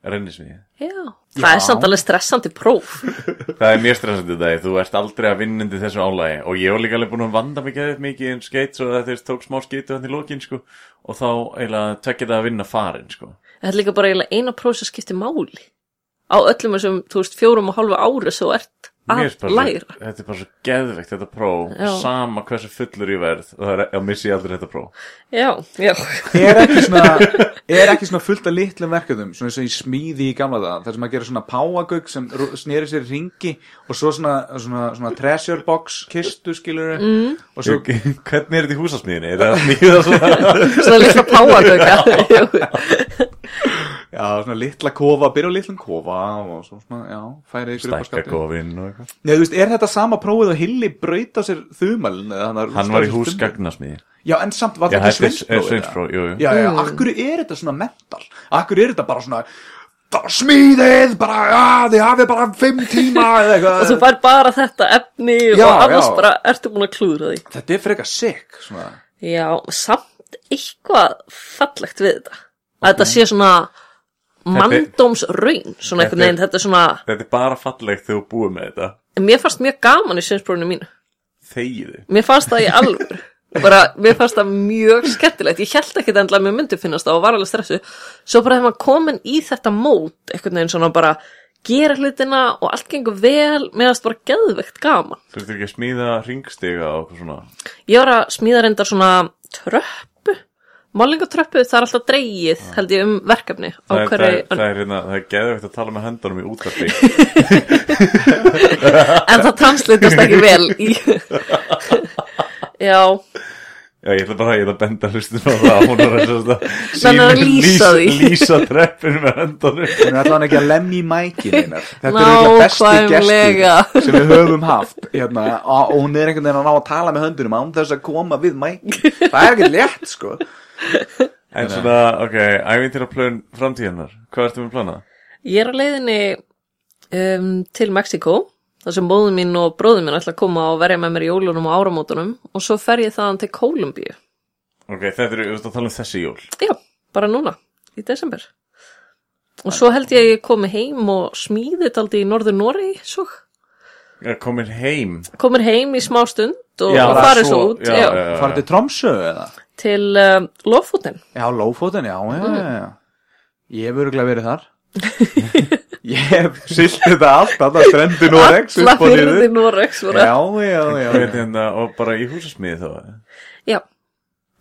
Speaker 4: rennismiði
Speaker 3: já, það er samt alveg stressandi próf
Speaker 4: Það er mjög stressandi þetta, þú ert aldrei að vinna undir þessu álægi Og ég var líka alveg búin að vanda mig geðið mikið en skeitt Svo það þeir tók smá skeitu hann í lokin sko Og þá eiginlega tekja það að vinna farin sko
Speaker 3: Þetta er líka bara eiginlega eina próf sem skiptir máli á öllum þessum, þú veist, fjórum og hálfu ári svo ert að
Speaker 4: Mér spurði,
Speaker 3: Ah, læra
Speaker 4: þetta er bara svo geðveikt þetta próf,
Speaker 3: Já.
Speaker 4: sama hversu fullur ég verð og það er að missi ég aldrei þetta próf
Speaker 3: Já, já,
Speaker 2: er ekki svona, er ekki svona fullt af litlum verkefnum svona eins og í smíði í gamla það þar sem að gera svona páagauk sem snýri sér í ringi og svo svona, svona, svona treasure box kistu skilur mm. og svo
Speaker 4: Ég- Hvernig er þetta í húsasmíðinni? Er það smíða svona?
Speaker 3: svona litla páagauka Jú.
Speaker 2: já, svona litla kofa, byrja á litlum kofa og svo svona, já, færi ykkur upp á
Speaker 4: Stækka
Speaker 2: skapti
Speaker 4: kofinn og eitthvað
Speaker 2: Nei, þú veist, er þetta sama prófið og Hilli braut á sér þumalinn? eða hann
Speaker 4: Hann var í hús gagnasmíði
Speaker 2: Já, en samt var
Speaker 4: Já,
Speaker 2: þetta
Speaker 4: þetta er-
Speaker 2: ekki
Speaker 4: er
Speaker 2: sveinsprófið?
Speaker 4: sveinspróf, jú, jú.
Speaker 2: Já, já,
Speaker 3: Mm.
Speaker 2: akkur er þetta svona mental? Akkur er þetta bara svona bara smíðið, bara, já, þið hafið bara fimm tíma eða
Speaker 3: og þú
Speaker 2: eitthvað
Speaker 3: fær bara þetta efni
Speaker 2: Já,
Speaker 3: og annars
Speaker 2: já.
Speaker 3: bara ertu búin að klúðra því
Speaker 2: Þetta er frekar sick, svona
Speaker 3: Já, samt eitthvað fallegt við þetta að þetta sé svona mandómsraun svona einhvern
Speaker 4: Þetta er-
Speaker 3: veginn, þetta er svona
Speaker 4: Þetta er bara fallegt þegar þú búið með þetta
Speaker 3: mér fannst mjög gaman í sinnsbrónu mínu
Speaker 4: Þegiði
Speaker 3: mér fannst það í alveg bara, mér fannst það mjög skemmtilegt ég held ekki endilega að mér myndi finnast það og var alveg stressu svo bara þegar maður komin í þetta mót einhvern veginn svona bara gera hlutina og allt gengur vel meðast bara geðvegt gaman
Speaker 4: Þurftu ekki að smíða ringstiga og eitthvað svona
Speaker 3: ég var að smíða reyndar svona tröppu málingatröppu, það er alltaf dreigið held ég um verkefni á
Speaker 4: Það er, það,
Speaker 3: hverju
Speaker 4: er, það, er, hérna, það er geðvægt að tala með höndunum í útvarpi
Speaker 3: en það translitast ekki vel í já,
Speaker 4: Já, ég ætla bara ég ætla að benda hlustum á það Hún er að, að,
Speaker 3: Hann er að lýsa því.
Speaker 4: Lýsa treppinu með höndunum
Speaker 2: Hún er allavega ekki að lemja í mækin einar. Þetta er
Speaker 3: Nákvæmlega.
Speaker 2: eitthvað besti gestur sem við höfum haft hérna, og og hún er einhvern veginn að ná að tala með höndunum án þess að koma við mækin Það er ekki létt, sko
Speaker 4: En svona, ok, æfinn til að plön framtíðanar Hvað ertu með að plana?
Speaker 3: Ég er á leiðinni um, til Mexiko þar sem móðum mín og bróðum mín ætla að koma og verja með mér í jólunum og áramótunum og svo fer ég þaðan til Kólumbíu
Speaker 4: Ok, þetta er, þú ert að tala um þessi jól
Speaker 3: Já, bara núna, í desember og svo held ég að ég komi heim og smíði þetta aldrei í norður Nóri svo
Speaker 4: Ég er komin heim
Speaker 3: komir heim í smá stund og,
Speaker 4: Já,
Speaker 3: og
Speaker 4: bara
Speaker 3: farið
Speaker 4: svo,
Speaker 3: svo út
Speaker 4: já,
Speaker 3: já,
Speaker 4: já.
Speaker 2: Farið til Tromsö eða?
Speaker 3: til um, Lofútin
Speaker 2: Já, Lófóten, já, já,
Speaker 3: Mhm.
Speaker 2: já, já. Ég hef öruglega verið þar. ég hef silt þetta allt, alltaf strendi Norex
Speaker 3: Alla
Speaker 2: upp og niður.
Speaker 3: fyrir Norex
Speaker 2: Já, já, já.
Speaker 4: Hvað er
Speaker 2: já.
Speaker 4: þetta, hérna, og bara í húsasmíði þá eða?
Speaker 3: Já,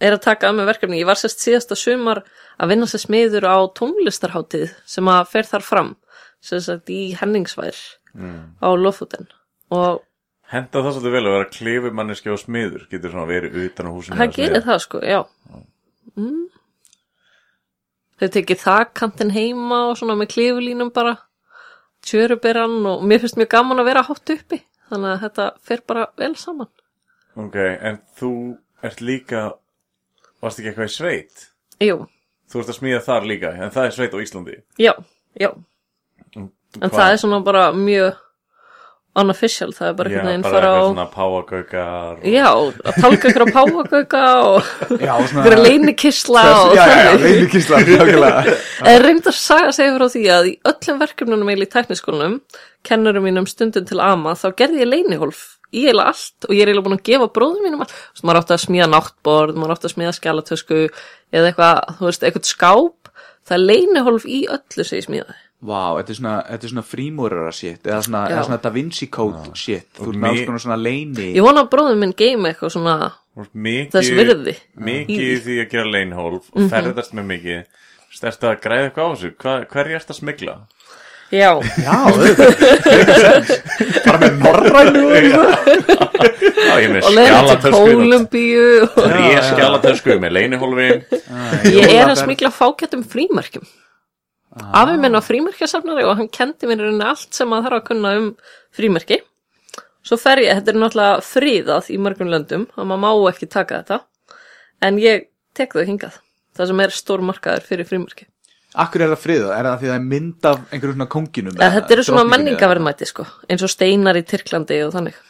Speaker 3: er að taka að með verkefni. Ég var sérst síðasta sumar að vinna sér smiður á tónlistarháttið sem að fer þar fram, sem sagt í henningsvær á Lofoten. Og
Speaker 4: Henda það svolítið vel að vera klifumanniski og smiður getur svona verið utan á húsinu
Speaker 3: hann gerir það sko, já. Mm. Þau tekið þakkantinn heima og svona með klifulínum bara, tjöruberan og mér finnst mjög gaman að vera hátt uppi, þannig að þetta fer bara vel saman.
Speaker 4: Ok, en þú ert líka varst ekki eitthvað í sveit
Speaker 3: Jú,
Speaker 4: þú ert að smíða þar líka, en það er sveit á Íslandi
Speaker 3: já, já. En
Speaker 4: Mm, Hvað?
Speaker 3: það er svona bara mjög unofficial, það er bara
Speaker 4: Já,
Speaker 3: einhvern veginn
Speaker 4: bara
Speaker 3: fara
Speaker 4: eitthvað
Speaker 3: á...
Speaker 4: svona páagaukar
Speaker 3: Já, að tálka ykkur á páagauka og
Speaker 2: Já, svona.
Speaker 3: ykkur að leynikisla og
Speaker 2: Já, já, já,
Speaker 3: þannig.
Speaker 2: leinikísla, nákvæmlega.
Speaker 3: En reyndar saga segir frá því að í öllum verkefnunum eiginlega í tækniskólanum, kennurum mínum stundum til ama, þá gerði ég leyniholf í eiginlega allt og ég er eiginlega búin að gefa bróðum mínum allt. Svo maður átti að smíða náttborð, maður átti að smíða skjálatösku eða eitthvað, þú veist, eitthvað skáp. Það er leyniholf í öllu sem ég smíðaði.
Speaker 2: Vá, þetta er svona, þetta er svona frímúrara shit, eða svona,
Speaker 3: Já.
Speaker 2: eða svona Da Vinci Code shit. Þú
Speaker 4: Og
Speaker 2: ert með
Speaker 4: mér-
Speaker 2: alls konar svona leini.
Speaker 3: Ég vona að bróðum minn geimi eitthvað svona
Speaker 4: Þú ert mikið,
Speaker 3: Þess virði. Mhm.
Speaker 4: mikið í
Speaker 3: Í-
Speaker 4: því að gera leinhólf og ferðast með mikið stert að græða eitthvað á þessu Hva, hver er þetta að smigla?
Speaker 3: Já,
Speaker 2: Já, auðvitað. Bara með norrænu og eitthvað.
Speaker 4: Já, ég er með
Speaker 3: og leiðin til
Speaker 4: skjálatösku
Speaker 3: Kólumbíu og
Speaker 4: ég er skjálatösku með leinihólfin
Speaker 3: ég er að
Speaker 2: jólaferð.
Speaker 3: smikla fákjættum frímerkjum afi minn var frímerkjasafnari og hann kendi mér í rauninni allt sem að þarf að kunna um frímerki svo fer ég, þetta er náttúrulega friðað í mörgum löndum og maður má ekki taka þetta en ég tek þau hingað það sem er stór markaður fyrir frímerki
Speaker 2: Akkur er það friðað, er það því það er mynd af einhverjum svona konginum?
Speaker 3: en þetta eru svona
Speaker 2: drottningunni eða-
Speaker 3: menningaverðmæti sko eins og steinar í Tyrklandi og þannig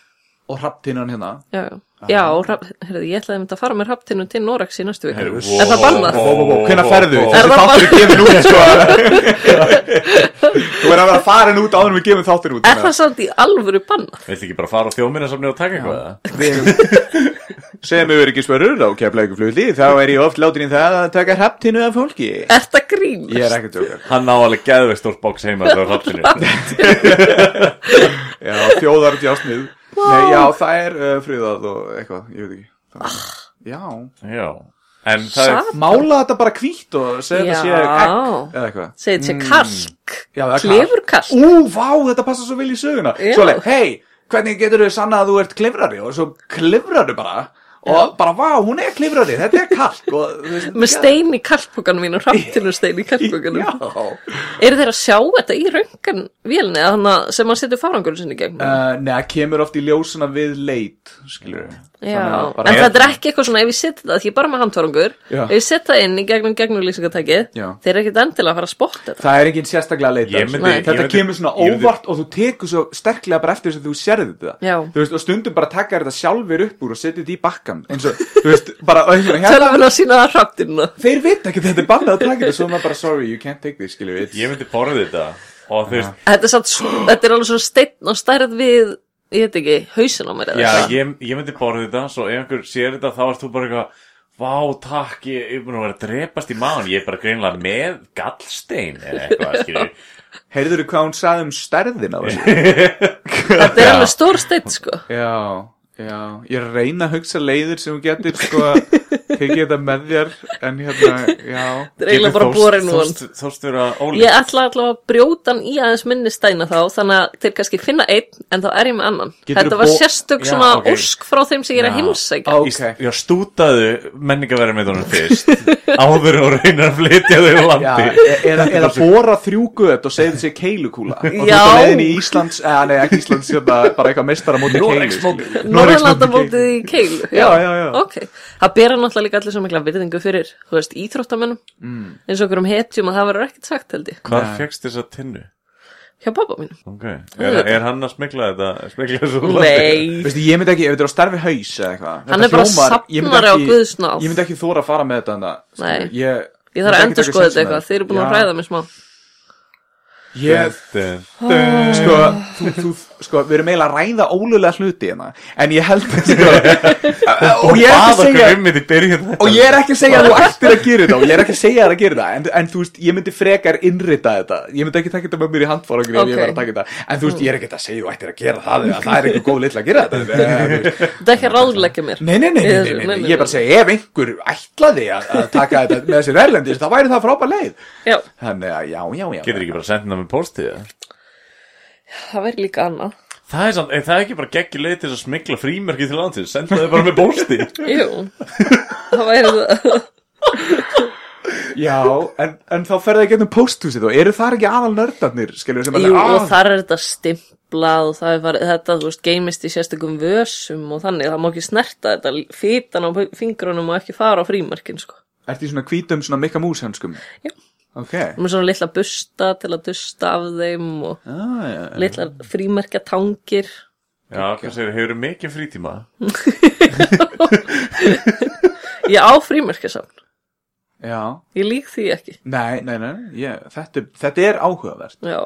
Speaker 2: Og hraptinnan hérna.
Speaker 3: já, já, já og hrafn- heyrðu, ég ætlaði að fara með raptinu til Norax í næstu viku
Speaker 4: Heyrðu,
Speaker 3: er það
Speaker 4: wow.
Speaker 3: bannað?
Speaker 2: Vó, vó, vó, hvenær ferðu?
Speaker 4: Vó, vó, vó.
Speaker 2: Þessi
Speaker 3: Er það
Speaker 2: þáttur er gefin út, sko. Þú verður að vera farin út áður en við gefum þáttur út.
Speaker 3: Er það samt í alvöru bannað?
Speaker 4: Viltu ekki bara fara á þjóminnesafni og taka eitthvað?
Speaker 2: Við erum, sem öryggisverður á keflækuflugli þá er ég oft látin í það að taka hrapptinu af fólki ég
Speaker 3: Er það grín?
Speaker 2: er ekki að tjóka
Speaker 4: Hann á alveg geðveikt stórt bóks heima Það er hrappsinu
Speaker 2: já, þjóðar djásnið Nei, já, það er uh, friðað og eitthvað, ég veit ekki það,
Speaker 3: Ah.
Speaker 2: já,
Speaker 4: Já En það er
Speaker 2: mála þetta bara hvít og segja þetta sé egg
Speaker 3: Já,
Speaker 2: eða eitthvað
Speaker 3: segið þetta sé kalk
Speaker 2: Já, það er
Speaker 3: Klefur kalk
Speaker 2: Ú, vá, þetta passa svo vel í söguna
Speaker 3: Já.
Speaker 2: Svo leið, hei, hvernig getur þau sanna að þú ert klifrari og svo klifrari bara og bara, vá, hún er klifrari, þetta er kalk og, þú veist,
Speaker 3: Með stein í kalkbókanum mín og hraptinu stein í kalkbókanum
Speaker 2: Já,
Speaker 3: Eru þeir að sjá þetta í röngan vélni eða þannig að- sem hann setur farangur sinni í gegn?
Speaker 2: uh, neða, kemur oft í ljósuna við leit, skilur við
Speaker 3: Já,
Speaker 2: Eh, bara-
Speaker 3: en þetta er ekki eitthvað svona ef ég setja það, því ég er bara með handfarangur
Speaker 2: Já.
Speaker 3: ef ég setja það inn í gegnum gegnum lýsingatækið
Speaker 2: Já.
Speaker 3: þeir eru ekkit endilega að fara að spotta þetta
Speaker 2: Það er engin sérstaklega að leita
Speaker 4: Ég myndi-
Speaker 2: Nei.
Speaker 4: ég
Speaker 2: Þetta
Speaker 4: myndi-
Speaker 2: kemur svona
Speaker 4: ég myndi-
Speaker 2: óvart og þú tekur svo sterklega bara eftir þess að þú sérði þetta
Speaker 3: Já.
Speaker 2: Þú veist, og stundum bara taka þetta sjálfur upp úr og setja þetta í bakkan eins og, þú veist, bara og hérna, hérna,
Speaker 3: Tölvun að sína það hraptinuna
Speaker 2: Þeir vita ekki að þetta er bannað að taka þetta Svo er maður bara, sorry, you can't take this, skilur við
Speaker 4: Ég myndi borðið þetta Og þú veist
Speaker 3: Þetta er, satt, svo- þetta er alveg svona steinn og stærð við ég veit ekki, hausin á mér eða
Speaker 4: Já,
Speaker 3: eitthvað.
Speaker 4: ég, ég myndi borðið þetta Svo ef einhver sér þetta Þá ert þú bara eitthvað Vá, takk, ég ég er búin að vera að drepast í maðan Ég er bara greinlega með gallstein Eða eitthvað, skilur
Speaker 2: Heyrður hvað hún sagði um stærðin á þessu?
Speaker 3: Þetta er alveg stór steinn sko
Speaker 2: já, já, ég reyna að hugsa leiðir sem hún getur sko að tekið þetta með þér en hérna, já
Speaker 3: Þetta er eiginlega bara borin úr hann
Speaker 4: Þóst vera ólík
Speaker 3: Ég ætla allavega að brjóta hann í aðeins minni steina þá þannig að þeir kannski finna einn en þá er ég með annan
Speaker 2: Geturðu
Speaker 3: Þetta var
Speaker 2: bo-
Speaker 3: sérstök
Speaker 4: Já,
Speaker 3: svona
Speaker 4: ok.
Speaker 3: ósk frá þeim sem ég er að
Speaker 4: Já.
Speaker 3: heimsækja
Speaker 2: Ok,
Speaker 4: okay. Já, stútaðu menningaværi með honum fyrst Áður og reynar að flytja þau úr
Speaker 2: já
Speaker 4: landi
Speaker 2: e- eða, eða bóra þrjú gött og segja þessi keilukúla og þú
Speaker 3: Já.
Speaker 2: ert á leiðin í Íslands, eða nei, ekki Íslands hérna, bara eitthvað mestara móti keilu
Speaker 3: Norðurlandamótið í keil
Speaker 2: Já, já, já.
Speaker 3: Ok, það bera náttúrulega líka allir svo mikla virðingu fyrir, þú veist, íþróttamennum mm. eins og okkur um hetjum að það verður ekkert sagt held ég,
Speaker 4: Hvar fegst þessa tinnu?
Speaker 3: hjá pappa mínu
Speaker 4: Ok, er, er hann að smegla þetta? Smegla þessu úr landi?
Speaker 3: Nei,
Speaker 2: Veistu, ég myndi ekki, ef þetta er á starfi haus eða eitthvað þetta
Speaker 3: Hann er bara
Speaker 2: hljómar- ég myndi
Speaker 3: safnari á
Speaker 2: ekki-
Speaker 3: guðsnáð.
Speaker 2: Ég myndi ekki þóra að fara með þetta þarna, skilur.
Speaker 3: Nei.
Speaker 2: Ég,
Speaker 3: ég
Speaker 2: myndi ekki
Speaker 3: þarf að
Speaker 2: taka
Speaker 3: endur skoða
Speaker 2: sénsinn
Speaker 3: þetta
Speaker 2: á
Speaker 3: eitthvað,
Speaker 2: því.
Speaker 3: þeir eru búin
Speaker 2: Já.
Speaker 3: að hræða mig smá
Speaker 2: Ég, sko, þú, þú, sko, við erum eiginlega að ræða ólulega hluti hérna En ég held sko, Og ég er ekki að
Speaker 4: Bað
Speaker 2: segja
Speaker 4: okkur um þetta í byrjun þetta
Speaker 2: Og ég er ekki að segja að þú ættir að gera þetta Og ég er ekki að segja þér að gera þetta en, en þú veist, ég myndi frekar innrita þetta Ég myndi ekki taka þetta með mér í handfárangri okay. En ég var
Speaker 3: Ok. Mm.
Speaker 2: að taka þetta En þú veist, ég er ekki að segja þú ættir að gera það eða Það er ekki góð litla að gera þetta Eh, þú veist.
Speaker 3: Þetta er ekki að ráðleggja mér
Speaker 2: Nei, nei, nei, nei, nei, nei, nei. Ég er bara að segja, ef einhver ætlaði að, að taka þetta með sér erlendis Það væri það frábær leið
Speaker 3: Já,
Speaker 2: Þannig að já, já, já
Speaker 4: Getur ekki bara að senda með póstið það?
Speaker 3: það verður líka annað
Speaker 4: Það er, samt, er það ekki bara geggjur leið til þess að smegla frímerki til landsins Senda þau bara með póstið
Speaker 3: Jú, það væri það
Speaker 2: Já, en, en þá ferðu það gennum pósthúsið og eru það ekki aðal nördarnir, skilur, sem Ah,
Speaker 3: Jú,
Speaker 2: alveg,
Speaker 3: og þar er þetta stimplað og það er farið, þetta, þú veist, geymist í sérstakum vösum og þannig, það má ekki snerta þetta fýtan á fingrunum og ekki fara á frímarkin, sko.
Speaker 2: Ertu í svona hvítum, svona mikka múshanskum?
Speaker 3: Já.
Speaker 2: Ok.
Speaker 3: Það er svona litla busta til að dusta af þeim og
Speaker 2: Ah, já.
Speaker 3: litla frímerkjatangir.
Speaker 4: Já, hvað segir, hefur mikið frítíma?
Speaker 3: Ég á frímerkjasafn,
Speaker 2: já.
Speaker 3: ég lík því ekki.
Speaker 2: Nei, nei, nei, ég, þetta, þetta er áhugavert.
Speaker 3: Já,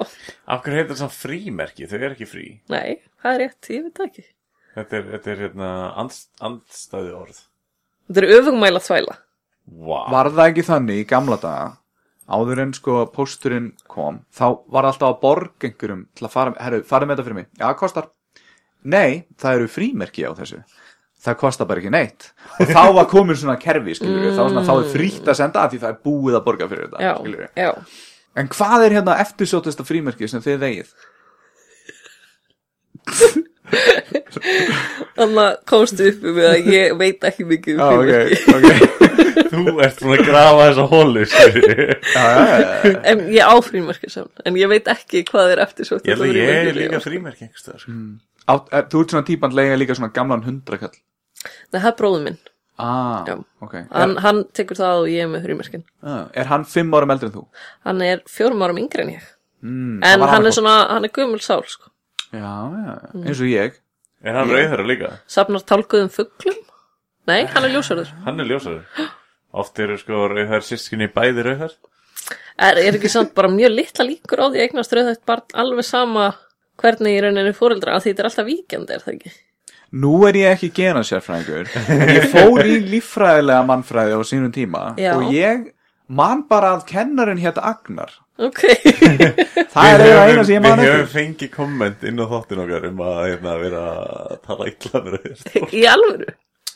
Speaker 4: Af hverju heitir það frímerki? Þau er ekki frí
Speaker 3: nei, það er rétt, ég veit það ekki.
Speaker 4: Þetta er, þetta er hérna andst, andstæði orð
Speaker 3: Þetta er öfugmæla þvæla.
Speaker 4: Vá
Speaker 2: Var það ekki þannig í gamla daga, áður en sko pósturinn kom, þá var alltaf að borg einhverjum til að fara, herru, farið með þetta fyrir mig. Já, það kostar. Nei, það eru frímerki á þessu. Það kostar bara ekki neitt. Og þá var komin svona kerfi, skilur við, þá, var svona, þá er frítt að senda af því það er búið að borga fyrir þetta,
Speaker 3: Já,
Speaker 2: skilur við.
Speaker 3: já.
Speaker 2: En hvað er hérna eftirsóttasta frímerki sem þið eigið?
Speaker 3: Þannig að komstu upp með að ég veit ekki mikið
Speaker 2: Ah,
Speaker 3: um frímerki.
Speaker 2: ok.
Speaker 4: Þú ert búin að grafa þessa hólu skilurðu.
Speaker 3: En ég á frímerkjasafn, en ég veit ekki hvað er eftir svo.
Speaker 4: Ég held að ég er líka frímerki sko. einhverstaðar
Speaker 2: Á, e, þú ert svona típan leiga líka svona gamlan hundrakall.
Speaker 3: Nei, það er bróður minn.
Speaker 2: Ah,
Speaker 3: Já.
Speaker 2: ok. Er,
Speaker 3: Hann, hann tekur það og ég er með frímerkin.
Speaker 2: ah, er hann fimm árum eldri en þú?
Speaker 3: Hann er fjórum árum yngri en ég.
Speaker 2: Mm, það
Speaker 3: En
Speaker 2: var
Speaker 3: hann
Speaker 2: annað
Speaker 3: er svona, hann er gömul sál, sko.
Speaker 2: fólk. Já, já, eins og ég.
Speaker 4: Er hann rauðara líka?
Speaker 3: Safnar tálkuðum fugglum? Nei, hann er ljósarður.
Speaker 4: Hann er ljósari Oft eru sko rauðar sískinni bæði rauðar
Speaker 3: Er, er ekki samt bara mjög litla líkur á því að eignast rauðhætt barn alveg sama hvernig í rauninni fóreldra að því þetta er alltaf víkjandi, er það ekki?
Speaker 2: nú er ég ekki genasérfræðingur en ég fór í líffræðilega mannfræði á sínum tíma
Speaker 3: Já.
Speaker 2: og ég man bara að kennarinn hétt Agnar
Speaker 3: ok
Speaker 2: það er eiginlega eina sem ég man
Speaker 4: Við
Speaker 2: ekki
Speaker 4: höfum fengið komment inn á þáttin okkar um að hérna, vera að tala illa um fyrir þér
Speaker 3: í alvöru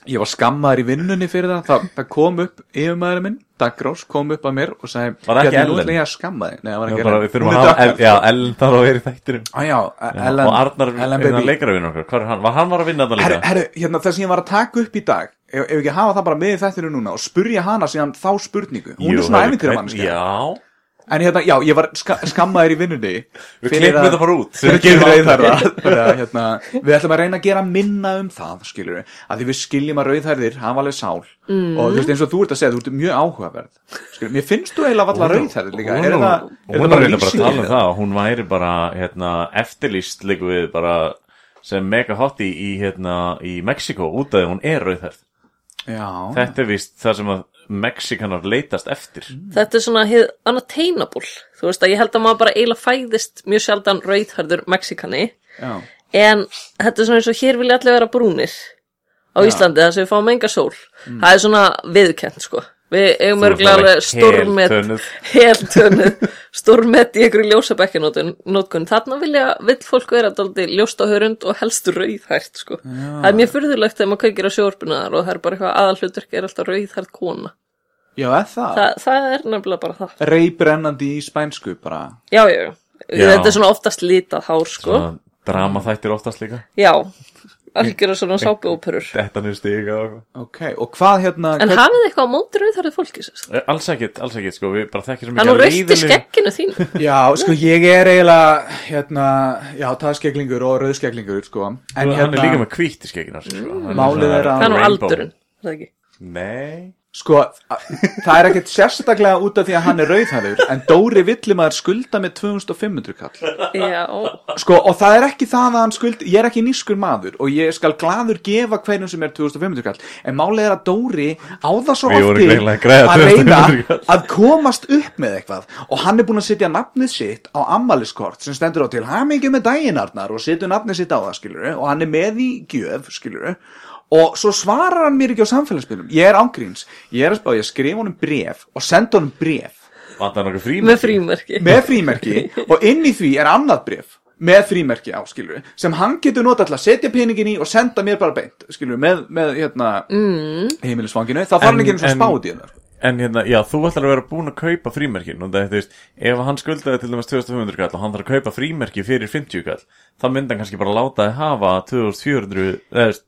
Speaker 2: ég var skammaður í vinnunni fyrir það það, það kom upp yfirmaðurinn minn Dagrós kom upp að mér og sagði
Speaker 4: Var það ekki
Speaker 2: "Bjarni, nú
Speaker 4: Ellen?"
Speaker 2: ætla ég að skamma þig Nei, það var
Speaker 4: Já,
Speaker 2: ekki
Speaker 4: bara,
Speaker 2: Ellen.
Speaker 4: Við þurfum
Speaker 2: Hún
Speaker 4: að
Speaker 2: heitir
Speaker 4: hafa,
Speaker 2: Agnar.
Speaker 4: El- já, Ellen þarf að vera í þættinum
Speaker 2: Á, já, Ellen,
Speaker 4: Og Arnar,
Speaker 2: Ellen
Speaker 4: hérna
Speaker 2: Baby
Speaker 4: leikara okkar, hvað er hann? Var hann var að vinna þetta
Speaker 2: Herru,
Speaker 4: líka?
Speaker 2: herru, hérna, það sem ég var að taka upp í dag ef, ef ekki hafa það bara með í þættinu núna og spurja hana síðan þá spurningu hún
Speaker 4: Jú,
Speaker 2: er svona sko.
Speaker 4: það
Speaker 2: æfintýra
Speaker 4: Já,
Speaker 2: en hérna, já, ég var ska skammaður í vinnunni
Speaker 4: við klippum þetta bara út sem
Speaker 2: Við
Speaker 4: við gerum
Speaker 2: gerum
Speaker 4: aldrei.
Speaker 2: rauðhærða Þannig að, hérna, Við ætlum að reyna að gera minna um það skilur við, að því við skiljum að rauðhærðir hafa alveg sál mm. og þú veist eins og þú ert að segja þú ert mjög áhugaverð skilur, Mér finnst þú eiginlega valla rauðhærðir líka
Speaker 4: Hún-
Speaker 2: Er
Speaker 4: hún-
Speaker 2: það, er
Speaker 4: Hún
Speaker 2: það
Speaker 4: var
Speaker 2: bara
Speaker 4: reyna bara að
Speaker 2: lýsing
Speaker 4: tala um
Speaker 2: eða?
Speaker 4: það að Hún væri bara hérna, eftirlýst líku við bara sem mega hotti í, hérna, í Mexiko út af því að hún er rauðhært
Speaker 2: Já,
Speaker 4: Þetta er víst það sem að Mexikanar leitast eftir
Speaker 2: Mm.
Speaker 3: þetta er svona hið unattainable þú veist að ég held að maður bara eiginlega fæðist mjög sjaldan rauðhörður Mexikani
Speaker 2: já,
Speaker 3: en þetta er svona eins og hér vilja allir vera brúnir á Íslandi þar sem við fáum enga sól það er svona viðkent sko við eigum
Speaker 4: Mm. Þú ert
Speaker 3: örgulega
Speaker 4: alveg
Speaker 3: alveg stórmet
Speaker 4: heltönuð.
Speaker 3: heltönuð stórmet í einhverju ljósabekkjanótkun þarna vilja, vill fólk vera daldi ljóst á hörund og helst rauðhært sko. það er mjög furðulegt þegar maður kveikir á sjórpunar og það er bara eitthvað aðalhlutverk er alltaf rauðhært kona
Speaker 2: já, er það
Speaker 3: Þa, það er nefnilega bara það
Speaker 2: Reybrennandi í spænsku bara
Speaker 3: já, já, já.
Speaker 4: Já.
Speaker 3: Þetta er svona oftast litað hár, sko.
Speaker 4: Svona Dramaþættir oftast líka
Speaker 3: Já, algjör svona sápuóperur.
Speaker 4: Þetta niður stiga og eitthvað.
Speaker 2: Ok, og hvað hérna
Speaker 3: En
Speaker 2: hvern-
Speaker 3: hafið þið eitthvað á móti rauðhærið fólki sérst?
Speaker 4: Eh, Alls ekkit, alls ekkit sko Við bara þekkir svo
Speaker 3: Það er nú
Speaker 4: mikið
Speaker 3: rauðt í skekkinu þínu.
Speaker 2: Já, sko, ég er eiginlega, hérna, já, taðskeglingur og rauðskeglingur, sko. En
Speaker 4: Hann
Speaker 2: hérna,
Speaker 4: er líka með hvítt í skekkinu á sér, sko. Hann
Speaker 2: Málið
Speaker 4: svona
Speaker 2: er að-
Speaker 3: Það er nú
Speaker 4: rainbow.
Speaker 3: aldurinn. er það ekki?
Speaker 4: Nei
Speaker 2: sko, a- það er ekkert sérstaklega út af því að hann er rauðhæður, en Dóri Villimaður skulda með 2500 kall.
Speaker 3: Já, ó.
Speaker 2: Sko, og það er ekki það að hann skulda, ég er ekki nýskur maður og ég skal gladur gefa hverjum sem er 2500 kall. En málið er að Dóri á það svo
Speaker 4: Við vorum
Speaker 2: oft
Speaker 4: greinilega að græða
Speaker 2: að
Speaker 4: 2500
Speaker 2: reyna
Speaker 4: kall.
Speaker 2: að komast upp með eitthvað og hann er búin að setja nafnið sitt á ammaliskort sem stendur á til hamingjum með dæginarnar og setur nafnið sitt á það skilur og hann er með í gjöf skilur og svo svarar hann mér ekki á samfélagsbyrjum ég er ángríns, ég er að spá ég skrif honum bref og senda honum bref
Speaker 4: Vantar nokkuð frímerki?
Speaker 3: Með frímerki.
Speaker 2: með frímerki og inn í því er annað bref með frímerki á, skilur sem hann getur nota til að setja peningin í og senda mér bara beint, skilur með, með hérna, mm. heimilisfanginu þá þarf hann
Speaker 4: En-
Speaker 2: ekki einu svona
Speaker 4: en-
Speaker 2: spáð í hennar
Speaker 4: En hérna, já, þú ætlar að vera búin að kaupa frímerkin og það, þú veist, ef hann skuldaði til dæmis 2500 kall og hann þarf að kaupa frímerki fyrir 50 kall, þá myndi hann kannski bara láta þið hafa 2400, eða, þú veist,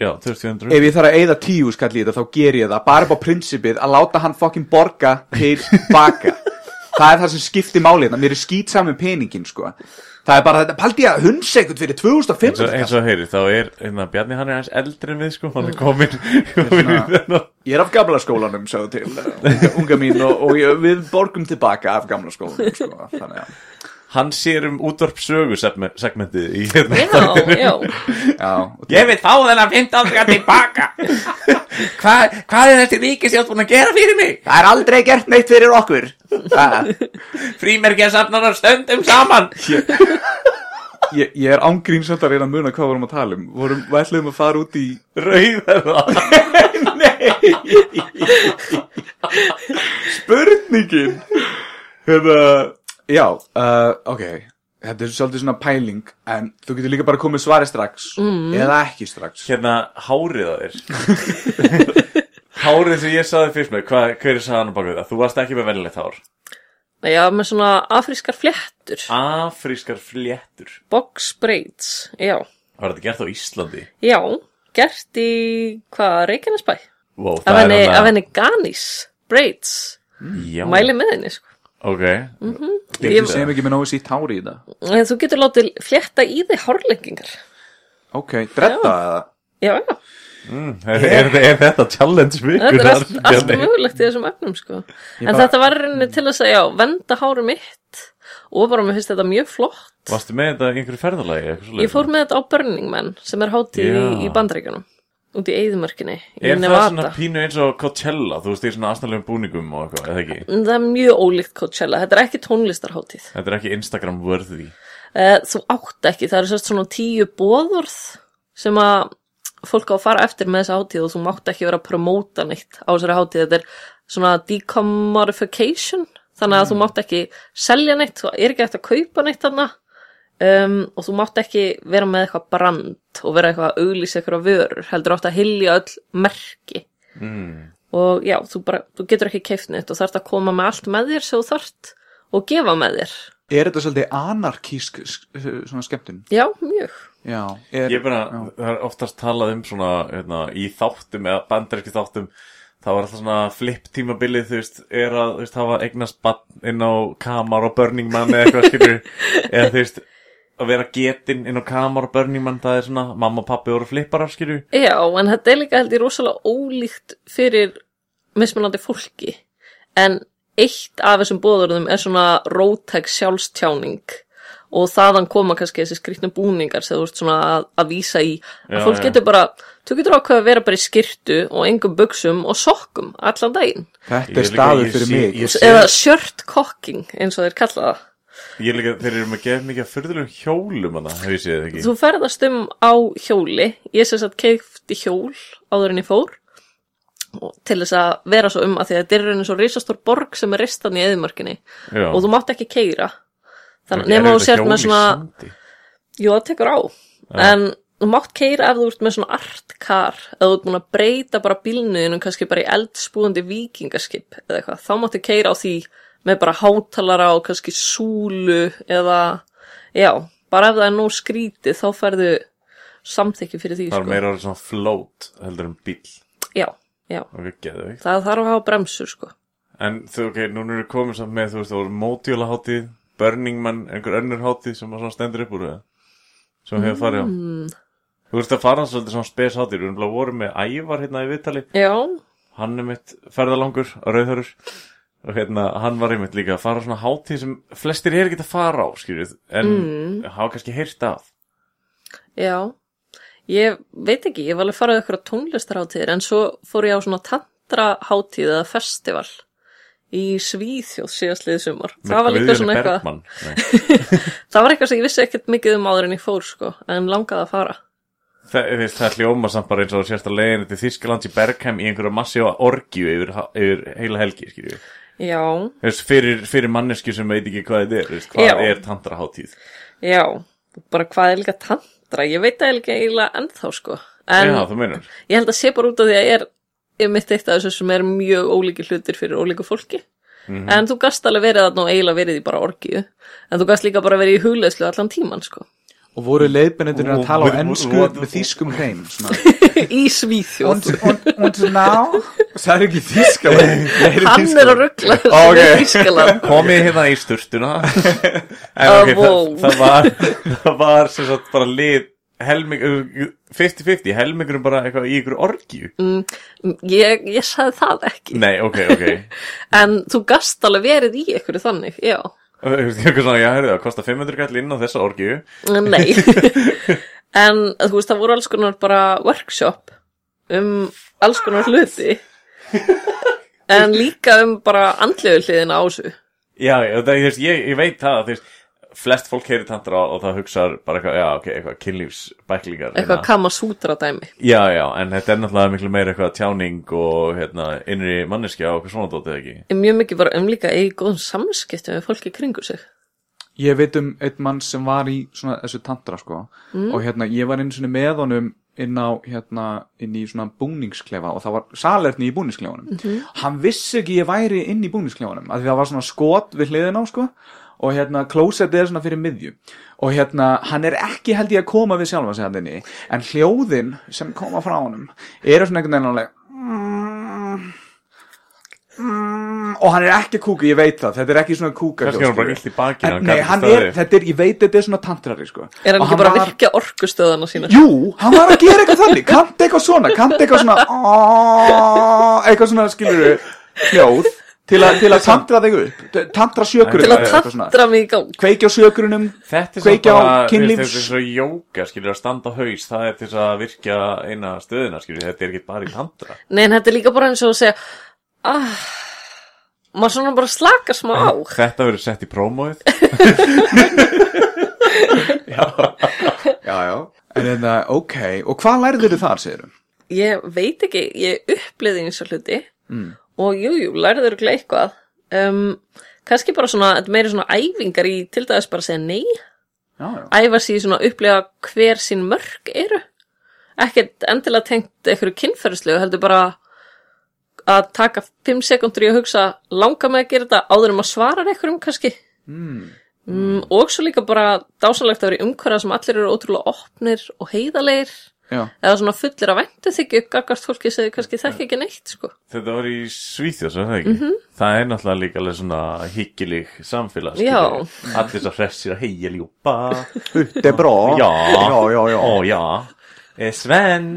Speaker 4: já, 2400
Speaker 2: ef ég þarf að eyða tíu skall í þetta þá ger ég það bara upp á prinsipið að láta hann fokkin borga til baka það er það sem skiptir málið hérna, mér er skýt saman peningin sko það er bara þetta, paldi ég að hunds ekkert fyrir
Speaker 4: eins og,
Speaker 2: 2500
Speaker 4: eins
Speaker 2: kall
Speaker 4: og heyri, þá er, hérna, Bjarni hann er aðeins eldri en við, sko, hann er komin, komin í þennan.
Speaker 2: ég er af gamla skólanum, sagði til unga, unga mín og, og ég, við borgum tilbaka af gamla skólanum sko, þannig að
Speaker 4: Hann sér um útvarp sögu segmentið í hérna.
Speaker 3: Já, já.
Speaker 2: Já, og
Speaker 5: Ég vil fá þennan 15 skall tilbaka Hvað hva er þessi ríkisjótt búin að gera fyrir mig?
Speaker 2: Það er aldrei gert neitt fyrir okkur Það-
Speaker 5: Frímerkja safnar á stöndum saman
Speaker 2: Ég, ég er ángríns að reyna að muna hvað vorum að tala um vorum, Við ætlum að fara út í
Speaker 4: Rauðar
Speaker 2: Spurningin Hérna Já, uh, ok Þetta er svolítið svona pæling En þú getur líka bara komið svari strax Eða ekki strax
Speaker 4: Hérna, hárið að þér Hárið sem ég saði fyrst með, hvað, hver er saðan á bakvið það? Þú varst ekki með venilegt hár
Speaker 3: Nei, Já, með svona afrískar fléttur.
Speaker 5: Ah.
Speaker 4: Afrískar fléttur
Speaker 3: Box braids. Já.
Speaker 4: Var þetta gert á Íslandi?
Speaker 3: Já. Gert í, hvað, Reykjanesbæ?
Speaker 4: Vó,
Speaker 3: Af henni, af henni Ganis. Braids.
Speaker 4: Já,
Speaker 3: Mæli Mhm. með henni, sko.
Speaker 4: ok
Speaker 2: Ég sem ekki með nógu sítt hári í það
Speaker 3: En Þú getur látið flétta í þig hárlengingar.
Speaker 2: Ok, dredda það
Speaker 3: Já, já.
Speaker 4: er, er, er þetta challenge
Speaker 3: Þetta
Speaker 4: vikur?
Speaker 3: er allt, allt mögulegt í þessum efnum sko. En þetta var rauninni til þess að já, venda hári mitt og bara mér finnst þetta mjög flott
Speaker 4: Varstu með þetta í einhverju ferðalagi? eitthvað svoleiðis?
Speaker 3: Ég fór með þetta á Burning Man sem er hátíð í,
Speaker 4: Já.
Speaker 3: í bandaríkjunum út í Eðumörkinni í
Speaker 4: Er það svona
Speaker 3: Nevada
Speaker 4: pínu eins og Coachella? Þú veist, í svona aðstæðlegum búningum og eitthvað, eða ekki?
Speaker 3: En Það er mjög ólíkt Coachella, þetta er ekki tónlistarhátíð
Speaker 4: Þetta er ekki Instagram worthy
Speaker 3: Eh, Þú átt ekki, það eru sérst svona tíu bóðorð sem að fólk á að fara eftir með þessa hátíð og þú mátt ekki vera að promóta neitt á þessari hátíð þetta er svona decommodification þannig að þú mátt ekki selja neitt þú er ekki eftir að kaupa neitt þarna um, og þú mátt ekki vera með eitthvað brand og vera eitthvað að auglýsa eitthvað vörur heldur átt að hylja öll merki
Speaker 4: Mm.
Speaker 3: og já, þú, bara, þú getur ekki keift neitt og þarft að koma með allt með þér sem þú þarft og gefa með þér
Speaker 2: Er þetta svolítið anarkísk s- svona skemmtun?
Speaker 3: já, mjög
Speaker 2: Já, er,
Speaker 4: Ég bara,
Speaker 2: já.
Speaker 4: það er oftast talað um svona, hérna, í þáttum eða bandaríski þáttum, það var alltaf svona flip tímabilið, þú veist, er að, þú veist, hafa eignast bann inn á kamar og Burning Man eða eitthvað, skilur, eða þú veist, að vera getinn inn á kamar og Burning Man, það er svona, mamma og pappi voru flipparar, skilur.
Speaker 3: Já, en þetta er líka held ég rosalega ólíkt fyrir mismunandi fólki en eitt af þessum bóðurðum er svona rótæk sjálfstjáning og þaðan koma kannski þessi skrýtnu búningar sem þú ert svona að, að vísa í að
Speaker 4: Já,
Speaker 3: fólk
Speaker 4: já.
Speaker 3: getur bara, þú getur ákveð að vera bara í skyrtu og engum buksum og sokkum allan daginn,
Speaker 2: þetta
Speaker 4: Ég
Speaker 2: er
Speaker 4: líka-
Speaker 2: staður
Speaker 4: ég
Speaker 2: fyrir
Speaker 4: sé-
Speaker 2: mig
Speaker 4: ég sé-
Speaker 3: eða shirt cocking eins og þeir kalla það
Speaker 4: Ég er líka, þeir eru með gefið mikið að fyrðulegum hjólum hana, hefur ég séð það ekki.
Speaker 3: Þú ferðast um á hjóli, ég sem sagt keifti hjól áður en ég fór og til þess að vera svo um að því að þetta er í rauninni svo risastór borg sem er ristan í eðimörkinni
Speaker 4: Já.
Speaker 3: og þú mátt ekki keira. Þannig
Speaker 4: Eru
Speaker 3: nema þú
Speaker 4: þetta
Speaker 3: sért með
Speaker 4: hjól í
Speaker 3: svona,
Speaker 4: sandi?
Speaker 3: jú það tekur á, en þú mátt keira ef þú ert með svona artkar, ef þú ert búin að breyta bara bílnuðinu kannski bara í eldspúandi vikingaskip eða eitthvað, þá máttu keira á því með bara hátalara og kannski súlu eða, já, bara ef það er nóg skrítið þá færðu samþykki fyrir því, sko.
Speaker 4: Það er meira orðið svona float heldur en bíl.
Speaker 3: Já, já,
Speaker 4: Ok, geðveikt.
Speaker 3: það þarf að hafa bremsur, sko.
Speaker 4: En þú, ok, núna eru komin samt með, þú veist, það voru mótjóla hátíð, Burning Man, einhver önnur hátíð sem að svona stendur upp úr það, sem hefur farið á.
Speaker 3: Mm.
Speaker 4: Þú veist að fara hans svolítið svona spes hátíð, við erum bara voru með Ævar hérna í viðtali,
Speaker 3: Já,
Speaker 4: hann er mitt ferðalangur og rauðhörur og hérna, hann var einmitt líka að fara á svona hátíð sem flestir er ekki að fara á, skýrðið, en
Speaker 3: Mm.
Speaker 4: hafa kannski heyrt af.
Speaker 3: já. Ég veit ekki, ég var alveg farið ykkur á tónlistarháttíðir en svo fór ég á svona tantrahátíð eða festival í Svíþjóð síðastliðið sumar. Það var líka svona eitthvað,
Speaker 4: eitthvað.
Speaker 3: það var eitthvað sem ég vissi ekkert mikið um áður en ég fór, sko, en langaði að fara.
Speaker 4: Það, þú veist, það hljóma samt bara eins og þú sérst að leiðin til Þískaland í Bergheim í einhverju massi og orgju yfir, yfir heila helgi, skýrðið.
Speaker 3: Já,
Speaker 4: Þú veist, fyrir, fyrir mannesku sem veit ekki hvað þetta er, þú veist, hvað
Speaker 3: Já.
Speaker 4: er tandraháttíð?
Speaker 3: já, bara hvað er líka tantra? Ég veit það ekki eiginlega ennþá, sko. En
Speaker 4: Já, þú meinar.
Speaker 3: ég held að sé bara út af því að ég er ég mitt eitt af þessu sem er mjög ólíki hlutir fyrir ólíku fólki
Speaker 4: Mhm.
Speaker 3: en þú gast alveg verið þarna og eiginlega verið í bara orgiðu en þú gast líka bara verið í hugleðslu allan tíman sko
Speaker 2: Og voru leiðbennendur að
Speaker 4: Og-
Speaker 2: tala á
Speaker 4: og-
Speaker 2: ennsku
Speaker 4: og-
Speaker 2: með þýskum hreim svona.
Speaker 3: í Svíþjóð,
Speaker 5: Und, und, und now
Speaker 2: Það er ekki þýska
Speaker 3: hann er að ruggla
Speaker 4: Ó,
Speaker 3: þessu
Speaker 4: Ah, ok.
Speaker 3: í Þískaland
Speaker 4: Komið hérna í sturtuna. en
Speaker 3: Ah,
Speaker 4: ok,
Speaker 3: wow.
Speaker 4: það, það var, það var sem sagt bara lið, helming, 50-50, helmingurum bara eitthvað í ykkur orgju.
Speaker 3: Mm. ég, ég sagði það ekki
Speaker 4: Nei, ok, ok.
Speaker 3: en þú gast alveg verið í einhverju þannig, já
Speaker 4: Þú veist, Eitthvað svona, já, heyrðu, það kostar 500 kall inn á þessa orgju.
Speaker 3: Nei En þú veist, það voru alls konar bara workshop um alls konar hluti en líka um bara andlegu hliðina á þessu
Speaker 4: Já, já, það, þú veist, ég, ég veit það, þú veist, flest fólk heyri tantra og það hugsaður bara eitthvað, já, ok, eitthvað kynlífsbæklingar. hérna.
Speaker 3: eitthvað kama sútra dæmi
Speaker 4: Já, já, en þetta er náttúrulega miklu meira eitthvað tjáning og hérna, innri manneskja og eitthvað svona dótið ekki.
Speaker 3: en mjög mikið bara um líka eigi góðum samskiptum með fólki kringu sig
Speaker 2: Ég veit um einn mann sem var í svona þessu tantra sko
Speaker 3: Mm.
Speaker 2: og hérna ég var einu sinni með honum inn á hérna inn í svona búningsklefa og það var salerni í búningsklefanum
Speaker 3: Mhm.
Speaker 2: hann vissi ekki ég væri inn í búningsklefanum af því það var svona skot við hliðin á sko og hérna klósettið er svona fyrir miðju og hérna hann er ekki held ég að koma við sjálfa sig hann inni en hljóðin sem koma frá honum eru svona einhvern veginn alveg "Mm," og hann er ekki kúku, ég veit það þetta er ekki svona kúka
Speaker 4: Kannski er hann bara illt í bakinu, hann
Speaker 2: Nei,
Speaker 4: gat ekki
Speaker 2: hann er,
Speaker 4: staðið upp.
Speaker 2: þetta er, ég veit þetta er svona tantrari sko.
Speaker 3: Er hann
Speaker 2: Og
Speaker 3: ekki bara að
Speaker 2: var-
Speaker 3: virkja orkustöðana sína?
Speaker 2: Jú, hann var að gera eitthvað þannig Kannti eitthvað svona, kannti eitthvað svona "Aaaah", Eitthvað svona, skilur Hljóð Til, a, til að tantra þig upp t- Tantra sjökurinn
Speaker 3: Til að
Speaker 2: eða eitthvað svona.
Speaker 3: tantra mig í gang
Speaker 2: Kveikja á sjökurinnum
Speaker 4: Þetta er
Speaker 2: Kveikja á
Speaker 4: bara, þú
Speaker 2: kynlífs-
Speaker 4: veist, þetta er svo jóka, skilur, að standa á haus, það er til þess að virkja eina stöðina, skilur, þetta er ekki bara í tantra.
Speaker 3: Nei, en þetta er líka bara eins og að segja ah, maður svona bara slaka smá á
Speaker 4: Þetta verður sett í prómóið.
Speaker 2: Já, já En þetta, ok, og hvað lærið þau þar, segir
Speaker 3: ég veit ekki, ég upplýði eins og hluti og jú, jú, lærður ekki eitthvað um, kannski bara svona, þetta er meiri svona æfingar í til dæmis bara að segja nei
Speaker 2: Já, já.
Speaker 3: æfa sér í svona að upplifa hver sín mörg eru ekkert endilega tengt einhverju kynferðslegu heldur bara að taka 5 sekundur í að hugsa langa með að gera þetta áður um að svara einhverjum kannski
Speaker 2: Mm.
Speaker 3: mm, og svo líka bara dásanlegt að vera í umhverja sem allir eru ótrúlega opnir og heiðalegir
Speaker 2: Já,
Speaker 3: eða svona fullir að væntu þykju gagart fólki sem þau kannski þekki ekki neitt sko.
Speaker 4: Þetta var í Svíþjóð, svo er það ekki?
Speaker 2: Mhm.
Speaker 4: Það er náttúrulega líka alveg svona hyggilig samfélag.
Speaker 3: Já.
Speaker 4: skilur. Allir svo hressir að heia ljúpa.
Speaker 2: þetta er brá.
Speaker 4: Já.
Speaker 2: já, já, já.
Speaker 4: Ó, já. Eh, Sven,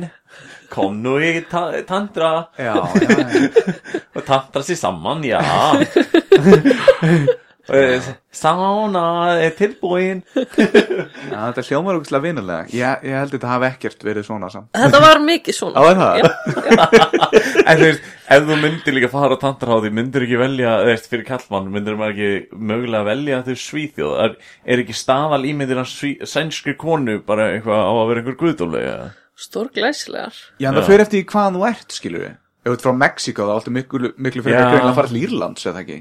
Speaker 4: kom nú í ta tantra
Speaker 2: Já, já, já.
Speaker 4: og tantra sér saman, já. Eh, Sána er tilbúin.
Speaker 2: Já, þetta hljómar okkur vinalega. Ég, ég held að þetta hafi ekkert verið svona samt.
Speaker 3: þetta var mikið
Speaker 2: Já,
Speaker 3: svona
Speaker 2: er það?
Speaker 4: En þú veist, ef þú myndir líka fara á tantraháði, myndir ekki velja, þú veist, fyrir kallmann, myndir maður ekki mögulega velja þau svíþjóð, er, er ekki staðal ímyndir að sví, sænskri konu bara eitthvað á að vera einhver guðdómlega?
Speaker 3: stórglæsilegar
Speaker 2: Já, en það
Speaker 4: Já.
Speaker 2: fyrir eftir því hvaðan þú ert, skilur við. Ef þú ert frá Mexíko, þá áttu miklu, miklu fyrir
Speaker 4: Já.
Speaker 2: að greina að fara til Írlands, eða ekki?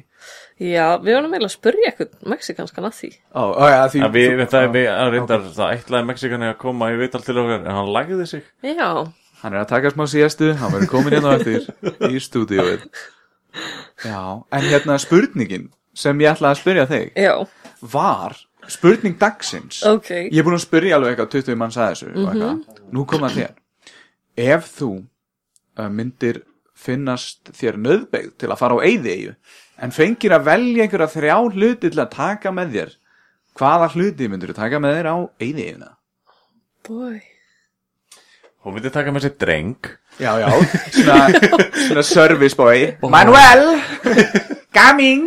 Speaker 3: já, við varum eiginlega að spurja eitthvað mexikanskan að því
Speaker 2: Ó, ó, já, því...
Speaker 4: Að við,
Speaker 2: þú-
Speaker 4: það er við, að reyndar, það ætlaði Mexikani að koma í vital til okkar, en hann lagði sig.
Speaker 3: já,
Speaker 2: Hann er að taka smá síðastu, hann verður komin hérna á eftir í stúdíóið. Já, en hérna spurningin sem ég ætlaði að spyrja þig
Speaker 3: já,
Speaker 2: var spurning dagsins.
Speaker 3: ok
Speaker 2: Ég er búin að spyrja alveg eitthvað 20 manns að þessu og eitthvað. Nú kom það þér. Ef þú uh, myndir finnast þér nöðbegð til að fara á eyðieyju en fengir að velja einhverja þrjá hluti til að taka með þér, hvaða hluti myndir þú taka með þér á eyðieyjuna?
Speaker 3: boy
Speaker 4: Hún myndi taka með sér dreng.
Speaker 2: Já, já, svona, svona service boy.
Speaker 5: Manuel, coming.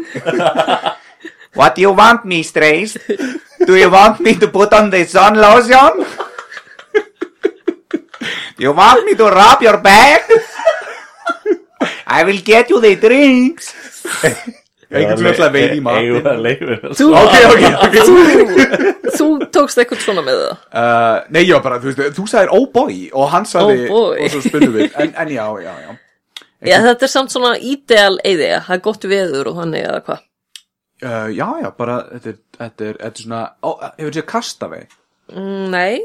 Speaker 5: What do you want me, strays? Do you want me to put on the sun lotion? Do you want me to rub your back? I will get you the drinks.
Speaker 2: Einhvern veginn alltaf veið í
Speaker 4: Eigum við
Speaker 2: matinn.
Speaker 4: að e- leifir.
Speaker 3: þú,
Speaker 2: Ok, ok, ok.
Speaker 3: þú, þú tókst eitthvað svona með það
Speaker 2: Uh, nei, já, bara, þú veist, þú sagðir oh boy og hann sagði,
Speaker 3: Oh boy.
Speaker 2: og svo spyrum við, en, en já, já, já.
Speaker 3: já, þetta er samt svona ideal eiði það er gott veður og þannig eða hvað
Speaker 2: Uh, já, já, bara, þetta er, þetta er, þetta er svona, ó, hefur þetta kasta við?
Speaker 3: Mm, nei,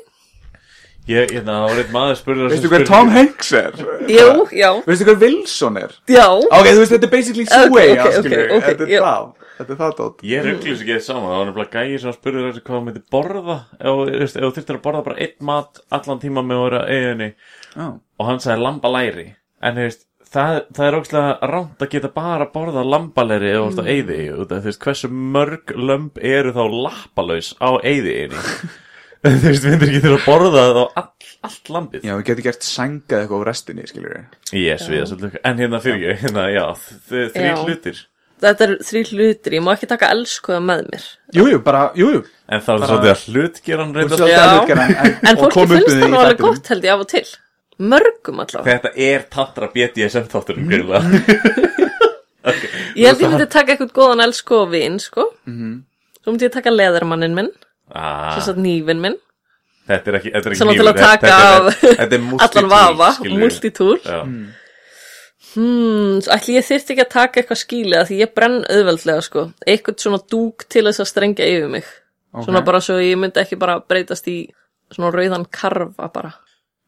Speaker 4: Ég, hérna, það var eitt maður spurður
Speaker 2: Veistu hver Tom Hanks er?
Speaker 3: jú, já
Speaker 2: Veistu hver Wilson er?
Speaker 3: já,
Speaker 2: Ok, þú veist, þetta er basically Sway,
Speaker 3: Ok,
Speaker 2: okay,
Speaker 3: ok, ok, ok,
Speaker 2: þetta er
Speaker 3: já.
Speaker 2: það, þetta er það, Dótt.
Speaker 4: Ég rugglu þessu ekki þess saman, það var nefnilega gæi sem spurði þessu hvað það myndi borða ef, þú- þú veist, ef þú þyrftir að borða bara einn mat allan tíma með að vera eiginni
Speaker 2: Já,
Speaker 4: og hann sagði lambalæri en þú veist, það, það er ógæslega rámt að geta bara borða lambalæri ef þú
Speaker 2: Mm.
Speaker 4: ert á eiði út af þú veist, hversu mörg lömb eru þá lappalaus á eiði eini þú veist, myndir ekki þurfa að borða þá all, allt lambið
Speaker 2: já, við getum gert sængað eitthvað á restinni, skiljur við.
Speaker 4: Yes, við þessu lukka, en hérna fyrir ég hérna, já, þ- þrír
Speaker 3: Já.
Speaker 4: hlutir
Speaker 3: þetta er þrý hlutir ég má ekki taka elskuða með mér
Speaker 2: Jú, jú, bara, jú, jú.
Speaker 4: en það er
Speaker 2: Bara-
Speaker 4: svolítið að hlutgeran
Speaker 2: Þú
Speaker 4: reynda
Speaker 2: svolítið
Speaker 3: Já.
Speaker 2: að hlutgera, en,
Speaker 3: en
Speaker 2: og
Speaker 3: fólki
Speaker 2: kom upp
Speaker 3: finnst
Speaker 2: við
Speaker 3: það
Speaker 2: í
Speaker 3: nú alveg
Speaker 2: þættinum.
Speaker 3: gott held ég af og til mörgum allavega
Speaker 4: Þetta er Tantra BDSM þátturinn greinlega
Speaker 3: Mhm. Ég held ég myndi taka eitthvað góðan elsku og vin, sko. Svo myndi ég taka leðarmannin minn,
Speaker 4: Mhm. ah,
Speaker 3: þess að nývin minn,
Speaker 4: Þetta er ekki, þetta er ekki
Speaker 3: Svona til að
Speaker 4: hnífur, þetta-
Speaker 3: taka
Speaker 4: þetta er-
Speaker 3: af
Speaker 4: Þetta er multitool,
Speaker 3: allan vafa,
Speaker 4: skilurðu.
Speaker 3: multitúr.
Speaker 4: Já.
Speaker 3: Mm, svo ætli ég þyrfti ekki að taka eitthvað skýlega því ég brenn auðveldlega, sko. Eitthvað svona dúk til þess að strengja yfir mig.
Speaker 2: Ok.
Speaker 3: Svona bara svo ég myndi ekki bara breytast í svona rauðan karfa bara.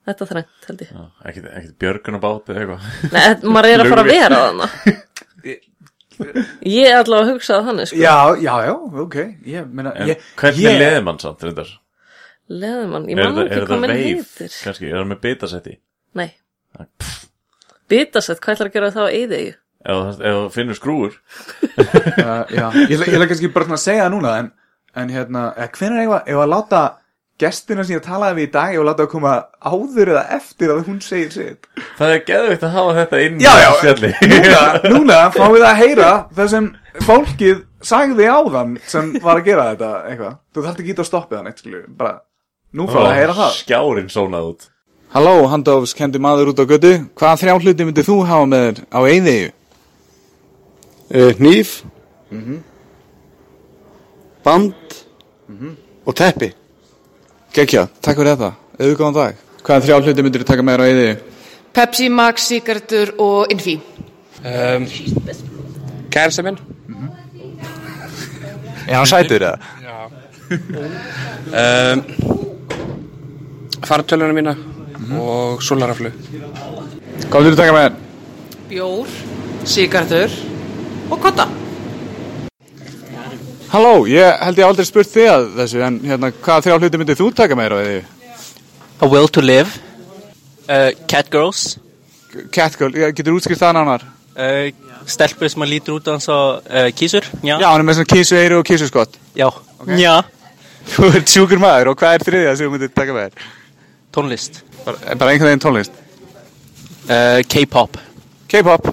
Speaker 3: Þetta þrengt, held ég.
Speaker 4: Já, Ekkert, ekkert björgunabát eða eitthvað
Speaker 3: Nei, þetta- maður er að fara að
Speaker 4: Lugvi.
Speaker 3: vera þarna. Ég er allavega að hugsa það þannig, sko.
Speaker 2: Já, já, já, ok, ég, meina,
Speaker 4: En
Speaker 2: ég,
Speaker 4: Hvernig
Speaker 2: ég-
Speaker 4: leður mann samt reyndar?
Speaker 3: Leðarmann, ég
Speaker 4: Er
Speaker 3: man
Speaker 4: það,
Speaker 3: ekki
Speaker 4: er
Speaker 3: hvað
Speaker 4: það
Speaker 3: minn
Speaker 4: veif?
Speaker 3: heitir.
Speaker 4: Kannski, er það með bitasetti?
Speaker 3: Nei Bitasett, hvað ætlar að gera þá eðið ég?
Speaker 4: Ef þú- ef þú finnur skrúur
Speaker 2: Uh, já, ég ætla- ég ætla kannski bara svona að segja það núna en, en hérna, hvernig er eitthvað ef að láta gestina sem ég talaði við í dag ef að láta að koma áður eða eftir að hún segir sitt
Speaker 4: Það er geðvikt að hafa þetta inn í
Speaker 2: Já, já.
Speaker 4: fjalli
Speaker 2: núna, núna fáum við að heyra það sem fólkið sagði áðan sem var að gera þetta eitthvað þú þarft ekki að stoppa það neitt skilju bara, nú fáum við að heyra það
Speaker 4: Skjárin sónað út
Speaker 2: Oh, Halló, handofs, kendi maður út á götu hvaða þrjá hluti myndir þú hafa með þér á einðegu?
Speaker 6: Eh,
Speaker 7: uh, hníf band og teppi gekkja, takk fyrir þetta
Speaker 2: Eða góðan dag. Hvaða þrjá hluti myndir þú taka með þér á eði?
Speaker 8: Pepsi, Max, Sigurdur og Infi.
Speaker 9: um, Kærasta minn
Speaker 10: Er hann sætur eða?
Speaker 9: um, Fartöluna mína
Speaker 6: Mhm.
Speaker 9: og solaraflu
Speaker 2: Hvað myndir þú taka með þér?
Speaker 8: Bjór, Sigurdur og Kotta.
Speaker 2: Halló, ég held ég aldrei spurt þig að þessu, en hérna, hvaða þrjá hluti myndir þú taka með þér á eði?
Speaker 6: A Will to Live uh, Catgirls
Speaker 2: Catgirl, ég- getur útskýrt það nánar?
Speaker 6: uh, Stelpur sem að lítur út hans á uh, kísur Já
Speaker 2: Já, hann er með svona kísu eiru og kísu skott.
Speaker 6: Já, Já.
Speaker 2: Þú ert sjúkur maður og hvað er þriðja sem þú myndir taka með þér?
Speaker 6: Tónlist
Speaker 2: Bara, eh, bara einhvern veginn tónlist.
Speaker 6: uh, K-pop
Speaker 2: K-pop.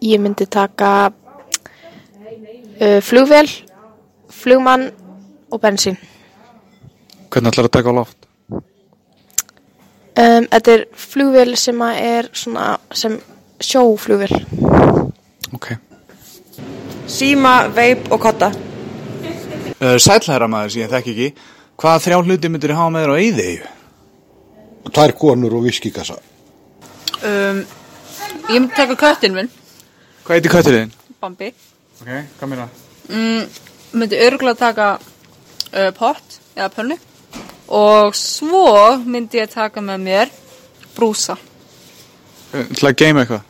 Speaker 11: Ég myndi taka uh, flugvél, flugmann og bensín.
Speaker 2: Hvernig ætlar að taka á loft?
Speaker 11: Um, þetta er flugvél sem að er svona sem sjóflugvél.
Speaker 2: Ok. Eh,
Speaker 12: Síma, veip og kotta.
Speaker 2: Uh, Sælhæra maður sem ég þekki ekki. Hvaða þrjá hluti myndir þú hafa með þér á eði?
Speaker 7: Tvær konur og viskikassa.
Speaker 13: Um, ég myndi taka köttin minn,
Speaker 2: Hvað heitir köttur þinn?
Speaker 13: Bambi.
Speaker 2: Ok, hvað meina?
Speaker 13: Mm, myndi örgulega taka uh, pott eða pönnu og svo myndi ég taka með mér brúsa,
Speaker 2: Til Eh, að geima eitthvað.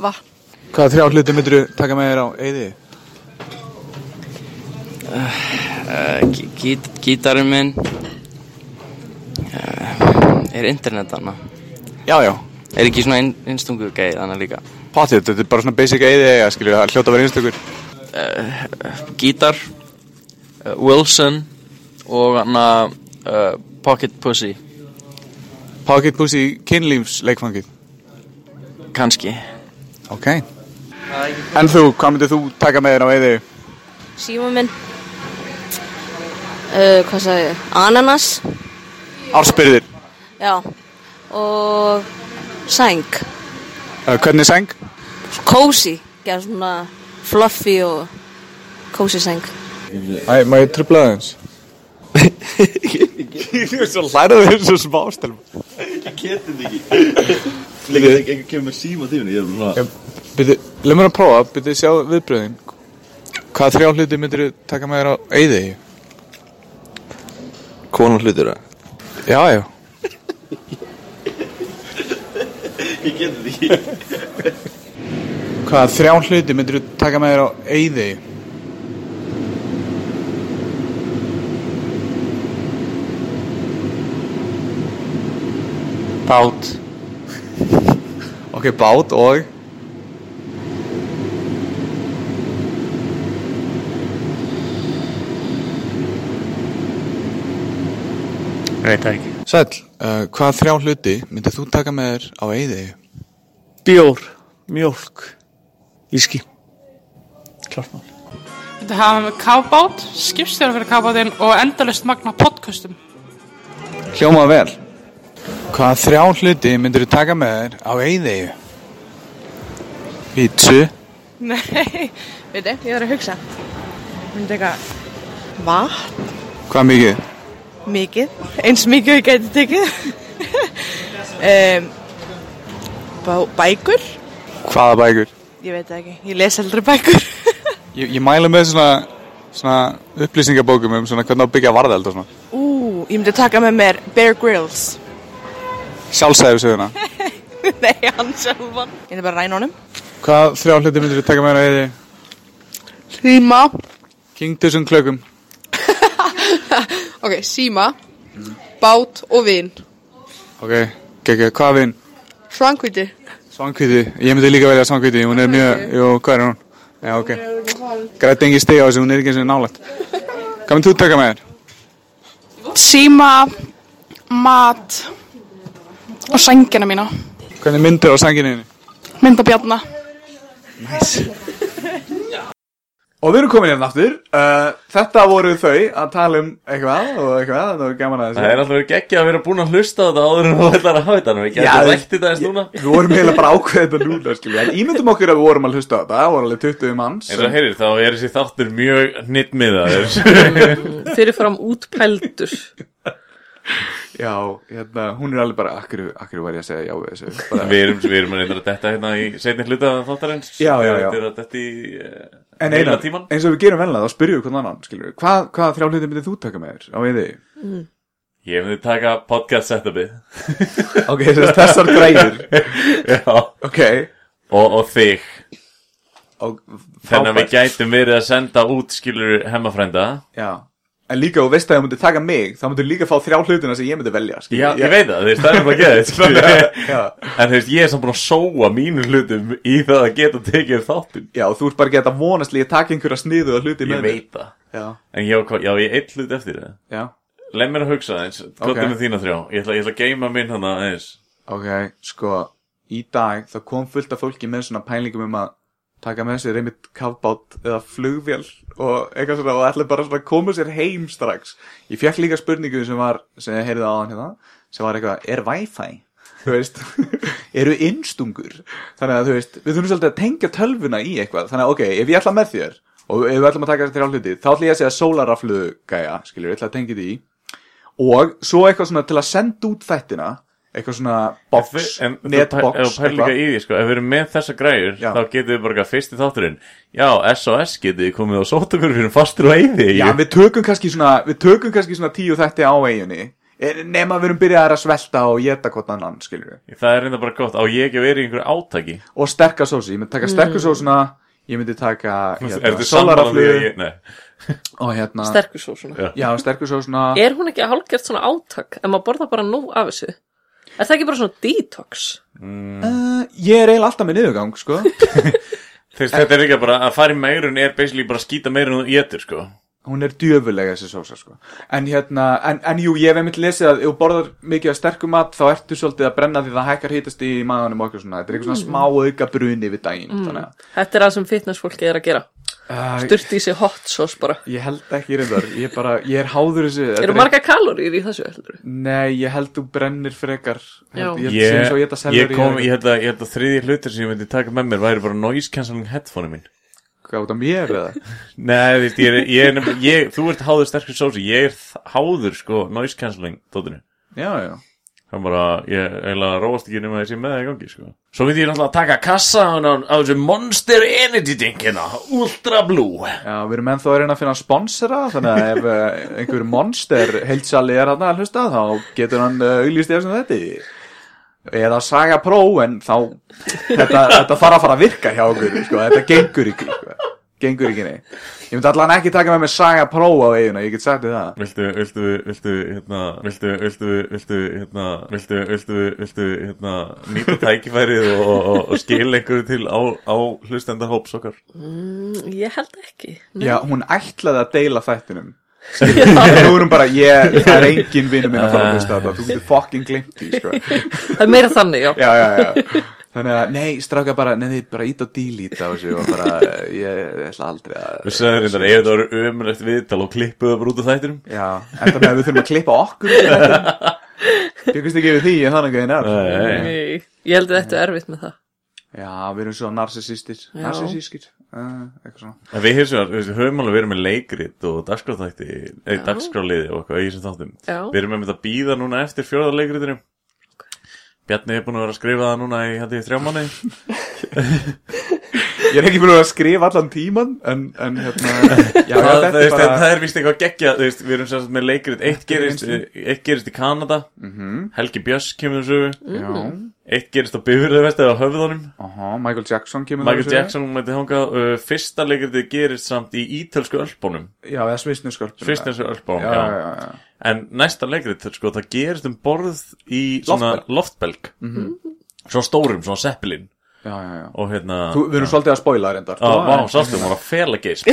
Speaker 13: vatn.
Speaker 2: Hvaða þrjá hluti myndir þú taka með þér á eði?
Speaker 9: uh, gí- gít, Gítarinn minn uh, Er internet hana?
Speaker 2: Já, já
Speaker 9: Er ekki svona ein, einstungu gæði hana líka?
Speaker 2: Potið, þetta er bara svona basic eði eiga, skilju, það er hljóta að vera einstakur.
Speaker 9: Uh, uh,
Speaker 6: Gítar uh, Wilson og hann að uh, Pocket Pussy
Speaker 2: Pocket Pussy kynlífsleikfangið.
Speaker 9: Kanski.
Speaker 2: Ok. En þú, hvað myndir þú taka með þér á eði?
Speaker 14: Síma minn uh, Hvað sagði ég? Ananas
Speaker 2: Ársbyrðir.
Speaker 14: Já Og Sæng
Speaker 2: Uh, hvernig seng?
Speaker 14: Cozy Gerð svona fluffy og Cozy sæng
Speaker 2: Æ, má ég trubla aðeins? Þú er svo hlærað við þessu smástelm.
Speaker 15: Ég geti þetta ekki. Líka ekki ekki kemur með síma tíminu, ég er bara svona.
Speaker 2: Byrju, leið mér að prófa, byrju, sjá viðbröðin. Hvaða þrjá hluti myndir þú taka með þér á eði?
Speaker 10: Konan hlutur það?
Speaker 2: Já, já.
Speaker 15: Ég geti þetta ekki.
Speaker 2: Hvaða þrjá hluti myndir þú taka með þér á eði? Bát. ok, bát og?
Speaker 6: Veit það ekki
Speaker 2: Sæll, uh, hvaða þrjá hluti myndir þú taka með þér á eði?
Speaker 6: Bjór, mjólk Íski Klart mál
Speaker 16: Þetta hafa með kábát, skipstjóra fyrir kábátinn og endalist magna podcastum.
Speaker 2: Hljóma vel. Hvaða þrjá hluti myndir þú taka með þér á eiðegu? Pítsu.
Speaker 8: Nei, veit ég, ég var að hugsa. Ég myndi taka vatn,
Speaker 2: Hvað mikið?
Speaker 8: mikið, eins mikið og ég gæti tekið. um, bá, bækur,
Speaker 2: Hvaða bækur?
Speaker 8: ég veit það ekki, ég les aldrei bækur.
Speaker 2: Ég, ég mælu með svona, svona upplýsingabókum um svona hvernig á að byggja varðeld og svona.
Speaker 8: Ú, ég myndi taka með mér Bear Grylls.
Speaker 2: Sjálfsæðu söguna.
Speaker 8: Nei, hann sjálfan. Ég myndi bara ræna honum.
Speaker 2: Hvaða þrjá hluti myndir þú taka með þér á eiðegu?
Speaker 8: Síma.
Speaker 2: King þessum klökum.
Speaker 13: ok, síma, bát og vin.
Speaker 2: Ok, geggja, hvað vinn?
Speaker 13: Svangviti.
Speaker 2: Svangkviti. Ég myndi líka velja svangkviti, hún er mjög, jú, hvað er hún? Já, ok. Græti engin stegi á þessu, hún er ekki eins og nálægt. Hvað myndir þú taka með þér?
Speaker 16: Síma, mat og sængina mína.
Speaker 2: Hvernig myndir á sanginu?
Speaker 16: Mynda bjarna.
Speaker 2: Og við erum komin hérna aftur uh, Þetta voru þau að tala um eitthvað og eitthvað, það var gaman að
Speaker 4: Það er alltaf ekki að vera búin að hlusta á þetta áður en þú ætlar að hafa þetta Við getum
Speaker 2: Já,
Speaker 4: rætt þetta eins núna
Speaker 2: Við vorum eiginlega bara ákveðið þetta núna skilja En ímyndum okkur að við vorum að hlusta á þetta Það voru alveg 20 manns
Speaker 4: Eins og heyrir þá er þessi þáttur mjög nýttmiðaður
Speaker 3: Fyrirfram útpældur
Speaker 2: Já, hérna, hún er alveg bara akkur, akkur var ég að segja já við þessu bara,
Speaker 4: Við erum, við erum reyndar að detta hérna í seinni hluta þáttarins
Speaker 2: Já, já, já.
Speaker 4: Við erum að detta í uh,
Speaker 2: En
Speaker 4: heila
Speaker 2: einar,
Speaker 4: tímann.
Speaker 2: eins og við gerum velna þá spyrjum við hvern annan, skilur við Hvað, hvað þrjá hluti myndir þú taka með þér á E eði?
Speaker 4: Mm. Ég myndi taka podcast setupið
Speaker 2: Ok, þess- þessar græjur.
Speaker 4: Já
Speaker 2: Ok
Speaker 4: Og, og þig
Speaker 2: og,
Speaker 4: Þannig að við
Speaker 2: frábært.
Speaker 4: gætum verið að senda út skilur hemmafrænda
Speaker 2: Já En líka, og veist að ef þú myndir taka mig, þá myndir líka fá þrjá hlutina sem ég myndi velja skilur
Speaker 4: Já,
Speaker 2: við.
Speaker 4: ég veit það, þú veist, það er bara að geða
Speaker 2: Þannig að-
Speaker 4: þetta En þú veist, ég er samt búin að sóa mínu hlutum í það að geta tekið þáttum
Speaker 2: Já, þú ert bara að geta vonast líka að taka einhverja sniðu og hluti
Speaker 4: Ég
Speaker 2: með mér.
Speaker 4: veit það.
Speaker 2: Já,
Speaker 4: En já, hvað- já ég eitt hlut eftir það
Speaker 2: Já.
Speaker 4: Leð mér að hugsa aðeins, hvað
Speaker 2: Ok.
Speaker 4: er með þína þrjá? Ég ætla, ég ætla að geima minn hana aðeins
Speaker 2: ok, sko Í dag, þá kom fullt af fólki með svona pælingum um að taka með sér einmitt kafbát eða flugvél og eitthvað svona og ætla bara svona að koma sér heim strax Ég fekk líka spurningu sem var, sem ég heyrði áðan hérna sem var eitthvað, er wifi? Þú veist, eru innstungur þannig að þú veist, við þurfum svolítið að tengja tölvuna í eitthvað, þannig að ok, ef ég ætla með þér og ef við ætlum að taka þér á hluti þá ætla ég að segja sólaraflu gæja, skiljur, ég ætla að tengja því og svo eitthvað svona til að senda út þættina eitthvað svona box,
Speaker 4: En þú pæ- ef
Speaker 2: netbox
Speaker 4: þú pælir líka í því, sko, ef við erum með þessa græjur
Speaker 2: Já.
Speaker 4: þá getum við bara eitthvað fyrst í þátturinn Já, SOS getið þið komið og sótt okkur fyrir fastur og eiði
Speaker 2: Já, við tökum kannski svona, við tökum kannski svona tíu þætti á eiginni nema við erum byrjaðar að svelta og geta hvort annan, skiljur
Speaker 4: Það er reynda bara gott, á ég ekki að vera í einhverju átaki
Speaker 2: og sterka sósi, ég myndi taka sterka
Speaker 4: Mm.
Speaker 2: sósuna ég myndi taka hérna,
Speaker 4: Ertu sammála því að ég- nei.
Speaker 2: og hérna
Speaker 3: Sterku sósuna.
Speaker 2: já, sterku sósuna
Speaker 3: Er hún ekki að hálfgjart svona átak en maður borða bara nóg af þessu? Er það ekki bara svona detox?
Speaker 2: Uh, ég er eiginlega alltaf með niðurgang sko
Speaker 4: Þeir, þetta er líka bara að fara í meirun er basically bara að skýta meirun og getur sko
Speaker 2: hún er djöfulega þessi sósa sko en hérna, en, en jú, ég hef einmitt lesið að ef þú borðar mikið af sterkum mat þá ertu svolítið að brenna því það hækkar hítast í maðanum og okkur svona, þetta er eitthvað svona
Speaker 3: Mm.
Speaker 2: smá auka bruni við daginn,
Speaker 3: Mm.
Speaker 2: þannig að
Speaker 3: Þetta er það sem fitnessfólki er að gera.
Speaker 2: Uh,
Speaker 3: Sturt í sig hot sauce bara.
Speaker 2: ég held ekki reyndar, ég er bara, ég er háður þessu þetta
Speaker 3: Eru
Speaker 2: er
Speaker 3: marga kalórir í þessu heldur?
Speaker 2: Nei, ég held þú brennir frekar Held-
Speaker 3: Já.
Speaker 2: Ég held sem
Speaker 4: Ég,
Speaker 2: svo ég held að
Speaker 4: ég kom,
Speaker 2: selja
Speaker 4: ég held að, ég held að þriði hlutur sem ég myndi taka með mér væri bara noise cancelling headphone mín
Speaker 2: Hvað út af mér eða?
Speaker 4: Nei, þú veist, ég er, ég er nefnilega, ég, þú ert háður sterkur sósi, ég er þ- háður sko noise cancelling tóttinu
Speaker 2: Já, já
Speaker 4: Það er bara, ég eiginlega róast ekki nema þessi með það í gangi sko Svo myndi ég náttúrulega taka kassa á, á þessu Monster Energy Drink hérna, Ultra Blue
Speaker 2: Já, við erum ennþá að reyna að finna sponsora þannig að ef eh, einhver monster heilsali er hann að hlusta þá getur hann eh, auglýst ég sem þetta eða Saga Pro en þá þetta, þetta fara að fara að virka hjá okkur sko. þetta gengur ekki sko. gengur ekki nei ég myndi allan ekki taka með mér Saga Pro á eiguna, ég get sagt þið það
Speaker 4: Viltu, viltu, viltu, hérna, viltu, viltu, viltu, hérna, viltu, viltu, viltu, hérna, nýta tækifærið og, og, og, og skil einhverju til á, á hlustenda hóps okkar.
Speaker 3: Mm, ég held ekki. Nei.
Speaker 2: Já, hún ætlaði að deila þættinum en nú erum bara, ég, það er engin vinnu minn að fara að hlusta á þetta, þú getur fucking glimt því, sko
Speaker 3: Það er meira þannig, já.
Speaker 2: já, já, já. Þannig að, nei, stráka bara, nei, þið bara ít og dílít á þessu og bara, ég, ég ætla aldrei að
Speaker 4: Við sagðum reyndar, ef þetta voru ömulegt viðtal og klippuðu bara út af þættinum.
Speaker 2: Já, enda með að við þurfum að klippa okkur úr þetta. Byggust ekki við því en þannig að ég nær
Speaker 3: Nei, ég held að þetta er erfitt með það.
Speaker 2: Já, við erum svo narsisistir
Speaker 3: Já.
Speaker 2: Narsisískir, uh, eitthvað svona
Speaker 4: En við hefum, við höfum alveg verið með leikrit og dagskráþætti, eða dagskráliði og eitthvað í þessum þáttum.
Speaker 3: Já.
Speaker 4: Við erum með þetta að býða núna eftir fjóða leikritinu. Bjarni er búin að vera að skrifa það núna í, held ég, þrjá manni.
Speaker 2: Ég er ekki búin að skrifa allan tíman en, en hérna já, já,
Speaker 4: það,
Speaker 2: þetta
Speaker 4: það, veist,
Speaker 2: bara-
Speaker 4: það er vist eitthvað geggja þú veist, Við erum sérst með leikrit Eitt gerist,
Speaker 2: Einstu.
Speaker 4: eitt gerist í Kanada
Speaker 2: Mhm.
Speaker 4: Helgi Björns kemur þessu
Speaker 2: Já.
Speaker 4: Eitt gerist á Bifurðavest eða á höfðunum
Speaker 2: Aha, Michael Jackson kemur
Speaker 4: Michael
Speaker 2: þessu.
Speaker 4: Jackson mætti þangað uh, Fyrsta leikritið gerist samt í ítölsku ölpunum
Speaker 2: Já, eða svissnesku ölpunum.
Speaker 4: Svissnesku ölpunum,
Speaker 2: Já,
Speaker 4: já,
Speaker 2: já, já, já.
Speaker 4: En næsta leikrit, sko, það gerist um borð Í svona loftbelg
Speaker 2: Mhm.
Speaker 4: Svo stórum, svona seppilinn
Speaker 2: Já, já, já.
Speaker 4: Og hérna
Speaker 2: Þú- við erum
Speaker 4: já.
Speaker 2: svolítið að spoila reyndar.
Speaker 4: Já,
Speaker 2: Þú-
Speaker 4: vá, sástu, hún var að fela geisp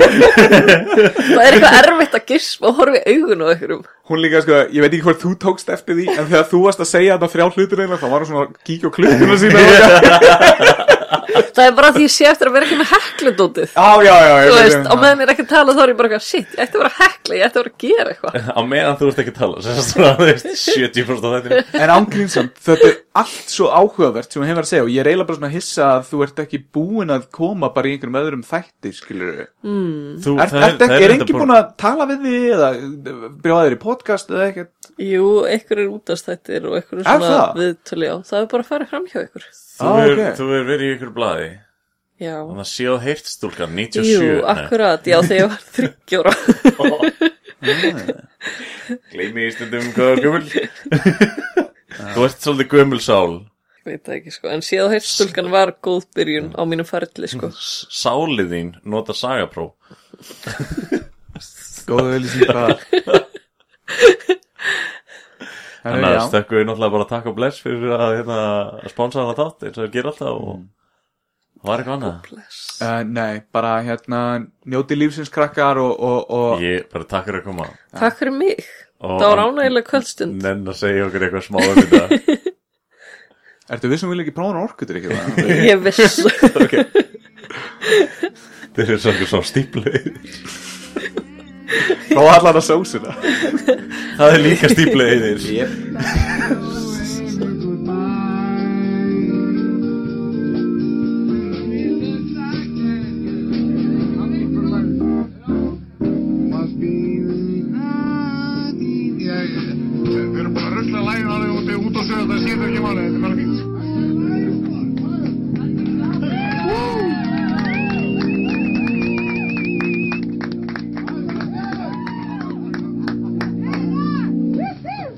Speaker 3: Það er eitthvað erfitt að gispa og horfa í augun á einhverjum.
Speaker 2: Hún líka, sko, ég veit ekki hvort þú tókst hérna, eftir því en þegar þú varst að segja þetta þrjá hlutur eiginlega þá var hún svona að kíkja á klukkuna sína
Speaker 3: það er bara því ég sé eftir að vera ekki með hekludótið
Speaker 5: Já, já, já, já,
Speaker 3: Þú
Speaker 5: já,
Speaker 3: veist,
Speaker 5: já.
Speaker 3: á meðan ég er ekki að tala þá er ég bara eitthvað Shit, ég ætti að vera að hekla, ég ætti að vera að gera eitthvað
Speaker 4: á meðan þú ert ekki að tala sem sagt svona, þú veist, 70% af þetta
Speaker 2: En ánglinsamt, þetta er allt svo áhugavert sem ég hefur að segja og ég er eiginlega bara svona að hissa að þú ert ekki búin að koma bara í einhverjum öðrum þætti, skilur við.
Speaker 3: Mm.
Speaker 4: Þú-
Speaker 2: er,
Speaker 4: það
Speaker 2: er, er,
Speaker 4: er- það er
Speaker 2: enginn
Speaker 4: reyndar
Speaker 2: búin að tala við þig eða brjóðaður í podcast eða ekkert?
Speaker 3: Jú, einhver er útastættir og einhver
Speaker 2: Er
Speaker 3: er svona
Speaker 2: það?
Speaker 3: viðtölu, já, það er bara að fara fram hjá ykkur
Speaker 4: Þú
Speaker 2: Ah,
Speaker 4: hefur þú hefur verið í ykkur blaði
Speaker 3: Já.
Speaker 4: Þannig að séu heirt stúlkan 97
Speaker 3: Jú,
Speaker 4: nei.
Speaker 3: akkurat, já, þegar ég var þryggjóra
Speaker 4: Gleymi í stundum hvað er gömul Þú ert svolítið gömul sál
Speaker 3: Veit það ekki, sko, en síðan heyrstulkan var góð byrjun á mínum ferli, sko
Speaker 4: Mm. Sálið þín nota sagapró
Speaker 2: Góða auðlýsing bara.
Speaker 4: Þannig að
Speaker 2: Eh, já.
Speaker 4: stökkum við náttúrulega bara að taka bless fyrir að, hérna, að sponsa hana þátt eins og þeir gera alltaf og
Speaker 2: Mm.
Speaker 4: var eitthvað annað
Speaker 2: Uh, nei, bara hérna, njóti lífsins krakkar og... og, og...
Speaker 4: Ég bara takk fyrir að koma.
Speaker 3: Takk fyrir mig,
Speaker 4: Og-
Speaker 3: það var ánægilega kvöldstund
Speaker 4: Nenn að segja okkur eitthvað smá um þetta
Speaker 2: Ertu um við sem vil ekki prófa orkutur ekki það?
Speaker 3: Ég viss
Speaker 4: Þeir eru svolítið svo stípluð
Speaker 2: Prófa allan að sósuna
Speaker 4: Það er líka stípluð í þér
Speaker 2: Yep.